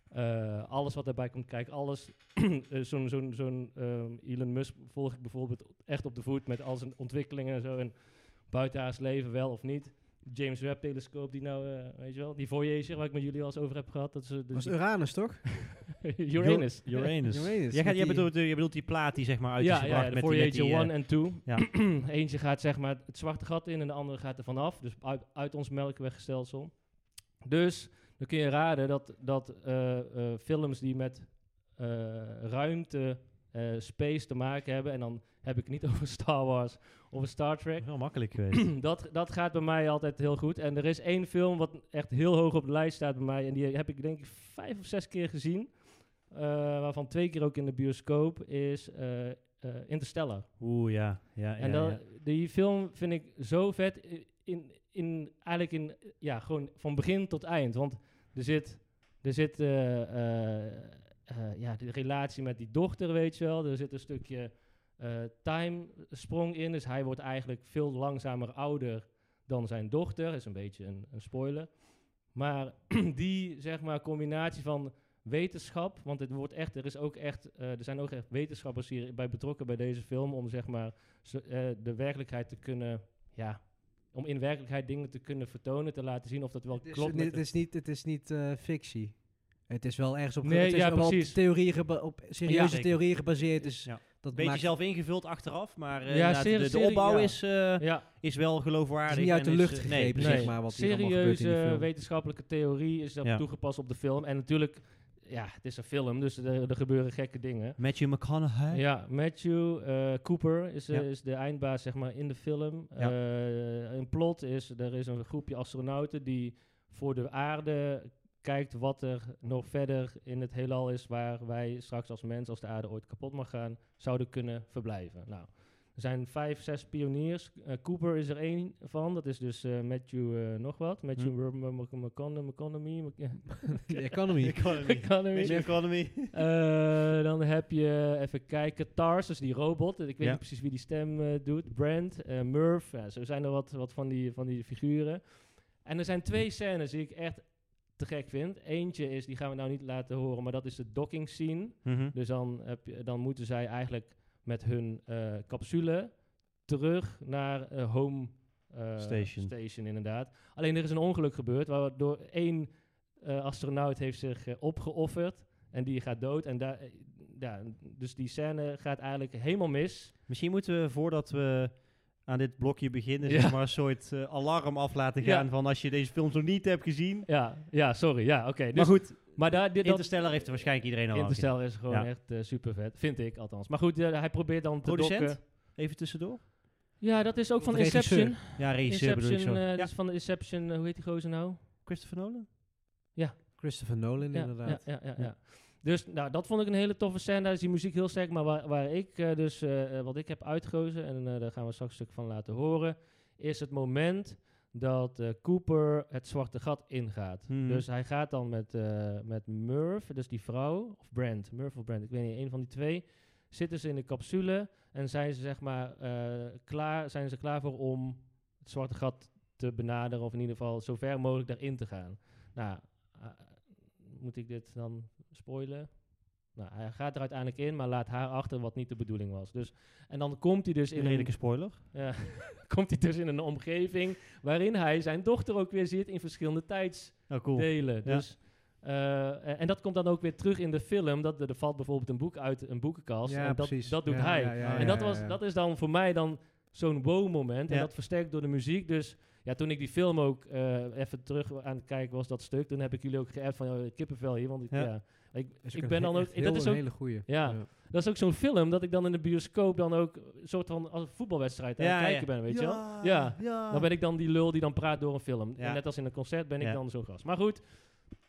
Speaker 2: eh, alles wat daarbij komt kijken. Alles, eh, zo'n zo'n zo'n ehm, Elon Musk volg ik bijvoorbeeld echt op de voet met al zijn ontwikkelingen en zo. En buitenaards leven wel of niet. James Webb telescoop, die nou, eh, weet je wel, die Voyager waar ik met jullie al eens over heb gehad. Dat is eh, de-
Speaker 1: Dat was Uranus, toch?
Speaker 2: Uranus.
Speaker 1: Uranus,
Speaker 3: Uranus. Jij, gaat,
Speaker 1: met
Speaker 3: jij,
Speaker 1: die-
Speaker 3: bedoelt, eh, jij bedoelt die plaat die zeg maar uit is
Speaker 2: Ja, ja,
Speaker 3: gebracht
Speaker 2: ja, de
Speaker 3: met die- met die,
Speaker 2: Voyager
Speaker 3: eh,
Speaker 2: 1 en 2.
Speaker 3: ja.
Speaker 2: Eentje gaat zeg maar het zwarte gat in en de andere gaat er vanaf. Dus uit, uit ons melkwegstelsel. Dus dan kun je raden dat, dat eh, eh, films die met eh, ruimte, eh, space te maken hebben... en dan heb ik het niet over Star Wars of Star Trek...
Speaker 3: Wel makkelijk geweest.
Speaker 2: dat, dat gaat bij mij altijd heel goed. En er is één film wat echt heel hoog op de lijst staat bij mij. En die heb ik denk ik vijf of zes keer gezien. Eh, waarvan twee keer ook in de bioscoop. Is eh, eh, Interstellar.
Speaker 3: Oeh, ja. ja,
Speaker 2: en
Speaker 3: ja,
Speaker 2: dan,
Speaker 3: ja.
Speaker 2: die film vind ik zo vet. i- In, in, eigenlijk in, ja, gewoon van begin tot eind. Want er zit, er zit eh, eh, eh, ja, de relatie met die dochter, weet je wel. Er zit een stukje eh timesprong in. Dus hij wordt eigenlijk veel langzamer ouder dan zijn dochter. is een beetje een, een spoiler. Maar die, zeg maar, combinatie van wetenschap... Want het wordt echt, er, is ook echt, eh, er zijn ook echt wetenschappers hierbij betrokken bij deze film... om, zeg maar, zo- eh, de werkelijkheid te kunnen... Ja, om in werkelijkheid dingen te kunnen vertonen, te laten zien of dat wel
Speaker 1: Het is,
Speaker 2: klopt.
Speaker 1: ni-
Speaker 2: met
Speaker 1: het
Speaker 2: de-
Speaker 1: is niet, het is niet eh, fictie. Het is wel ergens op, ge-
Speaker 2: Nee,
Speaker 1: het is
Speaker 2: ja,
Speaker 1: nog wel op
Speaker 2: precies.
Speaker 1: theorieën geba- op
Speaker 3: Ja,
Speaker 1: serieuze
Speaker 3: zeker.
Speaker 1: theorieën gebaseerd. Dus
Speaker 3: Ja.
Speaker 1: dat
Speaker 3: Beetje
Speaker 1: maakt
Speaker 3: zelf ingevuld achteraf, maar eh,
Speaker 2: Ja,
Speaker 3: inderdaad,
Speaker 2: serie-
Speaker 3: de, de
Speaker 2: serie-
Speaker 3: opbouw
Speaker 2: ja.
Speaker 3: is, eh,
Speaker 2: ja,
Speaker 3: is wel
Speaker 1: het
Speaker 3: geloofwaardig.
Speaker 1: is niet uit de
Speaker 3: en
Speaker 1: lucht
Speaker 3: is, eh,
Speaker 1: gegrepen,
Speaker 3: nee,
Speaker 1: zeg maar, wat hier allemaal gebeurt in die
Speaker 2: serieuze
Speaker 1: film.
Speaker 2: wetenschappelijke theorie is dan
Speaker 3: Ja.
Speaker 2: toegepast op de film. En natuurlijk, ja, het is een film, dus er, er gebeuren gekke dingen.
Speaker 3: Matthew McConaughey.
Speaker 2: Ja, Matthew eh, Cooper is, eh,
Speaker 3: Ja.
Speaker 2: is de eindbaas zeg maar, in de film.
Speaker 3: Ja.
Speaker 2: Eh, een plot is, er is een groepje astronauten die voor de aarde kijkt wat er nog verder in het heelal is... waar wij straks als mens, als de aarde ooit kapot mag gaan, zouden kunnen verblijven. Nou, er zijn vijf, zes pioniers. Eh, Cooper is er één van. Dat is dus eh, Matthew eh, nog wat. Matthew McConaughey.
Speaker 1: de economy.
Speaker 3: Economy. Matthew Economy.
Speaker 2: Eh, dan heb je, even kijken, Tars, dus die robot. Ik weet
Speaker 3: Ja.
Speaker 2: niet precies wie die stem eh, doet. Brand, eh Murph. Ja, zo zijn er wat, wat van, die, van die figuren. En er zijn twee scènes die ik echt te gek vind. Eentje is, die gaan we nou niet laten horen, maar dat is de docking scene.
Speaker 3: Mhm.
Speaker 2: Dus dan, heb je, dan moeten zij eigenlijk met hun eh, capsule terug naar eh, home eh,
Speaker 3: Station.
Speaker 2: inderdaad. Alleen er is een ongeluk gebeurd, waardoor één eh, astronaut heeft zich eh, opgeofferd en die gaat dood. En daar, eh, ja, dus die scène gaat eigenlijk helemaal mis.
Speaker 3: Misschien moeten we, voordat we aan dit blokje beginnen,
Speaker 2: Ja.
Speaker 3: zeg maar een soort eh, alarm af laten gaan
Speaker 2: Ja.
Speaker 3: van als je deze film nog niet hebt gezien.
Speaker 2: Ja, ja sorry. Ja, oké. Dus,
Speaker 3: maar goed,
Speaker 2: maar daar, dit, dat,
Speaker 3: Interstellar heeft er waarschijnlijk iedereen al aan gezien.
Speaker 2: Interstellar is gewoon
Speaker 3: Ja.
Speaker 2: echt super vet, vind ik althans. Maar goed, eh, hij probeert dan te
Speaker 3: Producent?
Speaker 2: dokken.
Speaker 3: Even tussendoor.
Speaker 2: Ja, dat is ook van
Speaker 1: Regisseur.
Speaker 2: Inception.
Speaker 3: Ja, regisseur bedoel ik zo.
Speaker 2: Inception, eh,
Speaker 3: ja.
Speaker 2: dus van de Inception, eh, hoe heet die gozer nou?
Speaker 3: Christopher Nolan?
Speaker 1: Christopher Nolan,
Speaker 2: Ja,
Speaker 1: inderdaad.
Speaker 2: Ja, ja, ja,
Speaker 3: Ja.
Speaker 2: ja. Dus nou, dat vond ik een hele toffe scène. Daar is die muziek heel sterk. Maar waar, waar ik eh, dus, eh, eh, wat ik heb uitgekozen, en eh, daar gaan we straks een stuk van laten horen, is het moment dat eh, Cooper het zwarte gat ingaat.
Speaker 3: Mhm.
Speaker 2: Dus hij gaat dan met, eh, met Murph, dus die vrouw, of Brand, Murph of Brand, ik weet niet, een van die twee, zitten ze in de capsule en zijn ze zeg maar eh, klaar, zijn ze klaar voor om het zwarte gat te benaderen, of in ieder geval zo ver mogelijk daarin te gaan. Nou, eh, moet ik dit dan spoilen? Nou, hij gaat er uiteindelijk in, maar laat haar achter wat niet de bedoeling was. Dus, en dan komt hij dus in een,
Speaker 3: redelijke spoiler.
Speaker 2: ja, komt hij dus in een omgeving waarin hij zijn dochter ook weer ziet in verschillende tijds
Speaker 3: Oh, cool.
Speaker 2: delen.
Speaker 3: Ja.
Speaker 2: Dus, eh, en- en dat komt dan ook weer terug in de film. Dat er, er valt bijvoorbeeld een boek uit een boekenkast. en dat, dat doet
Speaker 7: Ja,
Speaker 2: hij.
Speaker 7: ja, ja,
Speaker 2: En
Speaker 7: ja,
Speaker 2: dat,
Speaker 7: ja,
Speaker 2: was,
Speaker 7: ja.
Speaker 2: dat is dan voor mij dan zo'n wow-moment. En
Speaker 3: Ja.
Speaker 2: dat versterkt door de muziek. Dus ja, toen ik die film ook eh, even terug aan het kijken was, dat stuk. Toen heb ik jullie ook geappt van "Yo, kippenvel hier. Want ik,
Speaker 3: Ja.
Speaker 2: ja. ik, ik ben dan ook... dat, is
Speaker 7: een
Speaker 2: ook
Speaker 7: hele goeie.
Speaker 2: Ja. dat is ook zo'n film dat ik dan in de bioscoop dan ook een soort van als een voetbalwedstrijd aan
Speaker 3: Ja,
Speaker 2: het
Speaker 3: ja.
Speaker 2: kijken ben, weet je wel. Ja.
Speaker 3: Ah.
Speaker 2: Dan ben ik dan die lul die dan praat door een film.
Speaker 3: Ja.
Speaker 2: En net als in een concert ben ik
Speaker 3: Ja.
Speaker 2: dan zo'n gast. Maar goed,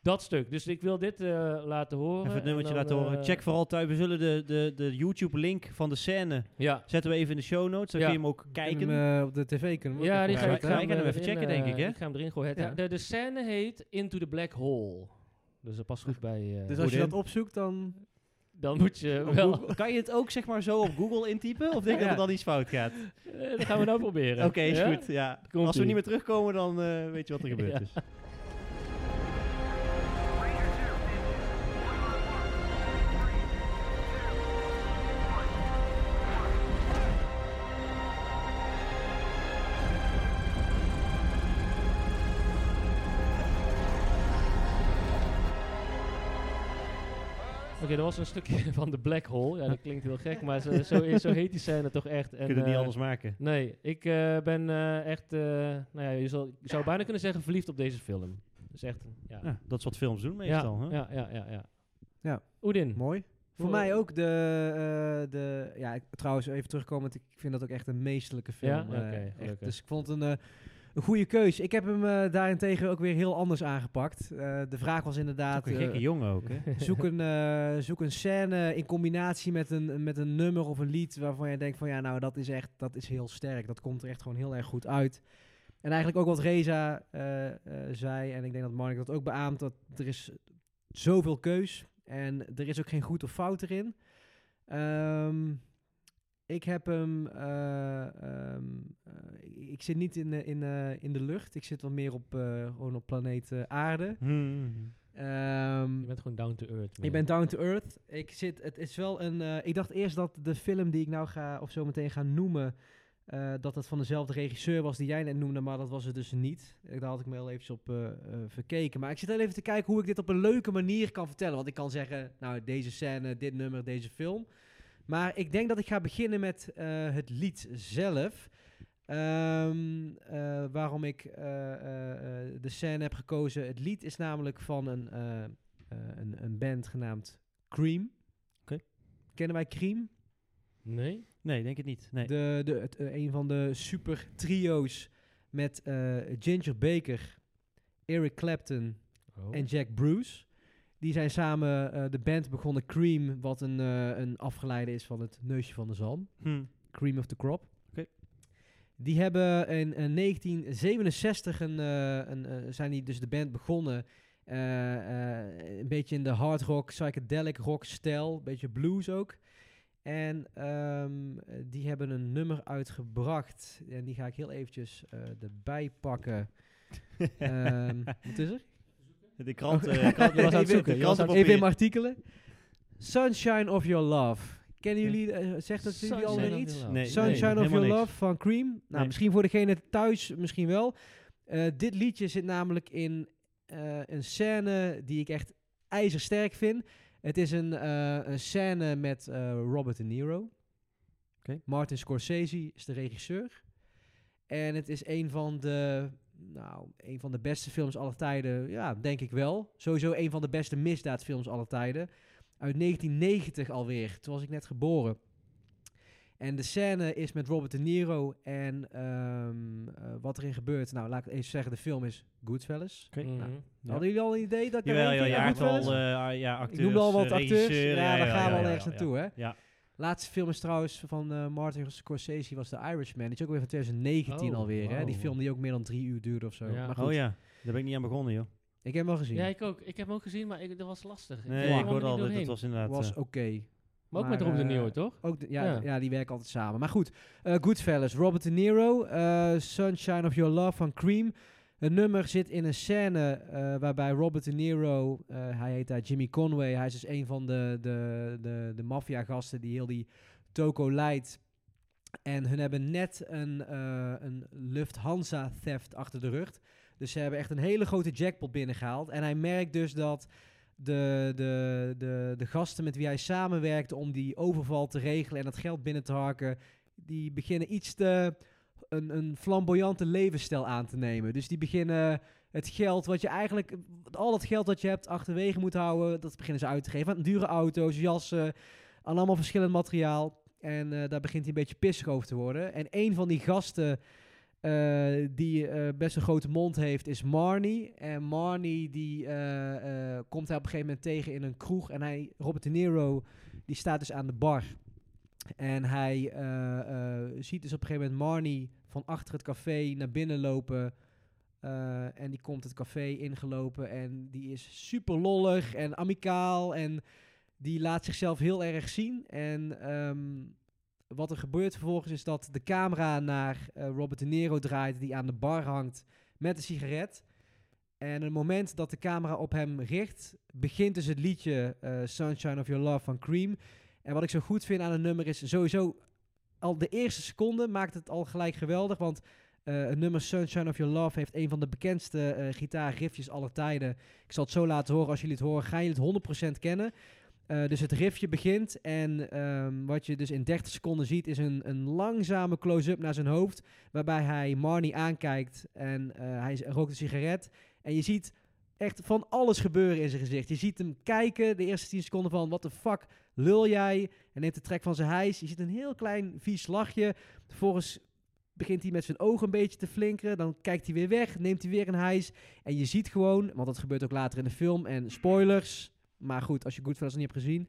Speaker 2: dat stuk. Dus ik wil dit eh, laten horen.
Speaker 3: Even het
Speaker 2: en
Speaker 3: nummertje
Speaker 2: dan,
Speaker 3: laten horen.
Speaker 2: eh,
Speaker 3: Check vooral thuis. We zullen de, de, de YouTube-link van de scène
Speaker 2: Ja.
Speaker 3: zetten we even in de show notes. Dan
Speaker 2: Ja.
Speaker 3: kun je hem ook kijken.
Speaker 2: eh,
Speaker 1: op de tv kunnen we ook
Speaker 2: Ja,
Speaker 1: nog
Speaker 2: die
Speaker 3: Ja,
Speaker 2: ga
Speaker 1: kijken,
Speaker 2: ik,
Speaker 1: hè?
Speaker 3: ga ik
Speaker 2: hem
Speaker 3: hem even
Speaker 2: erin,
Speaker 3: checken,
Speaker 2: eh,
Speaker 3: denk ik, hè?
Speaker 2: Ik ga hem erin gooien. Het-
Speaker 1: Ja.
Speaker 2: De, de scène heet Into the Black Hole. Dus dat past goed bij... eh,
Speaker 1: Dus als je
Speaker 3: Goed
Speaker 1: dat
Speaker 3: in.
Speaker 1: opzoekt, dan...
Speaker 2: dan moet je
Speaker 3: Op
Speaker 2: wel...
Speaker 3: Google- Kan je het ook zeg maar zo op Google intypen? Of denk je
Speaker 1: Ja.
Speaker 3: dat er dan iets fout gaat?
Speaker 2: Eh, dat gaan we nou proberen.
Speaker 3: Oké, is
Speaker 2: Ja?
Speaker 3: goed. Ja.
Speaker 2: Komt-ie.
Speaker 3: Als we niet meer terugkomen, dan eh, weet je wat er gebeurd
Speaker 2: Ja.
Speaker 3: is.
Speaker 2: Oké, dat was een stukje van de Black Hole. Ja, dat klinkt heel gek, maar zo, zo, zo heet die scène toch echt. En,
Speaker 3: Je kunt het niet
Speaker 2: eh,
Speaker 3: anders maken.
Speaker 2: Nee, ik eh, ben eh, echt, eh, nou ja, je zou, je zou bijna kunnen zeggen verliefd op deze film. Dus echt, ja.
Speaker 3: Ja, dat is wat films doen
Speaker 2: ja,
Speaker 3: meestal. hè?
Speaker 2: ja, ja, ja, ja.
Speaker 1: Ja.
Speaker 2: Oedin.
Speaker 1: Mooi. Voor
Speaker 2: Oh.
Speaker 1: mij ook de, eh, de... Ja, ik- trouwens, even terugkomend. Ik vind dat ook echt een meestelijke film.
Speaker 2: Ja?
Speaker 1: eh,
Speaker 2: Oké,
Speaker 1: echt.
Speaker 2: gelukkig.
Speaker 1: Dus ik vond het een, eh, een goede keus. Ik heb hem eh, daarentegen ook weer heel anders aangepakt. Eh, de vraag was inderdaad...
Speaker 3: Ook een
Speaker 1: eh,
Speaker 3: gekke jongen ook. Hè?
Speaker 1: zoek, een, eh, zoek een scène in combinatie met een, met een nummer of een lied... waarvan je denkt van, ja, nou, dat is echt... Dat is heel sterk. Dat komt er echt gewoon heel erg goed uit. En eigenlijk ook wat Reza eh, eh, zei... en ik denk dat Mark dat ook beaamt... dat er is zoveel keus. En er is ook geen goed of fout erin. Ehm, ik heb hem. eh, ehm, eh, ik- ik zit niet in, de- in, eh, in de lucht. Ik zit wat meer op, eh, gewoon op planeet eh, Aarde.
Speaker 3: Hmm.
Speaker 1: Ehm,
Speaker 2: Je bent gewoon down to earth.
Speaker 1: ik ben down to earth. Ik zit, het is wel een. eh, ik dacht eerst dat de film die ik nou ga of zo meteen ga noemen. eh, dat het van dezelfde regisseur was die jij net noemde, maar dat was het dus niet. Eh, Daar had ik me heel eventjes op eh, eh, verkeken. Maar ik zit heel even te kijken hoe ik dit op een leuke manier kan vertellen. Want ik kan zeggen, nou, deze scène, dit nummer, deze film. Maar ik denk dat ik ga beginnen met eh, het lied zelf. Ehm, eh, waarom ik eh, eh, eh, de scène heb gekozen. Het lied is namelijk van een, eh, eh, een, een band genaamd Cream.
Speaker 3: Oké.
Speaker 1: Kennen wij Cream?
Speaker 2: Nee?
Speaker 3: Nee, denk het niet. Nee.
Speaker 1: De, de, het, eh, een van de super trio's met eh, Ginger Baker, Eric Clapton
Speaker 2: Oh.
Speaker 1: en Jack Bruce. Die zijn samen eh, de band begonnen Cream, wat een, eh, een afgeleide is van het neusje van de zalm.
Speaker 3: Hmm.
Speaker 1: Cream of the Crop.
Speaker 3: Oké.
Speaker 1: Die hebben in, eh, 1967 een, eh, een, eh, zijn die dus de band begonnen. Eh, eh, een beetje in de hard rock, psychedelic rock stijl. Een beetje blues ook. En ehm, eh, die hebben een nummer uitgebracht. En die ga ik heel eventjes eh, erbij pakken. Ehm, wat is er? Oh,
Speaker 3: De krant, eh, krant
Speaker 1: Je was aan het
Speaker 3: de
Speaker 1: zoeken,
Speaker 3: krant
Speaker 1: je was aan
Speaker 3: op
Speaker 1: Even in
Speaker 3: papier.
Speaker 1: mijn artikelen. Sunshine of Your Love. Kennen jullie, eh, zegt dat jullie alweer iets?
Speaker 3: Nee,
Speaker 1: Sunshine of
Speaker 3: helemaal
Speaker 1: Your
Speaker 3: niks.
Speaker 1: Love van Cream. Nou,
Speaker 3: Nee.
Speaker 1: misschien voor degene thuis, misschien wel. Eh, dit liedje zit namelijk in eh, een scène die ik echt ijzersterk vind. Het is een, eh, een scène met eh, Robert De Niro.
Speaker 3: Oké.
Speaker 1: Martin Scorsese is de regisseur. En het is een van de, nou, een van de beste films aller tijden. Ja, denk ik wel. Sowieso een van de beste misdaadfilms aller tijden. Uit 1990 alweer. Toen was ik net geboren. En de scène is met Robert De Niro. En ehm, eh, wat erin gebeurt. Nou, laat ik even zeggen. De film is Goodfellas.
Speaker 3: Oké.
Speaker 2: Mhm.
Speaker 3: Ja.
Speaker 1: Hadden jullie al een idee dat ik daar
Speaker 3: Jawel,
Speaker 1: eentje-
Speaker 3: ja, ja,
Speaker 1: Goodfellas?
Speaker 3: aantal, eh, ja,
Speaker 1: Ik
Speaker 3: acteurs,
Speaker 1: noemde al wat
Speaker 3: eh,
Speaker 1: acteurs.
Speaker 3: regisseur,
Speaker 1: Ja, daar gaan we
Speaker 3: ja,
Speaker 1: al
Speaker 3: ja,
Speaker 1: ergens
Speaker 3: ja,
Speaker 1: naartoe, hè?
Speaker 3: Ja.
Speaker 1: Laatste film is trouwens van eh, Martin Scorsese was The Irishman. Die is ook weer van 2019
Speaker 2: Oh,
Speaker 1: alweer, hè? Die
Speaker 2: wow.
Speaker 1: film die ook meer dan drie uur duurde of zo.
Speaker 2: Ja.
Speaker 1: Maar
Speaker 3: ja.
Speaker 1: goed,
Speaker 3: Oh ja, daar ben ik niet aan begonnen, joh.
Speaker 1: ik heb hem wel gezien.
Speaker 2: Ja, ik ook. Ik heb hem ook gezien, maar ik, dat was lastig.
Speaker 3: Nee,
Speaker 2: kwam
Speaker 3: ik
Speaker 2: er
Speaker 3: hoorde al
Speaker 2: niet
Speaker 3: dat
Speaker 2: doorheen.
Speaker 3: het was inderdaad...
Speaker 1: was
Speaker 3: eh,
Speaker 1: oké.
Speaker 2: Maar ook met
Speaker 1: maar,
Speaker 2: Rob de
Speaker 1: eh,
Speaker 2: Nio, toch?
Speaker 1: Ook de- ja, ja.
Speaker 2: Ja.
Speaker 1: die werken altijd samen. Maar goed, eh Goodfellas, Robert De Niro, eh, Sunshine of Your Love van Cream. Een nummer zit in een scène eh, waarbij Robert De Niro, eh, hij heet daar Jimmy Conway, hij is dus een van de, de, de, de maffiagasten die heel die toko leidt. En hun hebben net een, eh, een Lufthansa-theft achter de rug. Dus ze hebben echt een hele grote jackpot binnengehaald. En hij merkt dus dat de, de, de, de gasten met wie hij samenwerkt om die overval te regelen en dat geld binnen te harken, die beginnen iets te een, een flamboyante levensstijl aan te nemen. Dus die beginnen het geld wat je eigenlijk, al dat geld dat je hebt achterwege moet houden, dat beginnen ze uit te geven aan dure auto's, jassen, aan allemaal verschillend materiaal. En eh, daar begint hij een beetje pissig over te worden. En een van die gasten eh, die eh, best een grote mond heeft, is Marnie. En Marnie die eh, eh, komt hij op een gegeven moment tegen in een kroeg. En hij, Robert De Niro, die staat dus aan de bar. En hij eh, eh, ziet dus op een gegeven moment Marnie van achter het café naar binnen lopen. Eh, en die komt het café ingelopen en die is super lollig en amicaal. En die laat zichzelf heel erg zien. En ehm, wat er gebeurt vervolgens is dat de camera naar eh, Robert De Niro draait, die aan de bar hangt met een sigaret. En het moment dat de camera op hem richt, begint dus het liedje eh, Sunshine of Your Love van Cream. En wat ik zo goed vind aan een nummer is sowieso al de eerste seconde maakt het al gelijk geweldig. Want eh, het nummer Sunshine of Your Love heeft een van de bekendste eh gitaarriffjes aller tijden. Ik zal het zo laten horen. Als jullie het horen, gaan jullie het 100% kennen. Eh, dus het riffje begint en ehm, wat je dus in 30 seconden ziet is een, een langzame close-up naar zijn hoofd. Waarbij hij Marnie aankijkt en eh, hij rookt een sigaret. En je ziet echt van alles gebeuren in zijn gezicht. Je ziet hem kijken, de eerste 10 seconden van wat de fuck lul jij? En neemt de trek van zijn hijs. Je ziet een heel klein vies lachje. Vervolgens begint hij met zijn ogen een beetje te flinkeren. Dan kijkt hij weer weg, neemt hij weer een hijs. En je ziet gewoon, want dat gebeurt ook later in de film. En spoilers, maar goed, als je Goodfellas niet hebt gezien.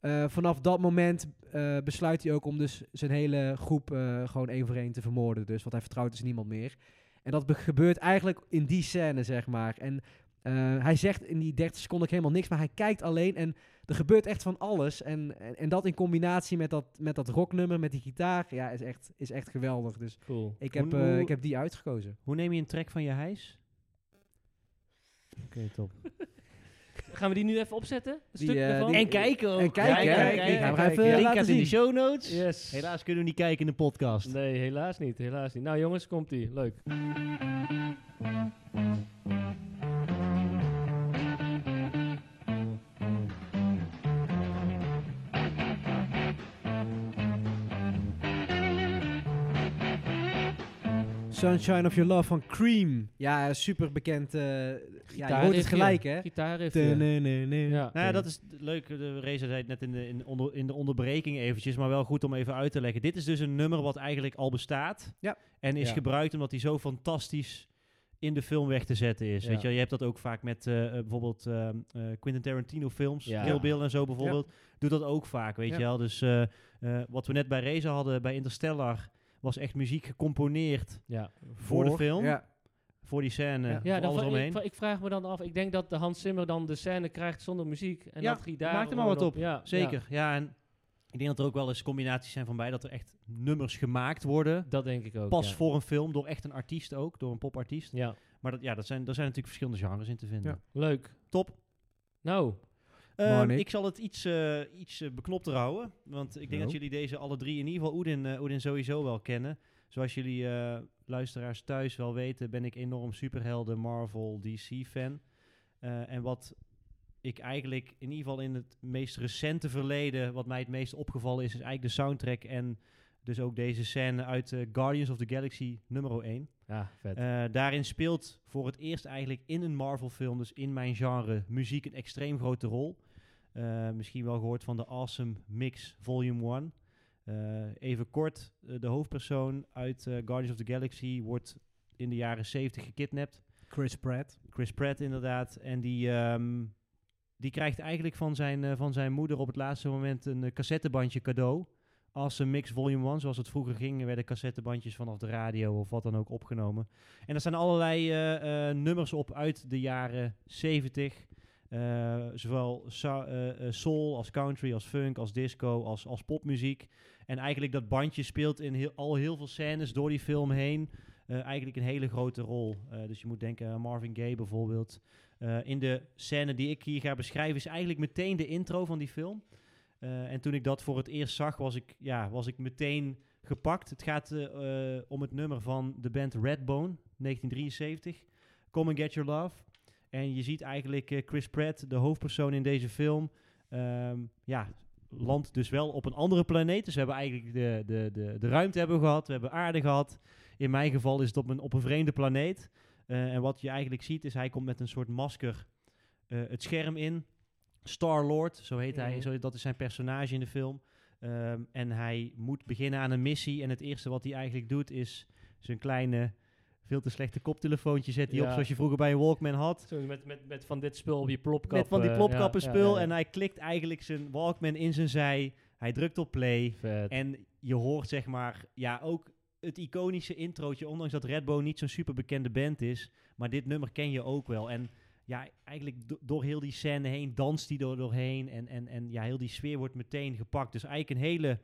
Speaker 1: eh, vanaf dat moment eh, besluit hij ook om dus zijn hele groep eh, gewoon één voor één te vermoorden. Dus, want hij vertrouwt dus niemand meer. En dat be- gebeurt eigenlijk in die scène, zeg maar. En eh, hij zegt in die 30 seconden ook helemaal niks, maar hij kijkt alleen. En er gebeurt echt van alles. En, en, en dat in combinatie met dat, met dat rocknummer, met die gitaar, ja, is echt, is echt geweldig. Dus
Speaker 2: Cool.
Speaker 1: ik heb,
Speaker 3: Hoe-
Speaker 1: eh,
Speaker 3: hoe-
Speaker 1: ik heb die uitgekozen.
Speaker 3: Hoe neem je een trek van je hijs? Oké, top.
Speaker 2: Gaan we die nu even opzetten? Een
Speaker 1: Die,
Speaker 2: stuk
Speaker 1: eh,
Speaker 2: ervan?
Speaker 1: die-
Speaker 3: En kijken ook.
Speaker 1: En kijken,
Speaker 3: Ja,
Speaker 1: hè?
Speaker 3: kijken,
Speaker 1: Die gaan we
Speaker 3: kijken.
Speaker 1: even eh, laten
Speaker 3: Link is in de
Speaker 1: zien.
Speaker 3: show notes.
Speaker 2: Yes.
Speaker 3: Helaas kunnen we niet kijken in de podcast.
Speaker 2: Nee, helaas niet. Helaas niet. Nou jongens, komt ie. Leuk.
Speaker 1: Sunshine of Your Love van Cream. Ja, super bekend. ja, je hoort het
Speaker 2: Gitaarriffje.
Speaker 1: gelijk, hè?
Speaker 2: Gitaarriffje.
Speaker 1: Ja.
Speaker 2: Ja.
Speaker 3: Nou ja, dat is leuk. De Razer zei het net in de, in, onder, in de onderbreking eventjes, maar wel goed om even uit te leggen. Dit is dus een nummer wat eigenlijk al bestaat.
Speaker 1: Ja.
Speaker 3: En is
Speaker 2: Ja.
Speaker 3: gebruikt omdat hij zo fantastisch in de film weg te zetten is.
Speaker 2: Ja.
Speaker 3: Weet je, wel, je hebt dat ook vaak met eh, eh, bijvoorbeeld ehm, eh, Quentin Tarantino films,
Speaker 2: Ja.
Speaker 3: Kill Bill en zo bijvoorbeeld. Doet dat ook vaak, weet
Speaker 1: Ja.
Speaker 3: je wel. Dus eh, eh, wat we net bij Razer hadden, bij Interstellar, was echt muziek gecomponeerd
Speaker 2: Ja.
Speaker 3: voor, de film,
Speaker 1: Ja.
Speaker 3: voor die scène,
Speaker 1: Ja.
Speaker 3: ja.
Speaker 2: Ja, dan
Speaker 3: alles
Speaker 2: vra- ik,
Speaker 3: omheen.
Speaker 2: vra- ik vraag me dan af. Ik denk dat de Hans Zimmer dan de scène krijgt zonder muziek. En
Speaker 3: Ja,
Speaker 2: dat gitaar
Speaker 3: maakt er maar
Speaker 2: gewoon
Speaker 3: wat op.
Speaker 2: Ja, ja.
Speaker 3: Zeker, ja. En ik denk dat er ook wel eens combinaties zijn van bij dat er echt nummers gemaakt worden.
Speaker 2: Dat denk ik ook.
Speaker 3: Pas
Speaker 2: ja.
Speaker 3: voor een film, door echt een artiest ook, door een popartiest.
Speaker 2: Ja.
Speaker 3: Maar dat, ja, dat zijn, daar zijn natuurlijk verschillende genres in te vinden.
Speaker 1: Ja.
Speaker 2: Leuk.
Speaker 3: Top.
Speaker 2: Nou,
Speaker 3: Ehm,
Speaker 1: Maar Nick?
Speaker 3: ik zal het iets, eh, iets eh, beknopter houden. Want ik denk dat
Speaker 1: Oh.
Speaker 3: jullie deze alle drie, in ieder geval Oedin, eh, Oedin sowieso wel kennen. Zoals jullie eh, luisteraars thuis wel weten, ben ik enorm superhelden Marvel DC fan. Eh, en wat ik eigenlijk in ieder geval in het meest recente verleden, wat mij het meest opgevallen is, is eigenlijk de soundtrack en dus ook deze scène uit eh, Guardians of the Galaxy nummer 1.
Speaker 2: ja, vet.
Speaker 3: Eh, daarin speelt voor het eerst eigenlijk in een Marvel-film, dus in mijn genre, muziek een extreem grote rol. Eh, misschien wel gehoord van de Awesome Mix Volume 1. Eh, even kort, eh, de hoofdpersoon uit eh, Guardians of the Galaxy wordt in de jaren 70 gekidnapt.
Speaker 1: Chris Pratt.
Speaker 3: Chris Pratt inderdaad. En die, ehm, die krijgt eigenlijk van zijn, eh, van zijn moeder op het laatste moment een eh, cassettebandje cadeau. Als een mix volume 1, zoals het vroeger ging, werden cassettebandjes vanaf de radio of wat dan ook opgenomen. En er zijn allerlei eh, eh, nummers op uit de jaren 70. Eh, zowel sa- eh, eh, soul als country, als funk, als disco, als, als popmuziek. En eigenlijk dat bandje speelt in heel, al heel veel scènes door die film heen. eh, eigenlijk een hele grote rol. Eh, dus je moet denken aan Marvin Gaye bijvoorbeeld. Eh, in de scène die ik hier ga beschrijven is eigenlijk meteen de intro van die film. Eh, en toen ik dat voor het eerst zag, was ik, ja, was ik meteen gepakt. Het gaat eh, eh, om het nummer van de band Redbone, 1973. Come and Get Your Love. En je ziet eigenlijk eh, Chris Pratt, de hoofdpersoon in deze film, ehm, ja, landt dus wel op een andere planeet. Dus we hebben eigenlijk de, de, de, de ruimte hebben we gehad, we hebben aarde gehad. In mijn geval is het op een, op een vreemde planeet. Eh, en wat je eigenlijk ziet is hij komt met een soort masker eh, het scherm in. Star-Lord, zo heet hij,
Speaker 2: Mhm.
Speaker 3: zo, dat is zijn personage in de film. Ehm, en hij moet beginnen aan een missie. En het eerste wat hij eigenlijk doet is zijn kleine, veel te slechte koptelefoontje zet hij op
Speaker 2: Ja.
Speaker 3: zoals je vroeger bij een Walkman had.
Speaker 2: Zo met, met, met van dit spul op je plopkap.
Speaker 3: Met van die
Speaker 2: eh,
Speaker 3: plopkappenspul.
Speaker 2: ja, ja, ja.
Speaker 3: En hij klikt eigenlijk zijn Walkman in zijn zij. Hij drukt op play.
Speaker 2: Vet.
Speaker 3: En je hoort zeg maar, ja, ook het iconische introotje. Ondanks dat Redbone niet zo'n super bekende band is. Maar dit nummer ken je ook wel. En ja, eigenlijk do- door heel die scène heen danst hij er doorheen. En, en, en ja, heel die sfeer wordt meteen gepakt. Dus eigenlijk een hele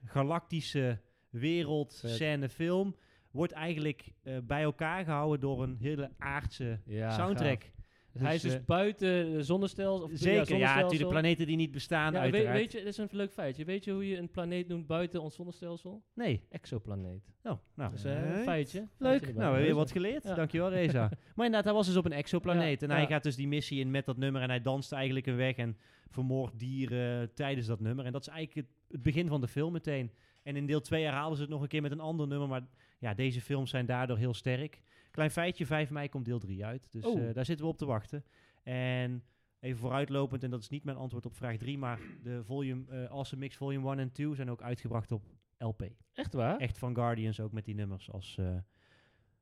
Speaker 3: intergalactische wereld,
Speaker 2: Vet.
Speaker 3: scène, film. Wordt eigenlijk eh, bij elkaar gehouden door een hele aardse
Speaker 2: Ja,
Speaker 3: soundtrack.
Speaker 2: gaaf. hij is
Speaker 3: Dus,
Speaker 2: dus
Speaker 3: eh,
Speaker 2: buiten de zonnestelsel. Of,
Speaker 3: Zeker, ja, natuurlijk
Speaker 2: zonnestelsel.
Speaker 3: planeten die niet bestaan
Speaker 2: Ja, weet,
Speaker 3: uiteraard.
Speaker 2: weet je, dat is een leuk feitje. Weet je hoe je een planeet noemt buiten ons zonnestelsel?
Speaker 3: Nee,
Speaker 2: Exoplaneet.
Speaker 3: oh, nou,
Speaker 2: Dat is eh,
Speaker 1: Right.
Speaker 2: een feitje. Feitje
Speaker 3: leuk.
Speaker 2: erbij.
Speaker 3: Nou, weer wat geleerd.
Speaker 2: Ja.
Speaker 3: Dankjewel, Reza. maar inderdaad, hij was dus op een exoplaneet.
Speaker 2: Ja,
Speaker 3: en hij
Speaker 2: ja.
Speaker 3: gaat dus die missie in met dat nummer. En hij danst eigenlijk een weg en vermoordt dieren tijdens dat nummer. En dat is eigenlijk het, het begin van de film meteen. En in deel 2 herhalen ze het nog een keer met een ander nummer. Maar ja, deze films zijn daardoor heel sterk. Klein feitje, 5 mei komt deel 3 uit. Dus
Speaker 2: Oh.
Speaker 3: eh, daar zitten we op te wachten. En even vooruitlopend, en dat is niet mijn antwoord op vraag 3, maar de volume, eh Awesome Mix Volume 1 en 2 zijn ook uitgebracht op LP.
Speaker 2: Echt waar?
Speaker 3: Echt van Guardians ook met die nummers als, eh,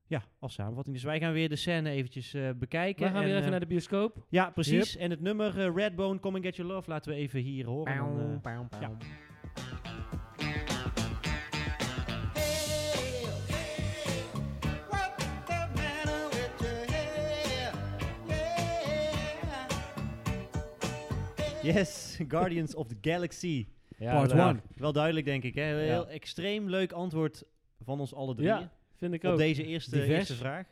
Speaker 3: ja, als samenvatting. Dus wij gaan weer de scène eventjes eh, bekijken.
Speaker 2: We gaan
Speaker 3: en,
Speaker 2: weer
Speaker 3: eh,
Speaker 2: even naar de bioscoop.
Speaker 3: Ja, precies. En het nummer eh, Redbone, Come and Get Your Love laten we even hier horen. En dan, eh, ja. Yes, Guardians of the Galaxy.
Speaker 2: Ja,
Speaker 1: Part
Speaker 2: leuk.
Speaker 1: 1.
Speaker 3: Wel duidelijk, denk ik. Hè? Heel
Speaker 2: Ja.
Speaker 3: extreem leuk antwoord van ons alle drie.
Speaker 2: Ja, vind ik
Speaker 3: op
Speaker 2: ook.
Speaker 3: deze eerste,
Speaker 1: Divers.
Speaker 3: eerste vraag.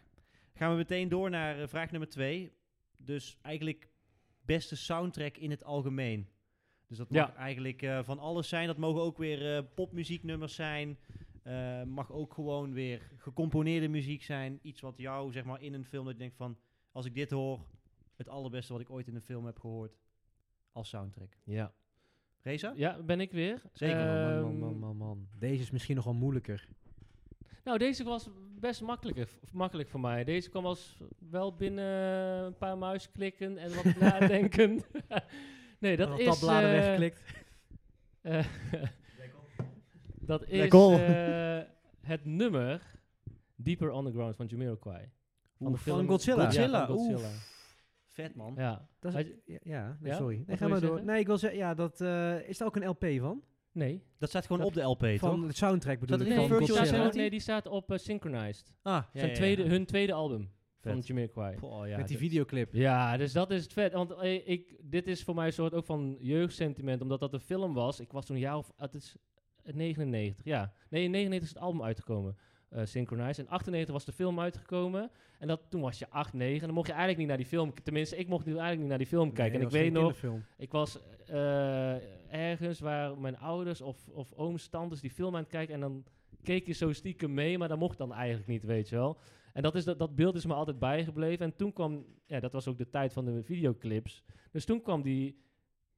Speaker 3: Gaan we meteen door naar eh, vraag nummer twee. Dus eigenlijk beste soundtrack in het algemeen. Dus dat mag
Speaker 2: Ja.
Speaker 3: eigenlijk eh, van alles zijn. Dat mogen ook weer eh, popmuzieknummers zijn. Eh, mag ook gewoon weer gecomponeerde muziek zijn. Iets wat jou, zeg maar, in een film dat je denkt van... Als ik dit hoor, het allerbeste wat ik ooit in een film heb gehoord. Als soundtrack.
Speaker 2: Ja.
Speaker 3: Reza?
Speaker 2: ja, ben ik weer.
Speaker 3: Zeker,
Speaker 1: Man,
Speaker 2: Ehm,
Speaker 1: man, man, man, man. Deze is misschien nogal moeilijker.
Speaker 2: Nou, deze was best makkelijker, v- makkelijk voor mij. Deze kwam als wel binnen eh, een paar muisklikken en wat nadenken. nee, dat is...
Speaker 1: tabbladen
Speaker 2: eh,
Speaker 1: weggeklikt.
Speaker 2: eh, dat is
Speaker 3: Lekker.
Speaker 2: eh, het nummer Deeper Underground van Jamiroquai. Van, de
Speaker 1: Oeh, van Godzilla.
Speaker 2: Ja, van
Speaker 3: Godzilla,
Speaker 2: Godzilla.
Speaker 3: Vet, man.
Speaker 2: Ja.
Speaker 1: Dat
Speaker 2: had
Speaker 1: is,
Speaker 2: je-
Speaker 1: ja, ja, nee,
Speaker 2: Ja?
Speaker 1: sorry. Nee,
Speaker 2: Wat
Speaker 1: ga
Speaker 2: wil
Speaker 1: maar
Speaker 2: je
Speaker 1: door.
Speaker 2: zeggen?
Speaker 1: Nee, ik wil zeggen, ja, dat eh, is daar ook een LP van?
Speaker 2: Nee.
Speaker 3: Dat staat gewoon
Speaker 2: Dat-
Speaker 3: op de LP,
Speaker 1: van
Speaker 3: toch?
Speaker 1: het soundtrack bedoel
Speaker 3: Zat
Speaker 1: ik.
Speaker 3: er
Speaker 2: Nee,
Speaker 1: Van
Speaker 3: geen
Speaker 2: die
Speaker 3: Virtual
Speaker 1: Godzilla.
Speaker 2: staat,
Speaker 3: Reality?
Speaker 2: nee, die staat op eh, Synchronized.
Speaker 3: Ah,
Speaker 2: Zijn Tweede, hun tweede album van
Speaker 3: Vet.
Speaker 2: Jamiroquai.
Speaker 3: Goh, ja,
Speaker 1: Met die
Speaker 3: dat-
Speaker 1: videoclip.
Speaker 2: Ja, dus dat is het vet. Want eh, ik, dit is voor mij een soort ook van jeugdsentiment, omdat dat een film was. Ik was toen een jaar of... Het is 99, ja. Nee, in 99 is het album uitgekomen, eh Synchronize. En 98 was de film uitgekomen. En dat, toen was je 8, 9. En dan mocht je eigenlijk niet naar die film... Tenminste, ik mocht nu eigenlijk niet naar die film kijken. en ik weet nog, ik was eh, ergens waar mijn ouders of, of ooms, tantes die film aan het kijken... en dan keek je zo stiekem mee, maar dat mocht dan eigenlijk niet, weet je wel. En dat, is, dat, dat beeld is me altijd bijgebleven. En toen kwam, ja, dat was ook de tijd van de videoclips. Dus toen kwam die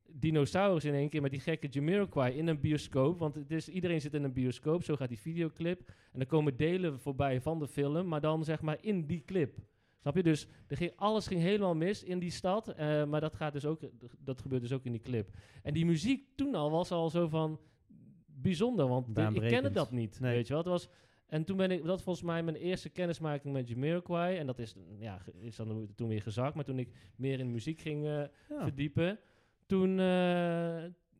Speaker 2: dinosaurus in één keer met die gekke Jamiroquai in een bioscoop. Want het is, iedereen zit in een bioscoop, zo gaat die videoclip. En er komen delen voorbij van de film, maar dan zeg maar in die clip. Snap je? Dus er ging, alles ging helemaal mis in die stad. eh, maar dat, gaat dus ook, dat gebeurt dus ook in die clip. En die muziek toen al was al zo van bijzonder, want dit- ik kende
Speaker 3: Baanbrekend.
Speaker 2: dat niet.
Speaker 3: Nee.
Speaker 2: Weet je wel? Het was, en toen ben ik, dat was volgens mij mijn eerste kennismaking met Jamiroquai. En dat is, ja, ge- is dan toen weer gezakt. Maar toen ik meer in muziek ging eh,
Speaker 3: Ja.
Speaker 2: verdiepen. Toen, eh,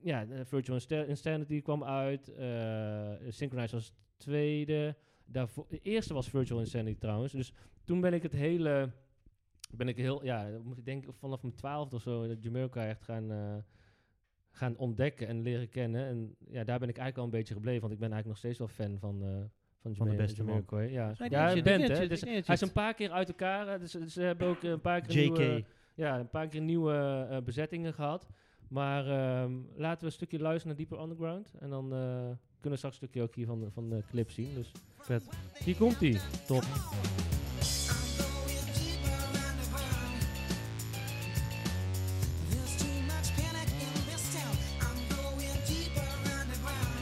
Speaker 2: ja, de Virtual Insta- Insanity kwam uit. eh Synchronize was tweede. Daarvoor, de eerste was Virtual Insanity trouwens. Dus toen ben ik het hele, ben ik heel, ja, moet ik denken vanaf mijn twaalfde of zo, dat Jamaica echt gaan, eh, gaan ontdekken en leren kennen. En ja, daar ben ik eigenlijk al een beetje gebleven, want ik ben eigenlijk nog steeds wel fan van, eh, Van,
Speaker 3: Van de
Speaker 2: Jama-
Speaker 3: beste man.
Speaker 2: Jamiroquai, Ja,
Speaker 3: Nee, die
Speaker 2: ja
Speaker 3: is
Speaker 2: een
Speaker 3: het,
Speaker 2: band,
Speaker 3: die is
Speaker 2: hè.
Speaker 3: het,
Speaker 2: Dus
Speaker 3: die is
Speaker 2: hij is
Speaker 3: het.
Speaker 2: een paar keer uit elkaar. eh, Dus, dus ze hebben ook een paar keer nieuwe,
Speaker 3: JK.
Speaker 2: ja, een paar keer nieuwe eh, bezettingen gehad. Maar ehm, laten we een stukje luisteren naar Deeper Underground. En dan eh, kunnen we straks een stukje ook hier van de, van de clip zien. Dus vet. Hier komt hij. Top.
Speaker 6: There's too much panic in this town. I'm going deeper underground.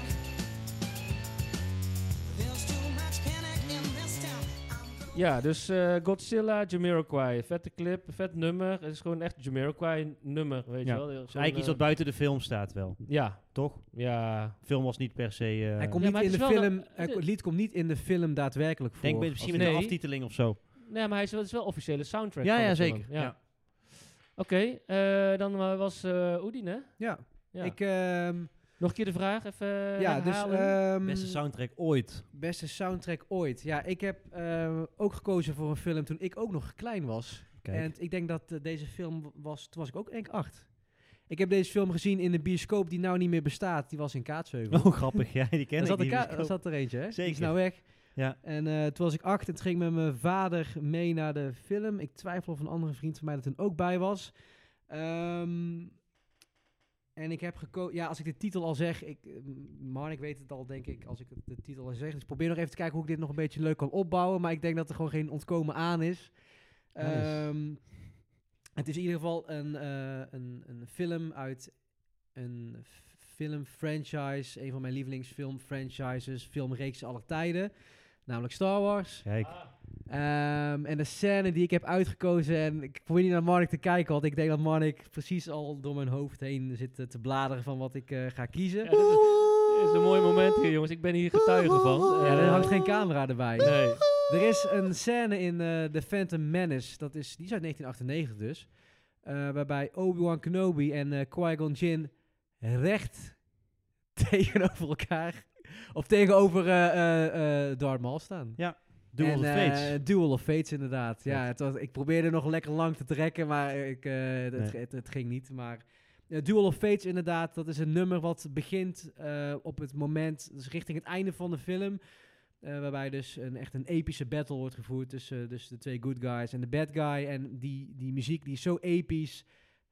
Speaker 6: There's too much panic in this town. I'm going
Speaker 2: Ja, dus eh, Godzilla, Jamiroquai. Vette clip, vet nummer. Het is gewoon echt Jamiroquai nummer, weet
Speaker 3: Ja,
Speaker 2: je wel. eh,
Speaker 3: Dus eigenlijk
Speaker 1: eh,
Speaker 3: iets wat buiten de film staat wel,
Speaker 2: Ja,
Speaker 3: toch?
Speaker 2: ja.
Speaker 3: De film was niet per se... eh,
Speaker 1: Hij komt
Speaker 2: Ja,
Speaker 1: niet
Speaker 2: maar
Speaker 1: in
Speaker 2: het
Speaker 1: de
Speaker 2: is wel
Speaker 1: film,
Speaker 2: een-
Speaker 1: hij ko- het lied komt niet in de film daadwerkelijk voor. Mm.
Speaker 3: denk bij- misschien
Speaker 1: Als-
Speaker 3: met een
Speaker 2: Nee.
Speaker 3: aftiteling of zo.
Speaker 2: Nee, maar hij is wel, het is wel officiële soundtrack.
Speaker 3: Ja,
Speaker 2: van
Speaker 3: ja,
Speaker 2: de film.
Speaker 3: zeker.
Speaker 2: Ja.
Speaker 3: Ja.
Speaker 2: Oké, eh, dan eh, was eh Oedin, hè?
Speaker 1: Ja,
Speaker 2: Ja.
Speaker 1: ik... ehm,
Speaker 2: Nog een keer de vraag, even eh,
Speaker 1: ja, dus...
Speaker 3: eh,
Speaker 1: ehm,
Speaker 3: Beste soundtrack ooit.
Speaker 1: beste soundtrack ooit. Ja, ik heb eh, ook gekozen voor een film toen ik ook nog klein was.
Speaker 3: Kijk.
Speaker 1: En ik denk dat eh, deze film was, toen was ik ook denk ik acht. Ik heb deze film gezien in de bioscoop die nou niet meer bestaat. Die was in Kaatsheuvel.
Speaker 3: Oh, grappig. Ja, die ken
Speaker 1: Daar
Speaker 3: ik
Speaker 1: zat,
Speaker 3: niet,
Speaker 1: een ka-
Speaker 3: dus ik
Speaker 1: daar
Speaker 3: hoop-
Speaker 1: zat er eentje, hè? Die is
Speaker 3: Zeker.
Speaker 1: nou weg.
Speaker 3: Ja.
Speaker 1: En eh, toen was ik acht en toen ging ik met mijn vader mee naar de film. Ik twijfel of een andere vriend van mij er toen ook bij was. Ehm, en ik heb gekozen... Ja, als ik de titel al zeg... Ik, eh, Marnik weet het al, denk ik, als ik de titel al zeg. Dus ik probeer nog even te kijken hoe ik dit nog een beetje leuk kan opbouwen. Maar ik denk dat er gewoon geen ontkomen aan is.
Speaker 3: Nice.
Speaker 1: Ehm, het is in ieder geval een, eh, een, een film uit een f- filmfranchise, een van mijn lievelingsfilmfranchises, filmreeksen aller tijden, namelijk Star Wars.
Speaker 3: Kijk.
Speaker 1: Ehm, en de scène die ik heb uitgekozen, en ik probeer niet naar Marnik te kijken, want ik denk dat Marnik precies al door mijn hoofd heen zit eh, te bladeren van wat ik eh, ga kiezen.
Speaker 2: Ja, dit is, dit is een mooi moment hier, jongens. Ik ben hier getuige van.
Speaker 1: Ja,
Speaker 2: Eh,
Speaker 1: er hangt geen camera erbij.
Speaker 2: Nee.
Speaker 1: Er is een scène in eh The Phantom Menace, dat is, die is uit 1998 dus, eh, waarbij Obi-Wan Kenobi en eh Qui-Gon Jinn recht tegenover elkaar, of tegenover eh eh, eh, Darth Maul staan.
Speaker 3: Duel
Speaker 1: En,
Speaker 3: of the
Speaker 1: eh,
Speaker 3: Fates.
Speaker 1: Duel of Fates, inderdaad. Ja,
Speaker 3: Ja.
Speaker 1: het was, ik probeerde nog lekker lang te trekken, maar ik, eh, het,
Speaker 3: Nee.
Speaker 1: het, het ging niet. Maar eh, Duel of Fates, inderdaad, dat is een nummer wat begint eh, op het moment, dus richting het einde van de film. eh, waarbij dus een, echt een epische battle wordt gevoerd tussen eh, dus de twee good guys en de bad guy. En die, die muziek die is zo episch,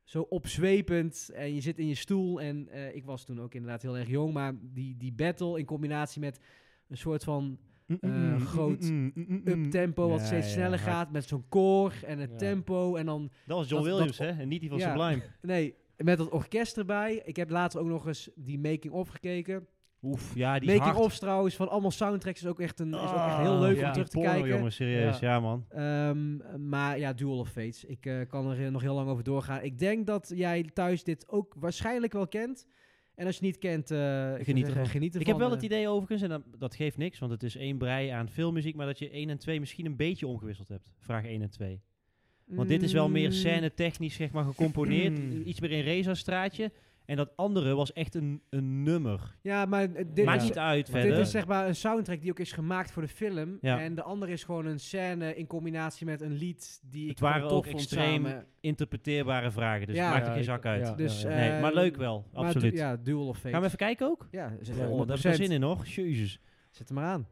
Speaker 1: zo opzwepend. En je zit in je stoel. En eh, ik was toen ook inderdaad heel erg jong. Maar die, die battle in combinatie met een soort van
Speaker 3: Mm,
Speaker 1: eh, groot uptempo, wat
Speaker 3: Ja,
Speaker 1: steeds
Speaker 3: ja,
Speaker 1: sneller
Speaker 3: hard.
Speaker 1: gaat met zo'n koor en het
Speaker 2: Ja.
Speaker 1: tempo en dan
Speaker 3: Dat was John
Speaker 1: dat-
Speaker 3: Williams, hè? En niet die van
Speaker 1: Ja.
Speaker 3: Sublime.
Speaker 1: nee met dat orkest erbij. Ik heb later ook nog eens die making of gekeken.
Speaker 3: Oef, ja, die is
Speaker 1: making
Speaker 3: hard.
Speaker 1: ofs trouwens van allemaal soundtracks is ook echt een is ook echt heel
Speaker 3: Ah,
Speaker 1: leuk
Speaker 2: ja.
Speaker 1: om terug te
Speaker 3: porno,
Speaker 1: kijken.
Speaker 3: jongens, serieus.
Speaker 2: Ja.
Speaker 3: Ja, man.
Speaker 1: Ehm, maar ja, Duel of Fates. Ik eh, kan er eh, nog heel lang over doorgaan. Ik denk dat jij thuis dit ook waarschijnlijk wel kent. En als je niet kent, eh ik
Speaker 3: Geniet
Speaker 1: geniet,
Speaker 3: ervan.
Speaker 1: geniet
Speaker 3: Ik
Speaker 1: ervan.
Speaker 3: heb wel
Speaker 1: eh.
Speaker 3: het idee overigens, en dan- dat geeft niks, want het is één brei aan filmmuziek, maar dat je één en twee misschien een beetje omgewisseld hebt. Vraag 1 en 2. Want dit is wel meer
Speaker 1: Mm,
Speaker 3: scène technisch zeg maar, gecomponeerd. Iets meer in Reza-straatje. En dat andere was echt een, een nummer.
Speaker 1: Ja, maar eh, dit,
Speaker 3: Maakt
Speaker 1: is,
Speaker 3: niet uit
Speaker 2: Maar
Speaker 3: verder.
Speaker 1: Dit is zeg maar een soundtrack die ook is gemaakt voor de film.
Speaker 3: eh, Ja.
Speaker 1: En de andere is gewoon een scène in combinatie met een lied die
Speaker 3: Het
Speaker 1: ik gewoon
Speaker 3: waren
Speaker 1: tof
Speaker 3: ook
Speaker 1: vond
Speaker 3: extreem
Speaker 1: samen.
Speaker 3: Interpreteerbare vragen, dus
Speaker 1: Ja.
Speaker 3: maakt er
Speaker 2: Ja,
Speaker 3: geen
Speaker 2: ik-
Speaker 3: zak uit.
Speaker 2: ja.
Speaker 1: Dus, eh,
Speaker 3: nee, maar leuk wel,
Speaker 1: Maar
Speaker 3: absoluut.
Speaker 1: du- ja, Duel of Fate.
Speaker 3: Gaan we even kijken ook?
Speaker 1: ja, zet,
Speaker 3: Ja,
Speaker 1: er
Speaker 3: daar heb ik wel
Speaker 1: 100%.
Speaker 3: zin in, hoor. Jezus.
Speaker 1: zet hem maar aan.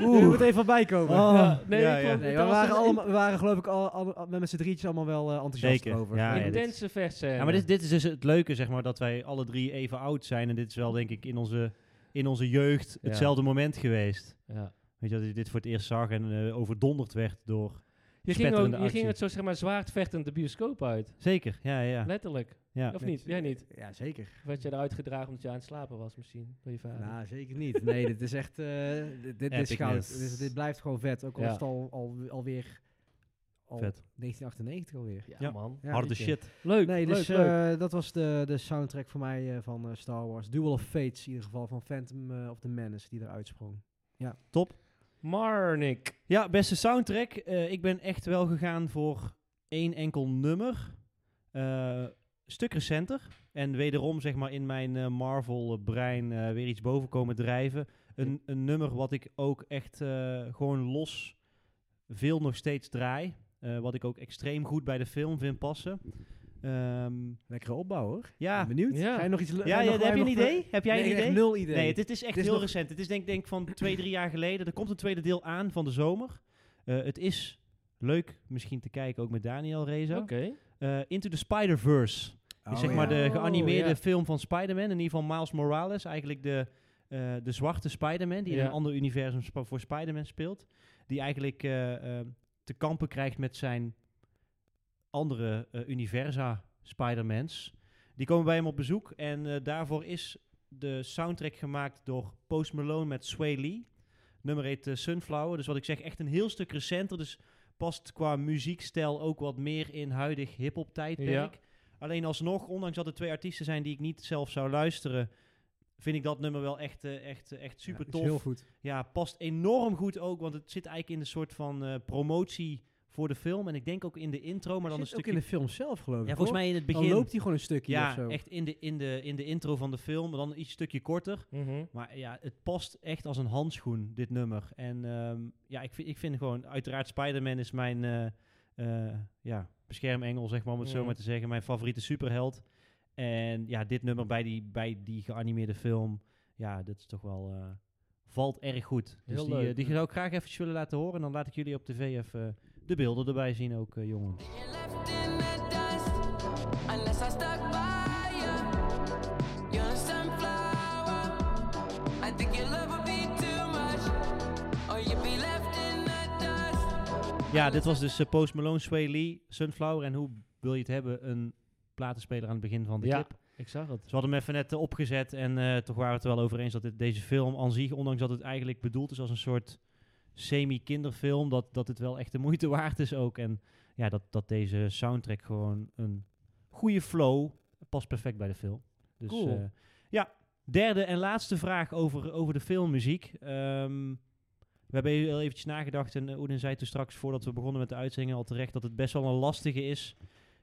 Speaker 1: Oeh. Je moet even van bijkomen.
Speaker 2: Ja, nee,
Speaker 3: oh. ja,
Speaker 2: ik
Speaker 3: ja.
Speaker 2: vond-
Speaker 1: Nee,
Speaker 2: Oh. dat
Speaker 1: we
Speaker 2: was
Speaker 1: waren,
Speaker 2: een
Speaker 1: allemaal, we waren geloof ik al, al- al- met z'n drietjes allemaal wel eh, enthousiast
Speaker 3: Zeker,
Speaker 1: over.
Speaker 3: ja, ja, dit-
Speaker 2: Intense versen.
Speaker 3: Ja, maar dit, dit is dus het leuke, zeg maar, dat wij alle drie even oud zijn. En dit is wel, denk ik, in onze, in onze jeugd
Speaker 2: Ja.
Speaker 3: hetzelfde moment geweest.
Speaker 2: Ja.
Speaker 3: Weet je, dat je dit voor het eerst zag en eh, overdonderd werd door...
Speaker 2: Je, ging ook,
Speaker 3: Spetterende
Speaker 2: je ging
Speaker 3: actie.
Speaker 2: het zo zeg maar zwaardvechtend de bioscoop uit.
Speaker 3: Zeker, ja, ja. ja.
Speaker 2: Letterlijk.
Speaker 3: ja.
Speaker 2: Of niet? Jij niet?
Speaker 1: Ja, zeker.
Speaker 2: Of werd je eruit gedragen omdat je aan het slapen was misschien? Door je vader?
Speaker 1: Nou, zeker niet. Nee, dit is echt. eh, dit, dit is
Speaker 3: Epicness.
Speaker 1: goud. Dit, is- dit blijft gewoon vet. Ook al
Speaker 2: Ja.
Speaker 1: is het al, al, alweer. Al
Speaker 3: Vet.
Speaker 1: 1998 alweer.
Speaker 2: ja,
Speaker 3: ja.
Speaker 2: man.
Speaker 1: Ja,
Speaker 3: Harde
Speaker 1: weet je.
Speaker 3: shit.
Speaker 2: Leuk,
Speaker 1: Nee,
Speaker 2: leuk,
Speaker 1: dus
Speaker 2: leuk.
Speaker 1: eh, dat was de, de soundtrack voor mij eh, van eh, Star Wars. Duel of Fates, in ieder geval van Phantom eh, of the Menace, die eruit sprong.
Speaker 2: Marnik.
Speaker 3: Ja, beste soundtrack. Eh, ik ben echt wel gegaan voor één enkel nummer. Eh, stuk recenter. En wederom, zeg maar, in mijn eh, Marvel-brein eh, weer iets boven komen drijven. Een, een nummer wat ik ook echt eh, gewoon los veel nog steeds draai. Eh, wat ik ook extreem goed bij de film vind passen. Ehm,
Speaker 1: Lekkere opbouw hoor.
Speaker 3: ja,
Speaker 1: ben benieuwd.
Speaker 2: Ja.
Speaker 1: Ga je nog iets le-
Speaker 3: ja,
Speaker 1: ga
Speaker 3: ja
Speaker 1: nog- ga
Speaker 3: heb je een
Speaker 1: nog-
Speaker 3: idee? Heb jij
Speaker 1: Nee,
Speaker 3: een
Speaker 1: echt
Speaker 3: idee?
Speaker 1: nul idee.
Speaker 3: Nee, het is, het is echt
Speaker 1: Dit is
Speaker 3: heel
Speaker 1: nog-
Speaker 3: recent. Het is denk ik van twee, drie jaar geleden. Er komt een tweede deel aan van de zomer. Eh, het is leuk misschien te kijken, ook met Daniel Reza.
Speaker 2: Oké.
Speaker 3: Eh, Into the Spider-Verse.
Speaker 1: Oh,
Speaker 3: is zeg
Speaker 1: ja.
Speaker 3: maar de
Speaker 2: Oh,
Speaker 3: geanimeerde
Speaker 2: ja.
Speaker 3: film van Spider-Man. In ieder geval Miles Morales. Eigenlijk de, eh, de zwarte Spider-Man. Die in
Speaker 2: Ja.
Speaker 3: een ander universum sp- voor Spider-Man speelt. Die eigenlijk eh, eh, te kampen krijgt met zijn andere eh, universa Spider-Mans. Die komen bij hem op bezoek. En eh, daarvoor is de soundtrack gemaakt door Post Malone met Sway Lee. Nummer heet eh, Sunflower. Dus wat ik zeg, echt een heel stuk recenter. Dus past qua muziekstijl ook wat meer in huidig hip-hop tijdperk. Alleen alsnog, ondanks dat er twee artiesten zijn die ik niet zelf zou luisteren, vind ik dat nummer wel echt, eh, echt, eh, echt
Speaker 1: Ja,
Speaker 3: super
Speaker 1: is
Speaker 3: tof.
Speaker 1: Heel goed.
Speaker 3: Ja, past enorm goed ook, want het zit eigenlijk in een soort van eh, promotie voor de film. En ik denk ook in de intro, maar dan een
Speaker 1: Zit ook
Speaker 3: stukje...
Speaker 1: in de film zelf geloof ik.
Speaker 3: ja, volgens
Speaker 1: hoor.
Speaker 3: mij in het
Speaker 1: Dan
Speaker 3: begin.
Speaker 1: loopt hij gewoon een stukje of
Speaker 3: ja,
Speaker 1: zo.
Speaker 3: echt in de, in, de, in de intro van de film, maar dan iets stukje korter.
Speaker 2: Mhm.
Speaker 3: Maar ja, het past echt als een handschoen, dit nummer. En ehm, ja, ik, vind- ik vind gewoon, uiteraard Spider-Man is mijn eh, eh, ja, beschermengel, zeg maar, om het zo
Speaker 2: Mhm.
Speaker 3: maar te zeggen. Mijn favoriete superheld. En ja, dit nummer bij die, bij die geanimeerde film, ja, dat is toch wel, eh, valt erg goed. Dus
Speaker 2: Heel
Speaker 3: die, eh,
Speaker 2: leuk.
Speaker 3: die zou ik graag even willen laten horen. En dan laat ik jullie op tv even eh, de beelden erbij zien ook, eh, jongen.
Speaker 7: You're left in the dust unless I stuck by you. You're a sunflower. I think your love would be too much, or you'd be left in the dust.
Speaker 3: Ja, dit was dus eh, Post Malone, Sway Lee, Sunflower. En hoe wil je het hebben? Een platenspeler aan het begin van de
Speaker 2: Ja,
Speaker 3: clip.
Speaker 2: ik zag het.
Speaker 3: Ze hadden hem even net eh, opgezet en eh, toch waren we het er wel over eens dat dit, deze film aan zich, ondanks dat het eigenlijk bedoeld is als een soort semi-kinderfilm, dat, dat het wel echt de moeite waard is ook. En ja, dat, dat deze soundtrack gewoon een goede flow past perfect bij de film. Dus
Speaker 2: Cool.
Speaker 3: eh, ja, derde en laatste vraag over, over de filmmuziek. Ehm, we hebben heel eventjes nagedacht en eh, Oedin zei toen straks voordat we begonnen met de uitzending al terecht dat het best wel een lastige is.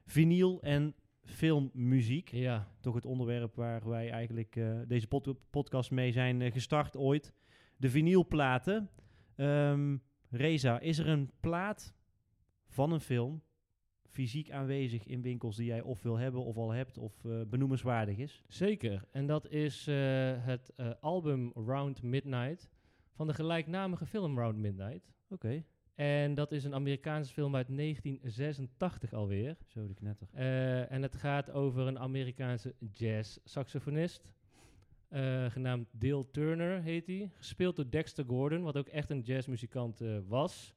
Speaker 3: Vinyl en filmmuziek
Speaker 2: Ja.
Speaker 3: toch het onderwerp waar wij eigenlijk eh, deze pod- podcast mee zijn eh, gestart ooit. De vinylplaten. Ehm Reza, is er een plaat van een film fysiek aanwezig in winkels die jij of wil hebben of al hebt of eh, benoemenswaardig is?
Speaker 2: Zeker. En dat is eh, het eh, album Round Midnight van de gelijknamige film Round Midnight.
Speaker 3: Oké,
Speaker 2: En dat is een Amerikaanse film uit 1986 alweer.
Speaker 3: zo de knetter.
Speaker 2: Eh, en het gaat over een Amerikaanse jazz-saxofonist. eh, genaamd Dale Turner heet hij. Gespeeld door Dexter Gordon, wat ook echt een jazzmuzikant eh, was.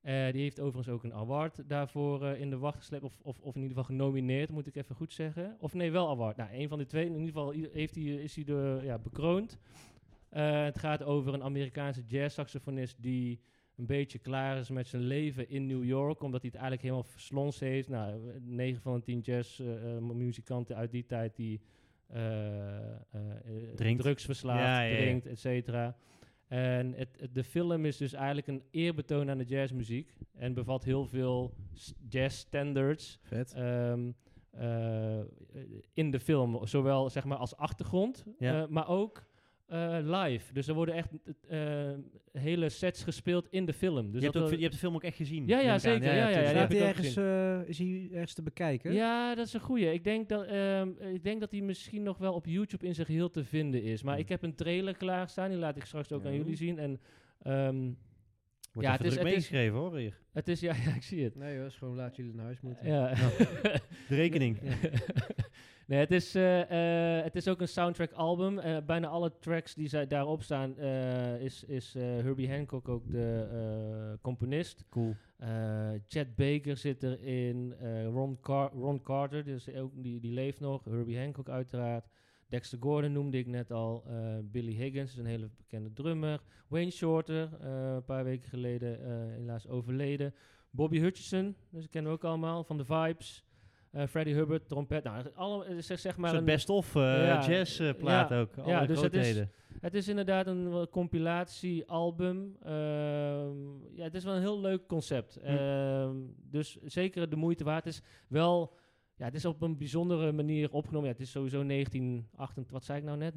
Speaker 2: Eh, die heeft overigens ook een award daarvoor eh, in de wacht gesleept. Of, of, of in ieder geval genomineerd, moet ik even goed zeggen. Of nee, wel award. Nou, een van de twee. In ieder geval i- heeft hij, eh, is hij de, ja, bekroond. Eh, het gaat over een Amerikaanse jazz-saxofonist die een beetje klaar is met zijn leven in New York, omdat hij het eigenlijk helemaal verslons heeft. Nou, 9 van de eh, 10 jazz-muzikanten uit die tijd die eh, eh, eh,
Speaker 3: Drinkt.
Speaker 2: drugs verslaafd,
Speaker 3: Ja, ja, ja.
Speaker 2: drinkt, et cetera. En het, het- de film is dus eigenlijk een eerbetoon aan de jazzmuziek en bevat heel veel s- jazz-standards
Speaker 1: Vet.
Speaker 2: ehm, eh, in de film, zowel zeg maar als achtergrond,
Speaker 3: Ja.
Speaker 2: eh, maar ook eh, live. Dus er worden echt eh, hele sets gespeeld in de film. Dus
Speaker 3: je, hebt
Speaker 2: dat
Speaker 3: ook,
Speaker 2: wel-
Speaker 3: je hebt de film ook echt gezien?
Speaker 2: Ja, ja,
Speaker 3: neem ik aan.
Speaker 2: zeker. Ja, ja,
Speaker 3: tuurlijk.
Speaker 2: ja,
Speaker 1: Staat
Speaker 2: heb ik
Speaker 1: hij
Speaker 2: ook
Speaker 1: ergens, eh, is hij ergens te bekijken?
Speaker 2: ja, dat is een goeie. Ik denk dat, ehm, ik denk dat die misschien nog wel op YouTube in zijn geheel te vinden is. Maar
Speaker 3: Hmm.
Speaker 2: ik heb een trailer klaarstaan, die laat ik straks ook
Speaker 3: Ja.
Speaker 2: aan jullie zien. En ehm,
Speaker 3: Wordt
Speaker 2: Ja,
Speaker 3: even
Speaker 2: het is-
Speaker 3: druk
Speaker 2: het is-
Speaker 3: meegeschreven hoor hier.
Speaker 2: het is, ja, ja, ik zie het.
Speaker 1: Nee hoor, is gewoon laat jullie naar huis moeten.
Speaker 2: Ja.
Speaker 3: De rekening.
Speaker 2: nee, het is, eh, eh, het is ook een soundtrack album. Eh, bijna alle tracks die zij daarop staan, eh, is, is eh, Herbie Hancock ook de eh, componist.
Speaker 3: Cool.
Speaker 2: Eh, Chad Baker zit erin, eh, Ron, Car- Ron Carter, dus ook, die, die leeft nog. Herbie Hancock uiteraard. Dexter Gordon noemde ik net al. eh, Billy Higgins is een hele bekende drummer. Wayne Shorter, eh, een paar weken geleden eh, helaas overleden. Bobby Hutcherson, dus die kennen we ook allemaal, van de Vibes. Eh Freddie Hubbard, trompet. Nou, het- alle, het is zeg maar
Speaker 3: Maar een
Speaker 2: een-
Speaker 3: best of eh,
Speaker 2: Ja,
Speaker 3: jazz eh, plaat
Speaker 2: ja,
Speaker 3: ook.
Speaker 2: ja,
Speaker 3: Alle
Speaker 2: dus het is-
Speaker 3: grootheden.
Speaker 2: Het is inderdaad een wel compilatiealbum. Ehm, ja, het is wel een heel leuk concept. Ehm, dus zeker de moeite waard. Het is wel Ja, het is op een bijzondere manier opgenomen. Ja, het is sowieso 1988, wat zei ik nou net?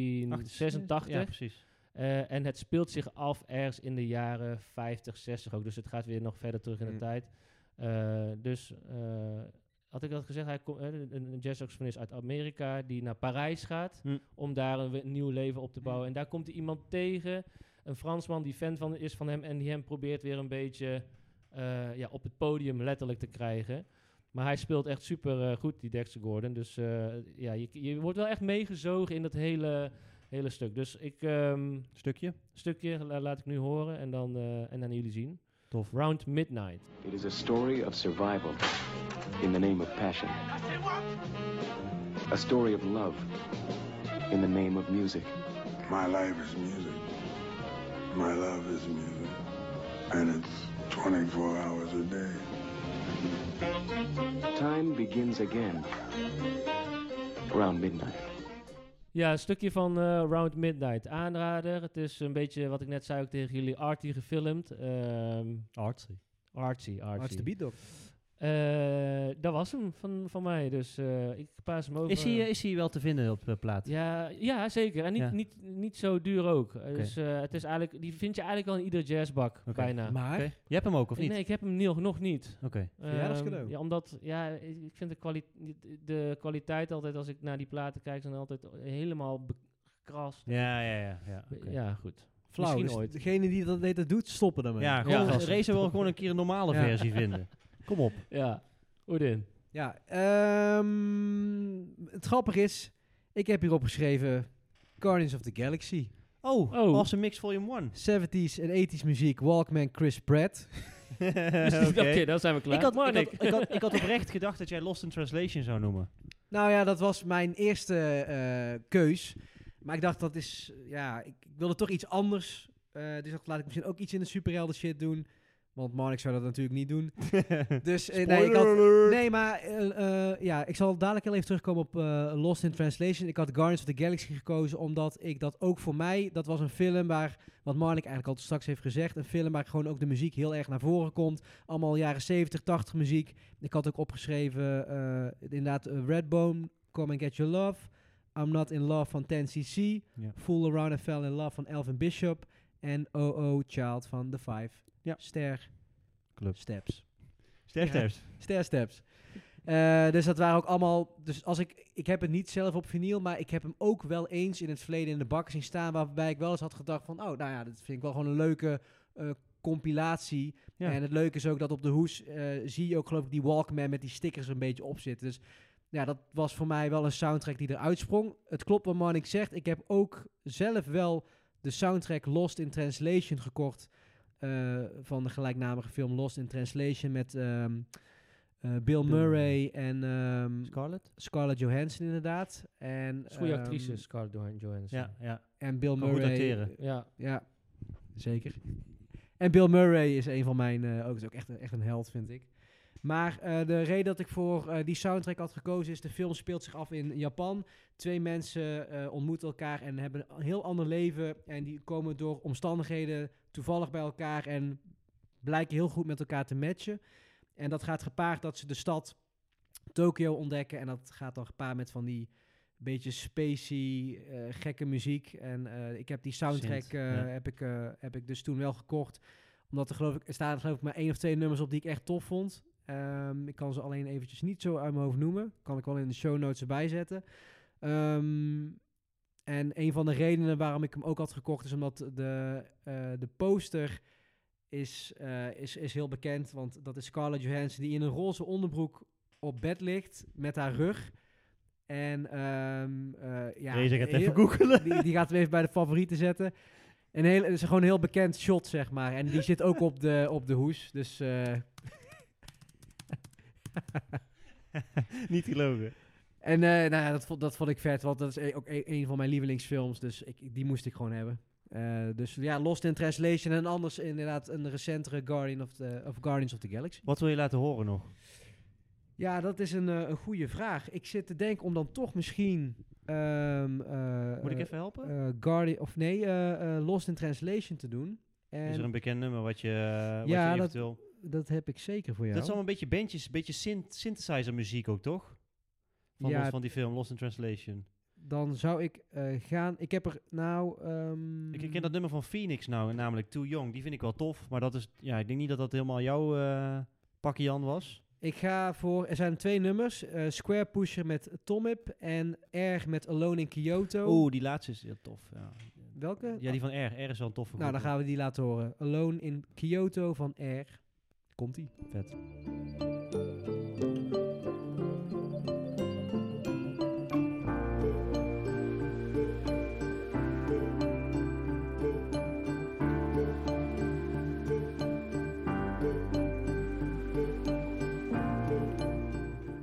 Speaker 2: 1986.
Speaker 3: Ja, precies.
Speaker 2: Eh, en het speelt zich af ergens in de jaren 50, 60 ook. Dus het gaat weer nog verder terug in de
Speaker 1: Mm.
Speaker 2: tijd. Eh, dus eh, had ik dat gezegd, hij komt, eh, een- een jazz-saxofonist uit Amerika die naar Parijs gaat
Speaker 3: Mm.
Speaker 2: om daar een, we- nieuw leven op te bouwen. En daar komt hij iemand tegen, een Fransman die fan van, is van hem en die hem probeert weer een beetje eh, ja, op het podium letterlijk te krijgen. Maar hij speelt echt super eh, goed, die Dexter Gordon. Dus eh, ja, je, je wordt wel echt meegezogen in dat hele, hele stuk. Dus ik, ehm,
Speaker 3: Stukje.
Speaker 2: stukje la- laat ik nu horen en dan eh, en aan jullie zien.
Speaker 3: Tof.
Speaker 2: Round Midnight.
Speaker 8: It is a story of survival in the name of passion. A story of love in the name of music.
Speaker 9: My life is music. My love is music. And it's 24 hours a day.
Speaker 8: Time begins again around midnight.
Speaker 2: Ja, een stukje van eh, Round Midnight. Aanrader. Het is een beetje wat ik net zei ook tegen jullie. Arty gefilmd. Ehm,
Speaker 3: Artsy.
Speaker 2: artsy, artsy.
Speaker 1: Hartstikke beat, dog.
Speaker 2: Eh, dat was hem van, van mij. Dus eh, ik paas hem over.
Speaker 3: Is hij, eh, is hij wel te vinden op de plaat?
Speaker 2: Ja, ja, zeker. En niet,
Speaker 3: Ja.
Speaker 2: niet, niet zo duur ook. Eh, Dus eh, het is eigenlijk, die vind je eigenlijk wel in ieder jazzbak,
Speaker 3: Oké.
Speaker 2: bijna.
Speaker 1: Maar,
Speaker 3: Oké. Je hebt hem ook, of niet?
Speaker 2: Nee, ik heb hem nog, nog niet.
Speaker 3: Oké.
Speaker 1: Verjaardagscadeau.
Speaker 2: Ehm, ja, omdat ja, ik ik vind de, kwali- de kwaliteit altijd, als ik naar die platen kijk, zijn altijd helemaal be- gekrast.
Speaker 3: Ja, ja, ja. Ja, oké.
Speaker 2: Ja, goed.
Speaker 1: flauw.
Speaker 2: Misschien
Speaker 1: Dus
Speaker 2: ooit.
Speaker 1: degene die dat, dat doet, stoppen daarmee.
Speaker 3: ja,
Speaker 2: Ja,
Speaker 3: gewoon,
Speaker 2: gasten.
Speaker 3: Razer wil gewoon een keer een normale
Speaker 1: Ja.
Speaker 3: versie vinden. Kom op.
Speaker 2: Ja, Oedin.
Speaker 1: Ja, ehm, het grappige is, ik heb hierop geschreven Guardians of the Galaxy.
Speaker 3: Oh,
Speaker 2: Oh.
Speaker 3: Awesome Mix Volume 1.
Speaker 1: 70s en 80s muziek, Walkman, Chris Pratt. Eh,
Speaker 2: Oké, dan zijn we
Speaker 3: Ik
Speaker 2: klaar.
Speaker 3: had, ik, had,
Speaker 2: Marnik.
Speaker 3: ik, had, ik had oprecht gedacht dat jij Lost in Translation zou noemen.
Speaker 1: Nou ja, dat was mijn eerste eh, keus. Maar ik dacht, dat is, eh, ja, ik, ik wilde toch iets anders. Eh, dus ik dacht, laat ik misschien ook iets in de superhelden shit doen. Want Marnik zou dat natuurlijk niet doen. dus eh, nee, ik had, Nee, maar eh, eh, ja, ik zal dadelijk heel even terugkomen op eh, Lost in Translation. Ik had Guardians of the Galaxy gekozen omdat ik dat ook voor mij, dat was een film waar, wat Marnik eigenlijk al straks heeft gezegd, een film waar gewoon ook de muziek heel erg naar voren komt. Allemaal jaren 70, 80 muziek. Ik had ook opgeschreven, eh, inderdaad, eh, Redbone, Come and Get Your Love, I'm Not in Love van 10cc,
Speaker 3: Ja.
Speaker 1: Fool Around and Fell in Love van Elvin Bishop en OO Child van The Five.
Speaker 3: Ja.
Speaker 1: Ster
Speaker 3: Club.
Speaker 1: Steps.
Speaker 3: Sterf,
Speaker 1: Ja.
Speaker 3: sterf.
Speaker 1: Stairsteps. Eh dus dat waren ook allemaal. Dus als ik. Ik heb het niet zelf op vinyl, maar ik heb hem ook wel eens in het verleden in de bak zien staan. Waarbij ik wel eens had gedacht: van, oh, nou ja, dat vind ik wel gewoon een leuke eh, compilatie.
Speaker 3: Ja.
Speaker 1: En het leuke is ook dat op de hoes eh, zie je ook, geloof ik, die Walkman met die stickers er een beetje op zitten. Dus ja, dat was voor mij wel een soundtrack die eruit sprong. Het klopt wat Marnik zegt. Ik heb ook zelf wel de soundtrack Lost in Translation gekocht. eh, van de gelijknamige film Lost in Translation met ehm, eh, Bill Murray en ehm,
Speaker 3: Scarlett?
Speaker 1: Scarlett Johansson inderdaad. En,
Speaker 2: is een goede
Speaker 1: ehm,
Speaker 2: eh, actrice, Scarlett Johan- Johansson.
Speaker 3: Ja, ja.
Speaker 1: En Bill
Speaker 3: Kan goed
Speaker 1: Murray.
Speaker 3: acteren.
Speaker 2: Ja,
Speaker 1: Ja, zeker. En Bill Murray is een van mijn, eh, ook, is ook echt, een- echt een held, vind ik. Maar eh, de reden dat ik voor eh, die soundtrack had gekozen is, de film speelt zich af in Japan. Twee mensen eh, ontmoeten elkaar en hebben een heel ander leven. En die komen door omstandigheden toevallig bij elkaar en blijken heel goed met elkaar te matchen. En dat gaat gepaard dat ze de stad Tokio ontdekken. En dat gaat dan gepaard met van die beetje spacey, eh, gekke muziek. En eh, ik heb die soundtrack
Speaker 3: Synth,
Speaker 1: eh,
Speaker 3: ja.
Speaker 1: heb, ik, eh, heb ik dus toen wel gekocht. Omdat er geloof ik, er staan geloof ik maar één of twee nummers op die ik echt tof vond. Ehm, ik kan ze alleen eventjes niet zo uit mijn hoofd noemen. Kan ik wel in de show notes erbij zetten. Ehm, en een van de redenen waarom ik hem ook had gekocht is omdat de, eh, de poster is, eh, is, is heel bekend. Want dat is Scarlett Johansson die in een roze onderbroek op bed ligt met haar rug. En ehm eh, ja,
Speaker 3: Deze gaat
Speaker 1: heel-
Speaker 3: even googelen.
Speaker 1: die, die gaat hem even bij de favorieten zetten. Een heel, het is gewoon een heel bekend shot, zeg maar. En die zit ook op de, op de hoes. Dus eh,
Speaker 3: Niet gelogen.
Speaker 1: En eh, nou ja, dat, vond, dat vond ik vet, want dat is e- ook e- een van mijn lievelingsfilms. Dus ik, ik- die moest ik gewoon hebben. Eh, dus ja, Lost in Translation en anders inderdaad een recentere Guardian of the, of Guardians of the Galaxy.
Speaker 3: Wat wil je laten horen nog?
Speaker 1: Ja, dat is een, eh, een goede vraag. Ik zit te denken om dan toch misschien... ehm, eh,
Speaker 3: Moet ik
Speaker 1: eh,
Speaker 3: even helpen?
Speaker 1: eh, Guardian, of nee, eh, eh, Lost in Translation te doen. En
Speaker 3: Is er een bekend nummer wat je, wat
Speaker 1: Ja,
Speaker 3: je
Speaker 1: dat-
Speaker 3: eventueel...
Speaker 1: dat heb ik zeker voor jou.
Speaker 3: Dat is allemaal een beetje bandjes, een beetje synth synthesizer muziek ook, toch? Van,
Speaker 1: Ja,
Speaker 3: los- van die film Lost in Translation.
Speaker 1: Dan zou ik eh, gaan. Ik heb er nou. ehm,
Speaker 3: Ik ken dat nummer van Phoenix nou, namelijk Too Young. Die vind ik wel tof, maar dat is, ja, ik denk niet dat dat helemaal jouw eh pakje Jan was.
Speaker 1: Ik ga voor. Er zijn twee nummers: eh, Square Pusher met Tomip en R met Alone in Kyoto.
Speaker 3: Oeh, die laatste is heel tof. Ja,
Speaker 1: Welke?
Speaker 3: ja die van R. R is wel een toffe
Speaker 1: nou, dan
Speaker 3: groep,
Speaker 1: gaan we die laten horen. Alone in Kyoto van R. Komt ie?
Speaker 3: hoor. Vet.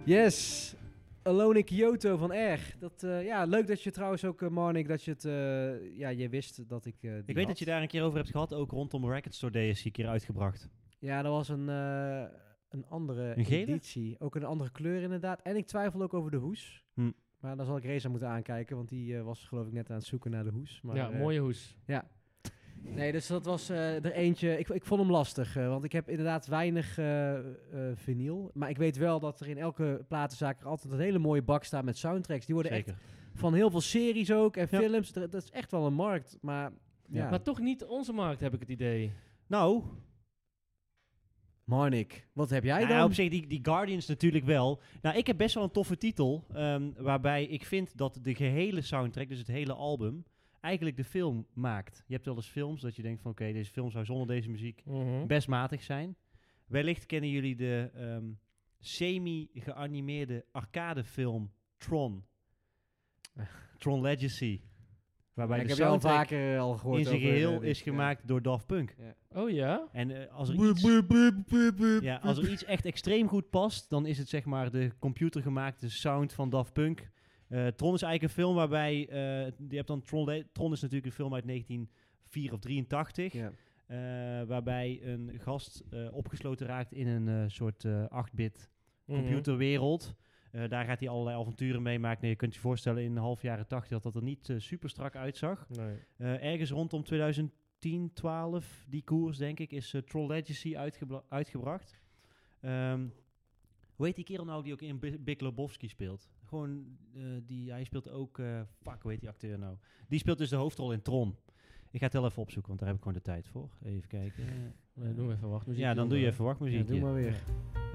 Speaker 1: Yes! Alone in Kyoto van R. Dat, eh, ja, leuk dat je trouwens ook, eh, Marnik, dat je het. eh, ja, je wist dat ik. eh, die
Speaker 3: Ik weet
Speaker 1: had.
Speaker 3: dat je daar een keer over hebt gehad, ook rondom Record Store Day is die een keer uitgebracht.
Speaker 1: Ja, dat was een, eh, een andere
Speaker 3: Een gele?
Speaker 1: editie. Ook een andere kleur inderdaad. En ik twijfel ook over de hoes.
Speaker 3: Hm.
Speaker 1: Maar daar zal ik Reza moeten aankijken, want die eh, was geloof ik net aan het zoeken naar de hoes. Maar,
Speaker 2: ja,
Speaker 1: eh,
Speaker 2: mooie hoes.
Speaker 1: Nee, dus dat was eh, er eentje. Ik, ik vond hem lastig, eh, want ik heb inderdaad weinig eh eh, vinyl. Maar ik weet wel dat er in elke platenzaak er altijd een hele mooie bak staat met soundtracks. Die worden
Speaker 3: Zeker.
Speaker 1: echt van heel veel series ook en
Speaker 3: Ja.
Speaker 1: films. Er- Dat is echt wel een markt, maar ja.
Speaker 2: Maar toch niet onze markt, heb ik het idee.
Speaker 3: Nou,
Speaker 1: Marnik, wat heb jij
Speaker 3: nou,
Speaker 1: dan?
Speaker 3: op zich, die, die Guardians natuurlijk wel. Nou, ik heb best wel een toffe titel, ehm, waarbij ik vind dat de gehele soundtrack, dus het hele album, eigenlijk de film maakt. Je hebt wel eens films dat je denkt van, oké, deze film zou zonder deze muziek
Speaker 1: Hm?
Speaker 2: Mhm.
Speaker 3: best matig zijn. Wellicht kennen jullie de ehm, semi-geanimeerde arcadefilm Tron. Tron Legacy. Waarbij
Speaker 1: Ja,
Speaker 3: de
Speaker 1: ik heb jou al
Speaker 3: soundtrack
Speaker 1: vaker eh, al gehoord.
Speaker 3: in zijn
Speaker 1: over, eh,
Speaker 3: geheel
Speaker 1: dit,
Speaker 3: is
Speaker 1: ja.
Speaker 3: gemaakt door Daft Punk.
Speaker 2: Oh ja?
Speaker 3: En eh, als, er iets, ja, als er iets echt extreem goed past, dan is het zeg maar de computergemaakte sound van Daft Punk. Eh, Tron is eigenlijk een film waarbij, eh, je hebt dan Tron, Le- Tron is natuurlijk een film uit 1984 of 83.
Speaker 1: Ja.
Speaker 3: Eh, waarbij een gast eh, opgesloten raakt in een eh, soort eh, 8-bit
Speaker 2: Mhm.
Speaker 3: computerwereld. Eh, daar gaat hij allerlei avonturen mee maken. Nee, je kunt je voorstellen in de half jaren 80 dat dat er niet eh, super strak uitzag.
Speaker 2: Nee.
Speaker 3: Eh, ergens rondom 2010, 12, die koers denk ik, is eh, Troll Legacy uitgebra- uitgebracht. Ehm, hoe heet die kerel nou die ook in Bi- Big Lebowski speelt? Gewoon, eh, die, hij speelt ook, eh, fuck, hoe heet die acteur nou? Die speelt dus de hoofdrol in Tron. Ik ga het wel even opzoeken, want daar heb ik gewoon de tijd voor. Even kijken.
Speaker 2: Nee, Doe maar even wacht.
Speaker 3: eh, ja, dan doe je even
Speaker 1: Ja,
Speaker 3: wachtmuziekje.
Speaker 1: doe maar weer.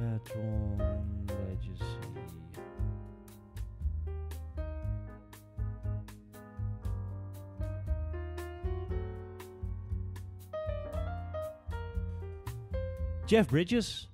Speaker 3: Eh, Tron Legacy. Jeff Bridges.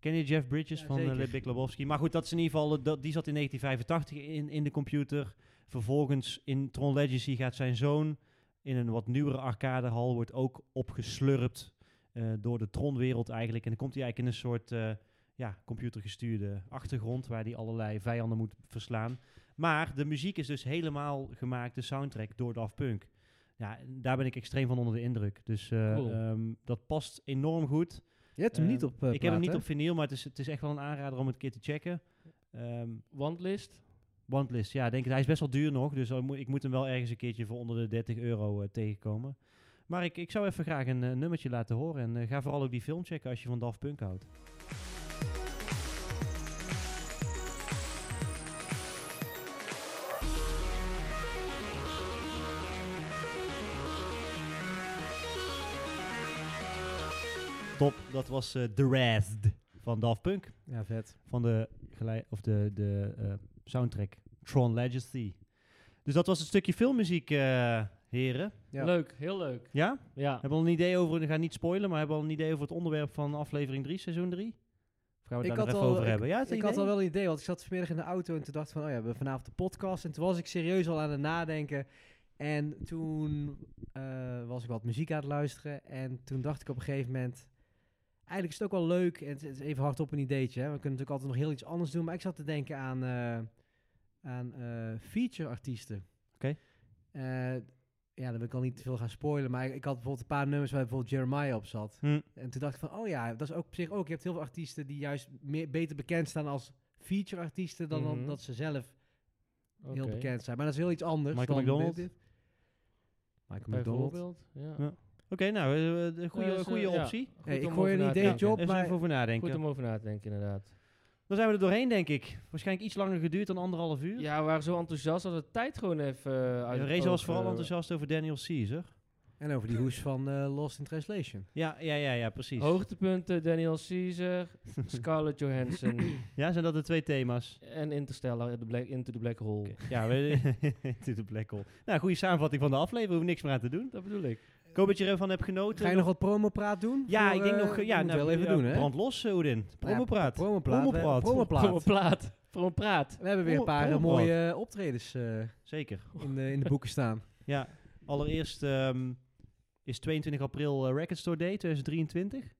Speaker 3: Ken je Jeff Bridges
Speaker 1: Ja,
Speaker 3: van eh,
Speaker 1: zeker.
Speaker 3: Big Lebowski? Maar goed, dat is in ieder geval, eh, dat, die zat in 1985 in, in de computer. Vervolgens in Tron Legacy gaat zijn zoon in een wat nieuwere arcadehal, wordt ook opgeslurpt eh, door de Tron-wereld eigenlijk. En dan komt hij eigenlijk in een soort eh, ja, computergestuurde achtergrond waar hij allerlei vijanden moet verslaan. Maar de muziek is dus helemaal gemaakt, de soundtrack, door Daft Punk. Ja, en daar ben ik extreem van onder de indruk. Dus eh,
Speaker 2: Cool.
Speaker 3: ehm, dat past enorm goed.
Speaker 1: Je hebt hem
Speaker 3: Ehm,
Speaker 1: niet op. eh,
Speaker 3: ik heb hem
Speaker 1: plaat,
Speaker 3: niet
Speaker 1: hè?
Speaker 3: op vinyl, maar het is, het is echt wel een aanrader om het een keer te checken. Ehm
Speaker 2: Wandlist.
Speaker 3: Wantlist, ja, ik denk het. Hij is best wel duur nog, dus dan moet- ik moet hem wel ergens een keertje voor onder de 30 euro eh, tegenkomen. Maar ik, ik zou even graag een eh, nummertje laten horen en eh, ga vooral ook die film checken als je van Daft Punk houdt. Top, dat was eh The Rest van Daft Punk
Speaker 1: Ja, vet.
Speaker 3: van de, gelei- of de, de eh, soundtrack Tron Legacy. Dus dat was een stukje filmmuziek, eh, heren.
Speaker 1: Ja.
Speaker 2: Leuk, heel leuk.
Speaker 3: Ja?
Speaker 2: Ja.
Speaker 3: Hebben we al een idee over, we gaan niet spoilen, maar hebben we al een idee over het onderwerp van aflevering 3, seizoen 3? Of gaan we het
Speaker 1: Ik
Speaker 3: daar
Speaker 1: had
Speaker 3: nog
Speaker 1: al-
Speaker 3: even over
Speaker 1: ik-
Speaker 3: hebben? Ja, het
Speaker 1: Ik
Speaker 3: idee?
Speaker 1: had al wel een idee, want ik zat vanmiddag in de auto en toen dacht ik van, oh ja, we hebben vanavond de podcast. En toen was ik serieus al aan het nadenken. En toen eh, was ik wat muziek aan het luisteren. En toen dacht ik op een gegeven moment, eigenlijk is het ook wel leuk. En het, het is even hardop een ideetje, hè. We kunnen natuurlijk altijd nog heel iets anders doen. Maar ik zat te denken aan, eh, aan eh, feature-artiesten.
Speaker 3: Oké.
Speaker 1: Eh, ja, dan wil ik al niet te veel gaan spoilen. Maar ik, ik had bijvoorbeeld een paar nummers waar bijvoorbeeld Jeremiah op zat.
Speaker 3: Hm.
Speaker 1: En toen dacht ik van, oh ja, dat is ook op zich ook. Je hebt heel veel artiesten die juist meer, beter bekend staan als feature-artiesten dan, dan
Speaker 2: Mhm.
Speaker 1: dat ze zelf heel
Speaker 2: Oké.
Speaker 1: bekend zijn. Maar dat is heel iets anders.
Speaker 3: Michael
Speaker 1: dan
Speaker 3: McDonald?
Speaker 1: dit. Michael McDonald.
Speaker 2: Bijvoorbeeld. Ja.
Speaker 3: Ja. nou, eh, eh, goede,
Speaker 2: Eh, is, eh,
Speaker 3: goede
Speaker 2: ja,
Speaker 3: optie.
Speaker 2: goed
Speaker 1: Hey, ik
Speaker 2: om
Speaker 1: gooi
Speaker 2: over
Speaker 1: een
Speaker 2: na te
Speaker 1: idee,
Speaker 2: denken.
Speaker 1: Job,
Speaker 3: Even
Speaker 1: maar-
Speaker 3: even over
Speaker 2: Goed
Speaker 3: nadenken.
Speaker 2: om over na te denken, inderdaad.
Speaker 3: Dan zijn we er doorheen, denk ik. Waarschijnlijk iets langer geduurd dan anderhalf uur.
Speaker 2: Ja, we waren zo enthousiast dat de tijd gewoon even eh, uit
Speaker 3: de
Speaker 2: het
Speaker 3: race
Speaker 2: oog,
Speaker 3: was vooral
Speaker 2: eh,
Speaker 3: enthousiast over Daniel Caesar.
Speaker 1: En over die hoes van eh, Lost in Translation.
Speaker 3: Ja, ja, ja, ja, precies.
Speaker 2: Hoogtepunten, Daniel Caesar, Scarlett Johansson
Speaker 3: Ja, zijn dat de twee thema's?
Speaker 2: en Interstellar, the black, Into the Black Hole.
Speaker 3: Ja, we, to the black hole. Nou, goede samenvatting van de aflevering. We hoeven niks meer aan te doen.
Speaker 2: Dat bedoel ik.
Speaker 3: Ik hoop dat je ervan hebt genoten.
Speaker 1: Eh, Ga je nog wat promopraat doen?
Speaker 3: ja,
Speaker 1: Voor,
Speaker 3: ik denk
Speaker 1: eh,
Speaker 3: nog... Ja,
Speaker 1: dat moet
Speaker 3: nou,
Speaker 1: wel even
Speaker 3: ja,
Speaker 1: doen, hè? Nou
Speaker 3: Brand los, eh, Oedin. Promopraat.
Speaker 1: Promopraat. we-
Speaker 3: Promopraat.
Speaker 1: Promopraat.
Speaker 2: Voor een plaat. Voor een praat.
Speaker 1: We hebben weer een
Speaker 3: Promo-
Speaker 1: paar eh,
Speaker 3: promopraat.
Speaker 1: mooie eh, optredens eh,
Speaker 3: Zeker.
Speaker 1: in, de, in de boeken staan.
Speaker 3: Ja, allereerst ehm, is 22 april eh, Record Store Day 2023.